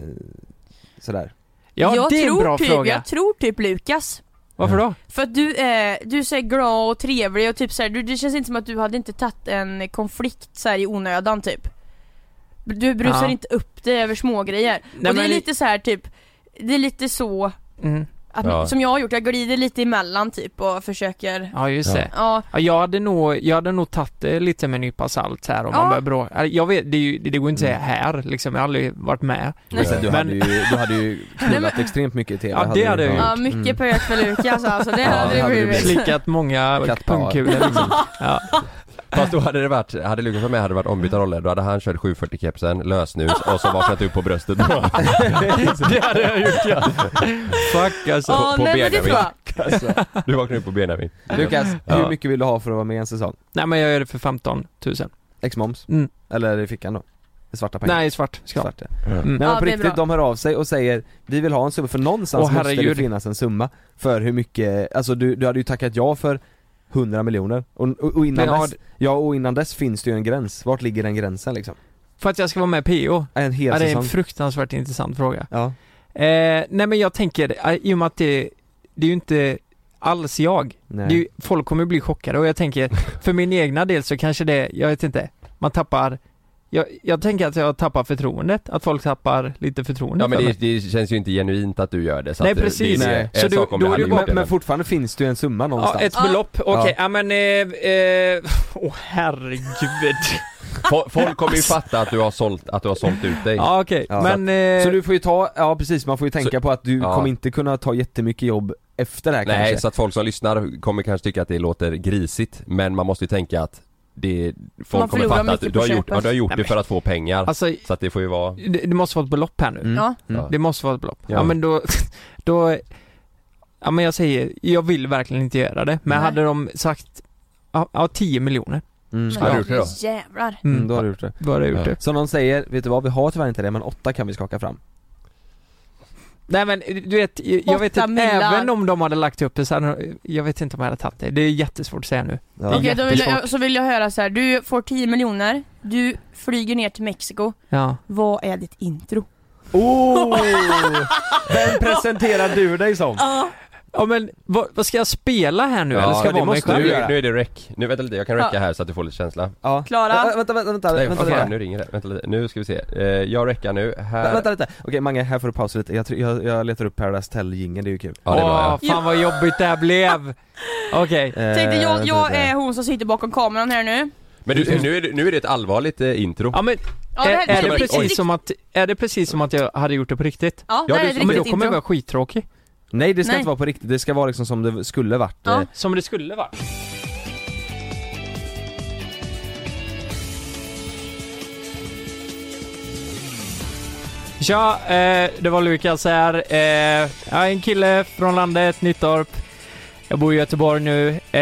sådär.
jag tror typ, Jag tror typ Lukas.
Varför då?
För att du, eh, du är så här glad och trevlig och typ så här, du, det känns inte som att du hade inte tagit en konflikt så här i onödan typ. Du brusar
Ja.
inte upp dig över smågrejer.
Nej,
och det är
men-
lite så här typ, det är lite så
Mm.
att,
Ja.
som jag har gjort, jag glider lite emellan typ och försöker
Ja just det.
Ja.
Ja, jag hade nog, jag hade nog tagit det lite med en nypa salt här om
Ja.
man börjar bråka. Äh, Jag vet, det, är ju, det går inte att säga här liksom, jag har aldrig varit med.
Eh, Men sen, du, hade ju, du hade [LAUGHS] ju knullat extremt mycket i TV.
Ja, det hade jag
Mm.
Ja, mycket pök för Lukas alltså, det hade det blivit.
Slickat många
[LAUGHS]
pungkulor liksom. Ja.
Fast då hade det varit, hade Lukas varit med hade det varit ombytta roller. Då hade han kört 740 kepsen, lösnus och så vaknat upp på bröstet.
[LAUGHS]
det hade jag gjort ja.
Fuck alltså.
På,
Ja,
på
nej, men det
Benjamin.
tror jag.
Du vaknade upp på Benjamin.
Lukas, hur
Ja.
mycket vill du ha för att vara med i en säsong?
Nej men jag gör det för 15 000.
Ex-moms?
Mm.
Eller i fickan då? I svarta pengar?
Nej, i svart. Ska.
Svart, ja.
Mm.
Men
Ja,
på
det är
riktigt,
bra.
de hör av sig och säger Vi vill ha en summa, för någonstans
Åh,
måste det
herregud.
finnas en summa För hur mycket, alltså du, du hade ju tackat ja för 100 miljoner och, och, och innan
Men har
dess, ja och innan dess finns det ju en gräns, vart ligger den gränsen liksom?
För att jag ska vara med i PO?
En hel
ja, det är
säsong.
en fruktansvärt intressant fråga.
Ja.
Eh, nej men jag tänker, eh, i och med att det, det är ju inte alls jag. Det
Nej.
är ju, folk kommer bli chockade och jag tänker, för min egna del så kanske det, jag vet inte, man tappar jag, jag tänker att jag tappar förtroendet, att folk tappar lite förtroende
Ja men
för mig.
det, det känns ju inte genuint att du gör det. Så
Nej,
att det-
precis.
Det är
Nej.
en
Så du-
sak om
då
det
är
hade
det
gjort
bara-
det,
Men fortfarande finns det ju en summa någonstans
Ja, ett belopp, okej,
Ja.
ja men, eh, eh, [LAUGHS] åh herregud.
Fo- Folk kommer ju fatta att du har sålt, att du har sålt ut dig.
Ja, okej.
Så
Men,
att-
eh,
Så du får ju ta, ja precis man får ju tänka
Så-
på att du
Ja.
kommer inte kunna ta jättemycket jobb efter det här
Nej,
kanske
så att folk som lyssnar kommer kanske tycka att det låter grisigt men man måste ju tänka att det,
Man
folk kommer
förlorar
fatta att
mycket
du har
på
gjort,
köpet.
ja, du har gjort
Nej,
det
men-
för att få pengar.
Alltså-
så att det får ju vara...
det, det måste vara ett belopp här nu.
Ja. Mm.
Det måste vara ett belopp. Ja,
Ja.
men då, [LAUGHS] då, ja men jag säger, jag vill verkligen inte göra det, men
Nej.
hade de sagt, ja, ja 10 miljoner.
Mm.
skulle jag-
Jävlar.
Mm, då har du gjort det.
Då har jag gjort det.
Som de säger, vet du vad, vi har tyvärr inte det men åtta kan vi skaka fram
Nej men du vet, jag vet
Åtta
att
millar.
även om de hade lagt upp det så hade, jag vet inte om jag hade tagit det. Det är jättesvårt att säga nu. Det är
Okej, då vill jag,
jättesvårt.
så vill jag höra så här. du får 10 miljoner, du flyger ner till Mexiko.
Ja.
Vad är ditt intro?
Oh! Vem presenterar du dig som?
Ja men vad, vad ska jag spela här nu
Ja,
eller ska jag vara mig själv?
nu, nu är det rec. Nu vänta lite, jag kan
Ja.
räcka här så att du får lite känsla.
Ja.
Klara?
Vänta, vänta, vänta,
Nej,
vänta,
okej,
vänta.
nu ringer det. Vänta lite. Nu ska vi se. Eh, jag räcker nu. Här.
Vä- Vänta lite, okej Mange, här får du pausa lite, jag, tror- jag, jag letar upp Paradise tell jingeln det är ju kul
Ja, det är bra,
ja. fan vad jobbigt det här blev! Okej.
Tänk dig,
Eh,
Eh,
jag, jag är hon som sitter bakom kameran här nu.
Men du, nu, är det, nu är det ett allvarligt eh, intro.
Ja men,
Ja, det här-
är, är,
det
det
är
precis
riktigt-
som att, är det precis som att jag hade gjort det på riktigt?
Ja, det här är ett
Men då
riktigt
kommer jag
intro.
vara skittråkig.
Nej det ska
Nej.
inte vara på riktigt, det ska vara liksom som det skulle varit
Ja.
eh,
Som det skulle varit. Tja, eh, det var Lukas här. Eh, jag är en kille från landet, Nittorp. Jag bor i Göteborg nu. Eh,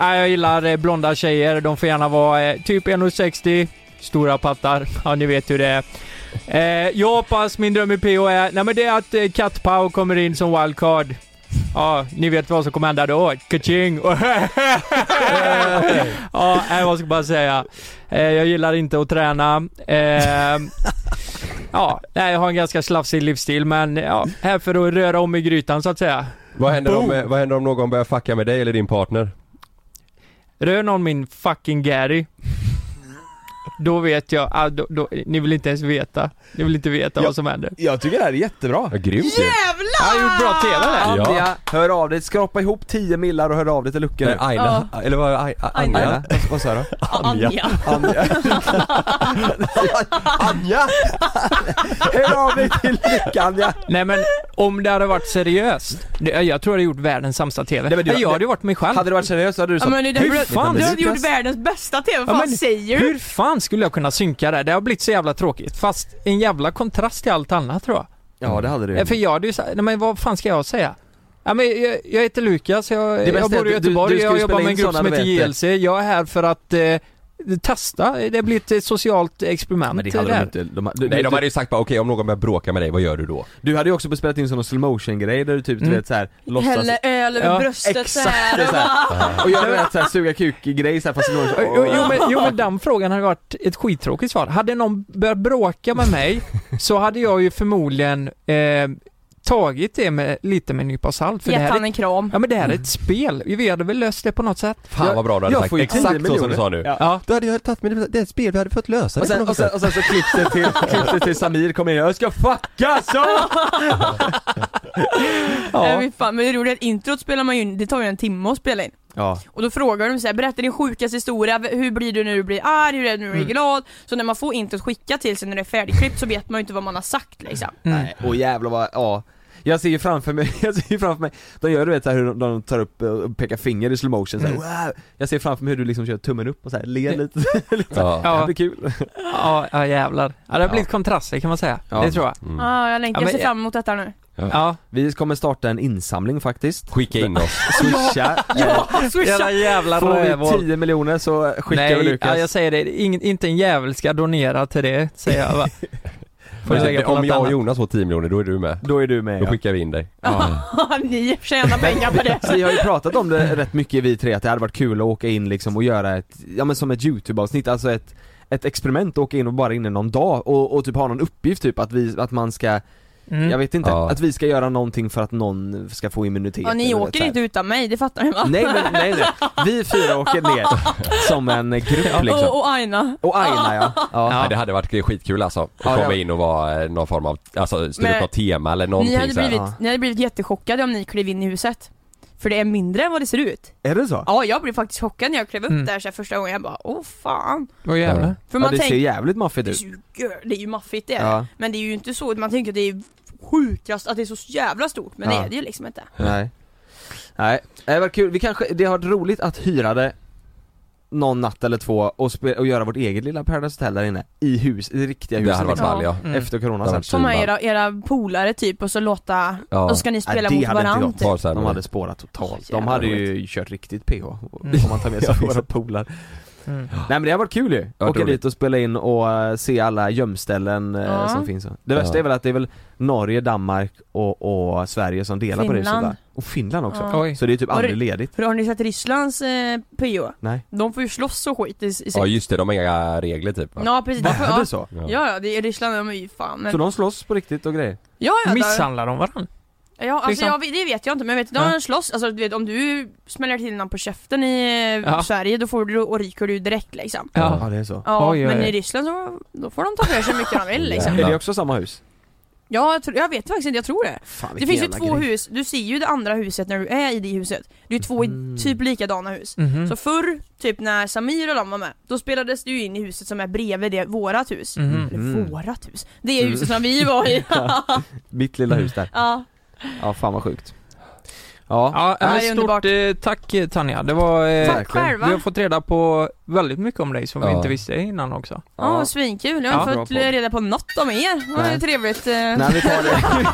ja, jag gillar eh, blonda tjejer. De får gärna vara eh, typ 1,60. Stora pattar. [LAUGHS] Ja, ni vet hur det är. Eh, jag hoppas min dröm i PO är... Nej, men det är att eh, Cat Pau kommer in som wildcard. Ja, ni vet vad som kommer hända då. Kaching! [LAUGHS] ja, nej, vad ska jag bara säga? Eh, jag gillar inte att träna. Eh, [LAUGHS] ja, nej, jag har en ganska slafsig livsstil men ja, här för att röra om i grytan så att säga.
Vad händer, om, eh, vad händer om någon börjar fucka med dig eller din partner?
Rör någon min fucking Gary. Då vet jag, ah, då, då, ni vill inte ens veta. Ni vill inte veta vad som händer.
Jag tycker det här är jättebra!
Ja, grymt
Jag har gjort bra TV där.
Andrea, hör av dig, skrapa ihop 10 millar och hör av dig till Lucka nu
Nej, Eh, Aina. Eller vad, Ai- A- Anja?
Anja, vad- vad sa jag då?
Anja.
Anja! Anja! [LAUGHS] Hör av dig till Lucka Anja!
Nej men om det hade varit seriöst. Det, jag tror jag hade gjort världens sämsta TV.
Nej, men du-
jag hade ju varit mig själv.
Hade det varit seriöst så hade du
Ja,
sagt
men det,
Hur fan
du har
lyckas?
gjort världens bästa TV, vad
Ja,
fan
men
säger du?
Hur fan skulle jag kunna synka det? här? Det har blivit så jävla tråkigt. Fast en jävla kontrast till allt annat tror jag.
Ja det hade du
Eh, För jag hade ju sagt, nej men vad fan ska jag säga? Ja, men jag, jag heter Lukas, jag,
Det bästa
jag
är att
bor i
du-
Göteborg,
du ska ju
jag
spela
jobbar med en
in
grupp
såna,
som
du
heter
vet det.
JLC. Jag är här för att eh, testa, det blir ett eh, socialt experiment eh,
Men det hade de
där.
inte, de, du,
[LAUGHS] Nej
du,
de hade ju sagt bara okej om någon börjar bråka med dig, vad gör du då?
du hade ju också bespelat in sån slow motion grej där du typ du
Mm.
vet såhär låtsas
Häller öl över
Ja,
bröstet så
Exakt, det är
här.
så
[LAUGHS]
här. Och jag vet såhär suga kuk-grej såhär fast i någon
Jo, jo, men, jo men den frågan hade varit ett skittråkigt svar. Hade någon börjat bråka med mig så hade jag ju förmodligen eh, tagit det med, lite med en nypa salt. För det
Gett
här
han
är,
en kram.
ja men det här är ett spel, vi hade väl löst det på något sätt.
Fan vad bra du hade
jag
sagt,
får ju
exakt
10
så som
miljoner.
du sa nu.
Ja.
Ja.
Då hade jag tagit med det är ett spel, vi hade fått lösa
Och sen, och, sen, och sen så klipps det till,
[LAUGHS]
klipps det till Samir kommer in, jag ska fucka så!
Ja. Eh, men fan, men det roliga är att introt spelar man ju in, det tar ju en timme att spela in.
Ja.
Och då frågar de så här, berätta din sjukaste historia, hur blir du när du blir arg, hur är du när du
Mm.
blir glad? Så när man får introt skickat till sig när det är färdigklippt så vet man ju inte vad man har sagt liksom.
Mm.
Nej, och jävlar vad, ja jag ser ju framför mig, [LAUGHS] jag ser ju framför mig, de gör du vet så här hur de, de tar upp eh, och pekar finger i slow motion så här,
Mm.
wow. Jag ser framför mig hur du liksom kör tummen upp och så här ler lite, lite så här.
Ja.
Det här blir kul
Ja, ja jävlar. Ja, det har blivit kontraster kan man säga.
Ja.
Det tror jag.
Mm.
Ja, ah, jag längtar,
Ja,
jag
men-
ser fram emot detta nu.
Ja.
Vi kommer starta en insamling faktiskt
Skicka in oss.
[LAUGHS]
Swisha,
Ja, swisha!
Jävla jävla
får vi
rövhål.
10 miljoner så skickar vi
Nej,
Lukas
ja, jag säger det. Ingen, inte en jävel ska donera till det, säger
[LAUGHS]
jag va. Får
Men
du lägga på
om
något
jag och
annat.
Jonas får 10 miljoner, då är du med.
Då är du med
Då
ja.
skickar vi in dig.
Ni tjänar pengar på
[LAUGHS]
det.
Vi har ju pratat om det rätt mycket vi tre, att det hade varit kul att åka in liksom och göra ett, ja men som ett YouTube-avsnitt, alltså ett ett experiment, åka in och bara in i någon dag och, och typ ha någon uppgift typ att vi, att man ska,
Mm.
jag vet inte,
Ja.
att vi ska göra någonting för att någon ska få immunitet
Ja, ni
eller
åker
så här.
inte utan mig, det fattar ni va? [LAUGHS]
Nej men nej, nej. vi fyra åker ner som en grupp
Och,
liksom
och Aina.
Och Aina ja, ja.
Nej, det hade varit skitkul alltså, att
det
komma
hade-
in och vara eh, någon form av, alltså styra
Men-
upp något tema eller
Ni
någonting
hade,
så här.
blivit,
Ja.
ni hade blivit jättechockade om ni klev in i huset. För det är mindre än vad det ser ut.
Är det så?
Ja, jag blev faktiskt chockad när jag klev upp
Mm.
där så här, första gången. Jag bara, åh fan.
Åh, jävlar.
Ja
För man
det ser
tänker,
jävligt maffigt
det är,
ut
ju, gör- det är ju maffigt det är
Ja.
det. Men det är ju inte så, man tänker att det är sjukast, att det är så jävla stort. Men
Ja. Typ
det är det ju liksom inte.
Nej Nej, det var kul, vi kanske, det har varit roligt att hyra det någon natt eller två och, spe, och göra vårt eget lilla Paradise Hotel där inne i hus, i riktiga
Det
huset
hade varit
liksom.
ball ja.
Mm.
Efter corona
Det hade
sen
varit
Ta med
svinball.
era, era polare typ och så låta,
Ja.
och så ska ni spela
Nej,
mot
det hade inte
varandra.
gått.
typ.
Bara så här,
De hade spårat totalt, de
Jävlar Mm.
[LAUGHS]
hade ju kört riktigt PH om man tar med sig våra polar
Mm.
Nej men det har varit kul ju,
Ja,
åka
roligt.
dit och spela in och eh, se alla gömställen eh,
Ja.
som finns Det värsta
Ja.
är väl att det är väl Norge, Danmark och, och Sverige som delar på det
Finland.
huset va? Och Finland också,
Ja. Oj.
så det är typ
Har du-
aldrig ledigt
För har ni sett Rysslands eh, PO?
Nej
De får ju slåss och skit i, i
Ja just det, de har inga regler typ va?
Ja precis, de får-
Är
ja.
det så?
Ja ja, det är Ryssland, de är ju fan men...
Så de slåss på riktigt och grejer?
Ja, ja, där- Misshandlar
de varandra?
Ja, alltså
Liksom.
jag, det vet jag inte men jag vet de
Ja.
slåss, alltså du vet om du smäller till någon på käften i
Ja.
ja. Sverige då får du, och ryker du direkt liksom
Ja, det är så
Ja, men i Ryssland så, då får de ta för sig hur mycket de vill liksom
Är det också samma hus?
Ja, jag, tror, jag vet faktiskt inte, jag tror det Det
vilken
finns ju
jävla
två
grej.
hus, du ser ju det andra huset när du är i det huset Det är ju två i-
Mm.
typ likadana hus
Mm.
Mhm.
Så förr, typ när Samir och de var med Då spelades det ju in i huset som är bredvid det, vårat hus
Mhm.
Eller
Mm.
vårat hus, det är huset som vi var i
Ja. Mitt lilla hus där
Ja,
Ja, fan vad sjukt Ja,
Ja,
Ja,
men
det är
stort eh, tack eh, Tanja. Det var... eh,
Tack själva.
Vi har fått reda på väldigt mycket om dig som vi
Ja.
inte visste innan också.
Ja, vad svinkul. Jag har
Ja.
fått reda på något om er. Det var ju
Nej.
trevligt. eh.
vi tar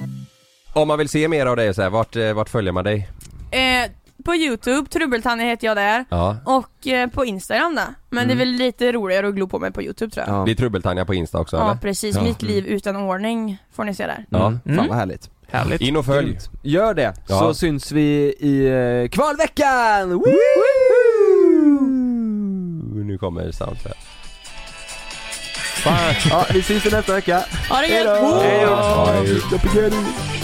[LAUGHS]
Om man vill se mer av dig så här, vart, eh, vart följer man dig?
eh, på Youtube, Trubbeltanne heter jag där.
Ja.
Och eh, på Instagram då. Men det är väl lite roligare att glo på mig på Youtube tror jag.
Det är Trubbeltanja på Insta också
Ja,
eller?
precis. Mitt liv utan ordning får ni se där.
Ja,
fan vad härligt
Härligt
In och följ!
Gör det,
Ja.
så syns vi i eh, kvalveckan! Woo!
Nu kommer soundtrack
Ja, vi syns i nästa vecka
Ha det gött!
Hejdå!
Hej.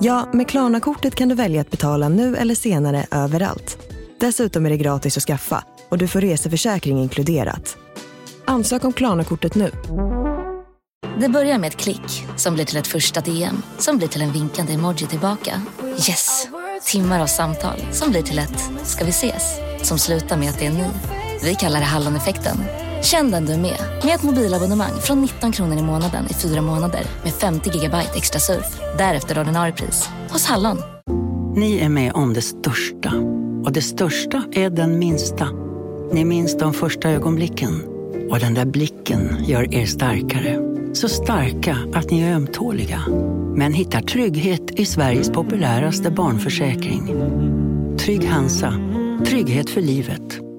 Ja, med Klarna-kortet kan du välja att betala nu eller senare överallt. Dessutom är det gratis att skaffa och du får reseförsäkring inkluderat. Ansök om Klarna-kortet nu.
Det börjar med ett klick som blir till ett första DM som blir till en vinkande emoji tillbaka. Yes! Timmar av samtal som blir till ett “ska vi ses?” som slutar med att det är ni. Vi kallar det Halloneffekten. Känn den du är med, med ett mobilabonnemang från 19 kronor i månaden i fyra månader med 50 gigabyte extra surf. Därefter ordinarie pris, hos Hallon.
Ni är med om det största. Och det största är den minsta. Ni minns de första ögonblicken. Och den där blicken gör er starkare. Så starka att ni är ömtåliga. Men hittar trygghet i Sveriges populäraste barnförsäkring. Trygg Hansa. Trygghet för livet.